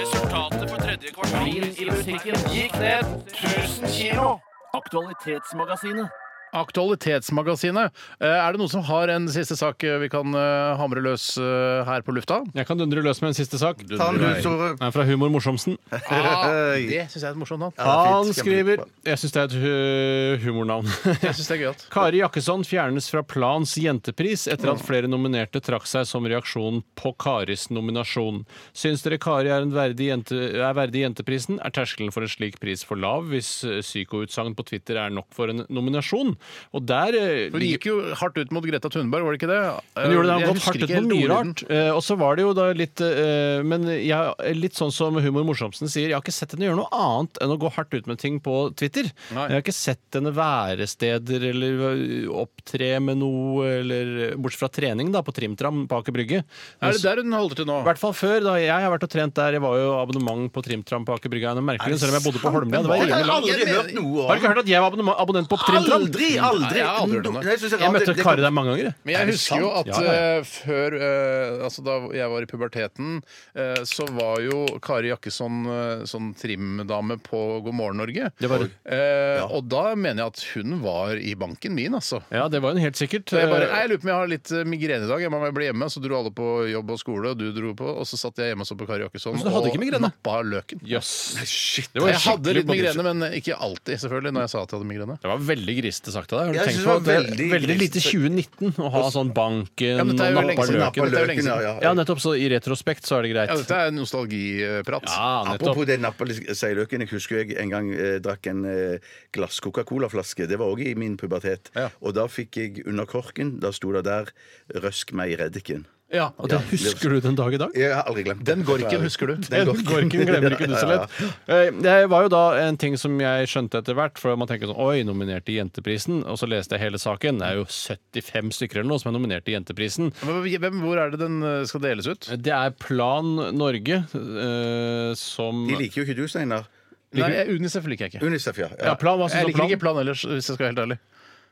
Resultatet på tredje kvartal i musikken gikk ned 1000 kilo.
Aktualitetsmagasinet.
Aktualitetsmagasinet. Eh, Er det noen som har en siste sak eh, vi kan eh, hamre løs eh, her på (laughs) lufta?
Jeg kan dundre løs med en siste sak. Den
Ta den du, Tore.
er fra Humor
(laughs)
Morsomsen.
Ah, det syns jeg er et morsomt navn.
Ja,
Han
fint. Skal jeg bli-
skriver Jeg syns det er et hu- humornavn. (laughs)
Jeg syns det er gøyalt.
Kari Jakkesson fjernes fra Plans jentepris etter
Mm.
at flere nominerte trakk seg som reaksjon på Karis nominasjon. Syns dere Kari er, en verdig jente, er verdig jenteprisen? Er terskelen for en slik pris for lav hvis eh, psykoutsagn på Twitter er nok for en nominasjon? Og der eh,
Hun gikk jo hardt ut mot Greta Thunberg, var det ikke det? Eh,
Hun gjorde
Jeg
det, han gått
husker
hardt ut
ikke
med
helt
mye
ordlyden.
rart. Eh, og så var det jo da litt eh, Men jeg, litt sånn som Humor Morsomsen sier, jeg har ikke sett henne gjøre noe annet enn å gå hardt ut med ting på Twitter.
Nei.
Jeg har ikke sett henne være steder eller eh, opptre med noe, eller eh, bortsett fra trening, da, på Trimtram på Aker Brygge.
Er det der hun holder til nå?
I hvert fall før, da jeg har vært og trent der. Jeg var jo abonnement på Trimtram på Aker Brygge. Jeg merker det, selv om jeg bodde på Holmlia. Det var
Jeg
rimelig
har
langt.
aldri hørt noe
Har du
om
ikke hørt at jeg var abonnement- abonnent på Trimtram?
Aldri,
Nei,
aldri!
jeg har aldri hørt om det.
Nei, jeg synes det er
Jeg
rart.
møtte
Det- det-
Kari der mange ganger. jeg.
Men jeg
Er det
husker jo
sant?
at
Ja, ja, ja.
eh, før eh, Altså da jeg var i puberteten, eh, så var jo Kari Jakkesson eh, sånn trimdame på God morgen Norge.
Det var hun.
Eh, Og da mener jeg at hun var i banken min, altså.
Ja, det var hun helt sikkert.
Så jeg bare, «Nei, jeg lurer på om jeg har litt eh, migrene i dag. Jeg må bare bli hjemme. Så dro alle på jobb og skole, og du dro på. Og så satt jeg hjemme og så på Kari Jakkesson
Men så du hadde
og
ikke migrene?
nappa løken.
Jøss. Det var
Jeg hadde
skikkelig
litt migrene, men ikke alltid, selvfølgelig, når jeg sa at jeg hadde migrene.
Det var veldig griste sagt av deg. Har du
Jeg
tenkt
synes
på at
det var
det er
veldig
veldig lite
grist.
2019 å ha sånn banken
Ja, men
og
dette er jo lenge
nappa
siden.
Nappa
Dette er jo
løken?
lenge
løken, ja,
siden.
ja.
Ja, nettopp. Så i retrospekt så er det greit.
Ja, dette er nostalgiprat.
Ja, nettopp.
Apropos det nappelseiløken. Jeg husker jeg en gang eh, drakk en eh, glass Coca-Cola-flaske. Det var òg i min pubertet.
Ja.
Og da fikk jeg under korken, da sto det der 'Røsk meg i reddiken'.
Ja,
Og det husker du den dag i dag?
Jeg har aldri glemt det.
Den gorken husker du.
Den Gorken
(laughs)
glemmer ikke du så lett. Eh, Det var jo da en ting som jeg skjønte etter hvert, for man tenker sånn Oi, nominert til Jenteprisen. Og så leste jeg hele saken. Det er jo 75 stykker eller noe som er nominert til Jenteprisen.
Men Hvem, hvor er det den eh, skal deles ut?
Det er Plan Norge eh, som
De liker jo ikke du, Steinar.
Nei, Unicef liker jeg ikke.
Unicef, ja.
Ja, plan, hva synes
Jeg liker
du om plan?
ikke Plan ellers, hvis jeg skal være helt ærlig.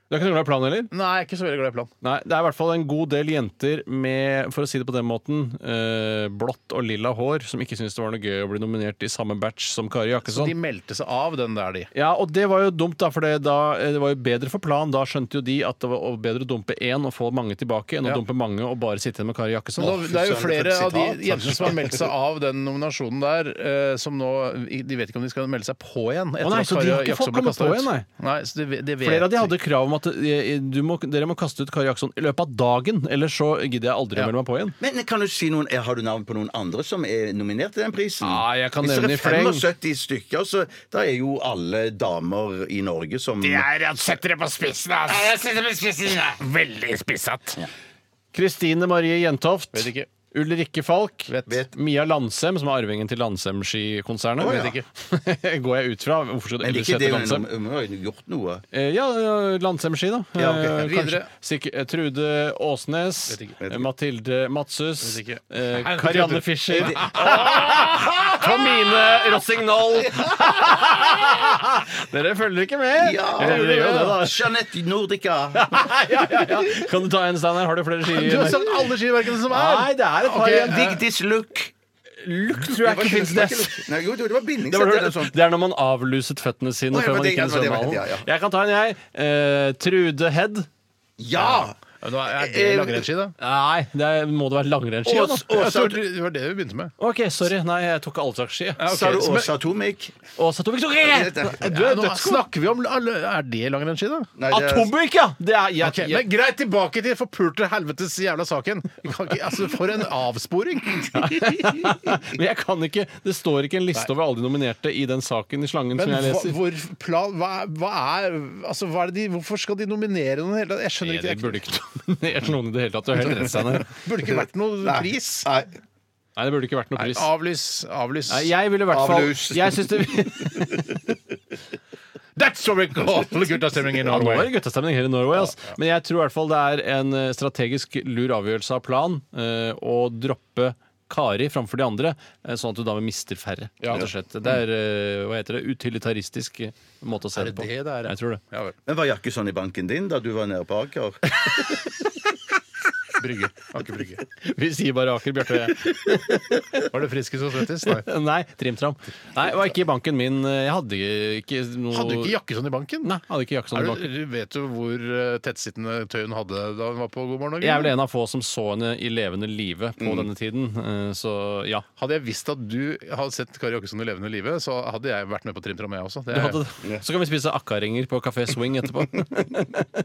Du er ikke noe glad i Plan heller?
Nei, jeg er ikke så veldig glad i Plan.
Nei, det er i hvert fall en god del jenter med, for å si det på den måten, eh, blått og lilla hår, som ikke syntes det var noe gøy å bli nominert i samme batch som Kari
De
Jakkesson.
meldte seg av den der, de.
Ja, og det var jo dumt, da, for det, da, eh, det var jo bedre for Plan. Da skjønte jo de at det var bedre å dumpe én og få mange tilbake, enn
Ja.
å dumpe mange og bare sitte igjen med Kari Jakkesson.
Da, det er jo
søren,
flere
for et
av de
sitat.
jentene som har meldt seg av den nominasjonen der, eh, som nå De vet ikke om de skal melde seg på igjen. etter
Å
at
nei, så de
Kari
har ikke fått
Jakkesson ble
komme
kastet
på
ut.
igjen, nei.
nei så de, de vet
Flere av de hadde
ikke.
krav om at eh, du må, dere må kaste ut Kari Jakkesson i løpet av dagen, ellers så gidder jeg aldri
Ja.
å melde meg på igjen.
Men kan du si noen, Har du navn på noen andre som er nominert til den prisen?
Ja, jeg kan
Hvis
nevne i
det
fleng.
er 75 stykker, så da er jo alle damer i Norge som
Setter det på spissen, ass! jeg setter det på spissen, ja. Veldig spissatt.
Kristine Marie Jentoft.
Vet ikke.
Ulrikke Falk.
Vet.
Mia Landsem, som er arvingen til Landsem-skikonsernet.
Å, ja.
Vet ikke. (laughs) Går jeg ut fra. Hvorfor skulle
Men
du
det er ikke
hete
det hun
Landsem?
hun har jo gjort noe.
Eh, Ja, ja, Landsem-ski, da.
Ja, ok.
Eh,
Videre.
kanskje. Sikkert- eh, Trude Åsnes.
Vet ikke.
Vet ikke.
Mathilde Madshus.
Vet ikke.
eh,
Nei,
Karianne
Trude.
Fischer. (laughs) Åh!
(laughs)
Tomine Rossignol! Dere følger ikke med?
Ja,
Dere gjør jo det, da.
Jeanette Nordica.
(laughs) Ja, ja, ja. Kan du ta en, Steinar? Har du flere ski?
Du har sagt alle skiverkene som er!
Nei, det er et par
Ok,
igjen.
Vigdis Look.
Lukt tror jeg ikke fins nest.
Nei, jo, jo, det var
Det, var,
bindingssett eller noe sånt.
det er når man avluset føttene sine
Å, ja,
før
men
man
det-
gikk inn i
ja, det var det,
svømmehallen.
ja, ja.
Jeg kan ta en, jeg. Eh, Trude Head.
Ja!
Ja, nå Er er det
Eh,
langrennsski, da?
Nei, det er, må det være langrennsski?
Ås-
da?
Jeg
Åsa,
tror Det var det vi begynte med.
OK, sorry. Nei, jeg tok all slags ski.
Ja, ok.
Sa du
Men-
Åsa Tomik?
Åsa Tobikk tok jeg! Du
Ja,
er
nå
dødsgod.
snakker vi om alle, Er det langrennsski, da?
Nei, det er-
Atombikk, ja! Det er, jeg,
Ok,
jeg,
men Greit, tilbake til forpulte helvetes jævla saken. Vi kan ikke, altså, for en avsporing!
men jeg (laughs) kan ikke Det står ikke en liste over alle de nominerte i den saken i Slangen
Men
som jeg
hva,
leser.
hvor, plan, hva, er- hva er, altså, hva er det de, hvorfor skal de nominere noen? i det hele tatt? Jeg skjønner
Nei,
ikke.
det
jeg-
burde ikke (laughs) nominert noen i det hele tatt. Du har helt rett, Steinar.
burde ikke vært noen
Nei.
pris.
Nei.
Nei, det burde ikke vært noe pris.
Avlys, avlys.
Nei, jeg ville i hvert fall
Avlus.
(laughs) Jeg syns det
That's what we call guttastemning in
Ja, nå er
Norway.
det guttastemning her i Norway. Ass. Men jeg tror i hvert fall det er en eh, strategisk lur avgjørelse av plan eh, å droppe Kari framfor de andre, eh, sånn at du da mister færre. rett og slett. Det er eh, hva heter det, utilitaristisk eh, måte å se det, på.
det det er, ja?
Jeg tror det.
Ja, vel.
(laughs) Men var Jakkesson i banken din da du var nede på Aker?
Brygge. Aker Brygge.
(laughs) Vi sier bare Aker Bjarte. og jeg.
Var det friskest og svettest? Nei.
Nei, trimtram. Nei, det var ikke i banken min. Jeg hadde ikke noe
Hadde du ikke Jakkesson i banken?
Nei, hadde ikke jakke sånn i
Er
banken.
du, vet du hvor eh, tettsittende tøy hun hadde da hun var på God morgen Norge?
Jeg er vel en av få som så henne i levende live på denne tiden. eh, Så ja.
Hadde jeg visst at du hadde sett Kari Jakkesson i levende live, så hadde jeg vært med på Trim Tram, jeg også. Det
Du
er
hadde, så kan vi spise akkaringer på Kafé
(laughs)
Swing etterpå.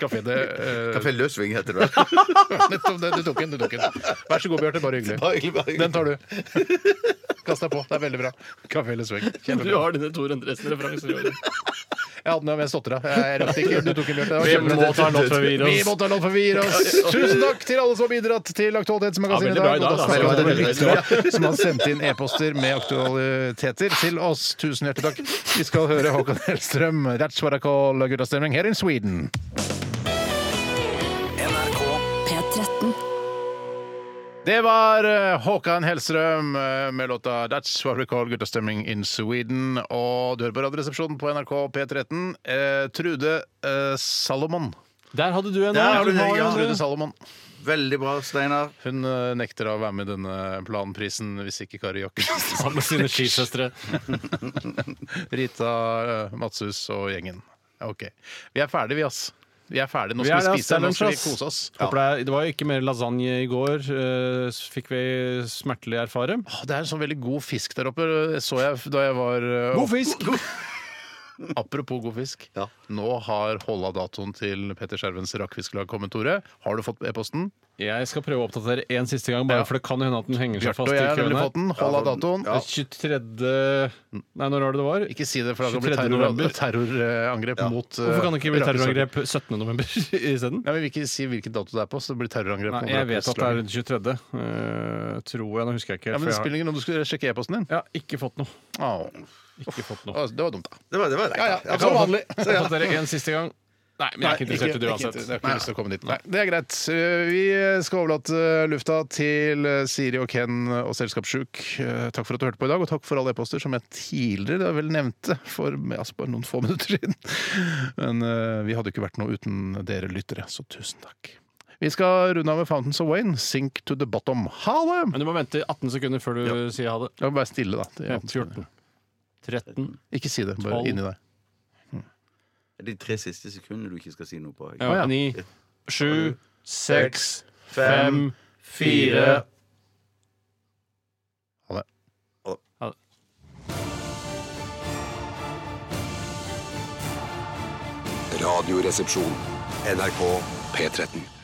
kafé det eh,
Kafé Løsving heter det.
Nettopp det. Du tok en, du tok en. Vær så god, Bjarte. Bare hyggelig.
Bare hyggelig, bare hyggelig.
Den tar du. Kast deg på. Det er veldig bra. Kafé eller swing.
Du
Kjempebra.
har dine to Endresen-referanser.
Jeg hadde den, men jeg stotra. Jeg rakk det ikke. Du tok en, Bjarte. Det var
Vi
kjempebra.
må ta en låt før vi gir
Vi
oss.
må ta lov for å forvirre oss. Tusen takk til alle som har bidratt til Aktualitetsmagasinet
Ja, veldig bra i dag,
Og
da.
takk til alle
Det var veldig
lyttere (laughs) Som har sendt inn e-poster med aktualiteter til oss. Tusen hjertelig takk. Vi skal høre Håkan Hellstrøm, That's What I Call Guttastemning her in Sweden.
NRK
P13.
Det var eh, Håkan Hellstrøm eh, med låta 'That's What We Call Guttastemning in Sweden'. Og du hører på Radioresepsjonen på NRK P13. Eh, Trude eh, Salomon.
Der hadde du en.
Der
ja.
har du den, ja.
Trude Salomon.
Veldig bra, Steinar.
Hun eh, nekter å være med i denne planprisen hvis ikke Kari (laughs) Jakkesen
Sammen med sine skisøstre.
Rita eh, Madshus og gjengen. OK. Vi er ferdige, vi, ass. Vi er ferdige. Nå
Vi
skal
er
vi,
det, ass.
spise, nå skal vi
Challenge, ass.
kose oss.
Håper det, er- det var jo ikke mer lasagne i går, eh, fikk vi smertelig erfare.
Å, Det er en sånn veldig god fisk der oppe, så jeg da jeg var eh,
God fisk!
Apropos god fisk.
Ja.
Nå har holda datoen til Petter Skjervens rakfisklag kommet, Tore. Har du fått e-posten?
Jeg skal prøve å oppdatere en siste gang, bare
Ja.
for det kan hende at den henger seg
Bjarte
fast
og
i
jeg har
køen
nemlig
her.
fått den. Hold av datoen.
Ja.
23. Nei, når var det det var?
Ikke si det, for det kan bli
23.
terror-
november.
terrorangrep mot eh,
Hvorfor kan det ikke bli
rakfisklag?
terrorangrep 17. november (laughs)
Nei,
isteden?
men Vi vil ikke si hvilken dato det er på, så det blir terrorangrep.
Nei,
mot
jeg vet at det er
rakfisklaget.
rundt 23. eh, tror jeg, nå husker jeg ikke.
ja,
for
men Det
jeg har-
spiller ingen rolle om du skulle sjekke e-posten din.
jeg har ikke fått noe.
Au.
Ikke fått noe.
Å, Det var dumt, da.
Det var det. Var det.
Ja, ja,
Jeg
som
kan-
vanlig.
Oppdatere en siste gang. Nei, men jeg er ikke interessert i det
ikke-
uansett.
Jeg har ikke lyst til å komme dit. Nei, det er greit. Eh, Vi skal overlate eh, lufta til eh, Siri og Ken og Selskapssjuk. Eh, Takk for at du hørte på i dag, og takk for alle e-poster som jeg tidligere vel nevnte for altså, bare noen få (laughs) minutter siden. Men eh, vi hadde ikke vært noe uten dere lyttere, så tusen takk. Vi skal runde av med Fountains of Wayne, Sink to the Bottom. Ha det!
Men du må vente 18 sekunder før du sier ha det.
Ja, Vær stille, da. Det er-
14. 13.
Ikke si det. Bare
Tolv.
inni deg.
De tre siste sekundene du ikke skal si noe på. Jeg.
ja.
9. 7. 6. 5. 4.
Ha det.
Radioresepsjon. NRK P13.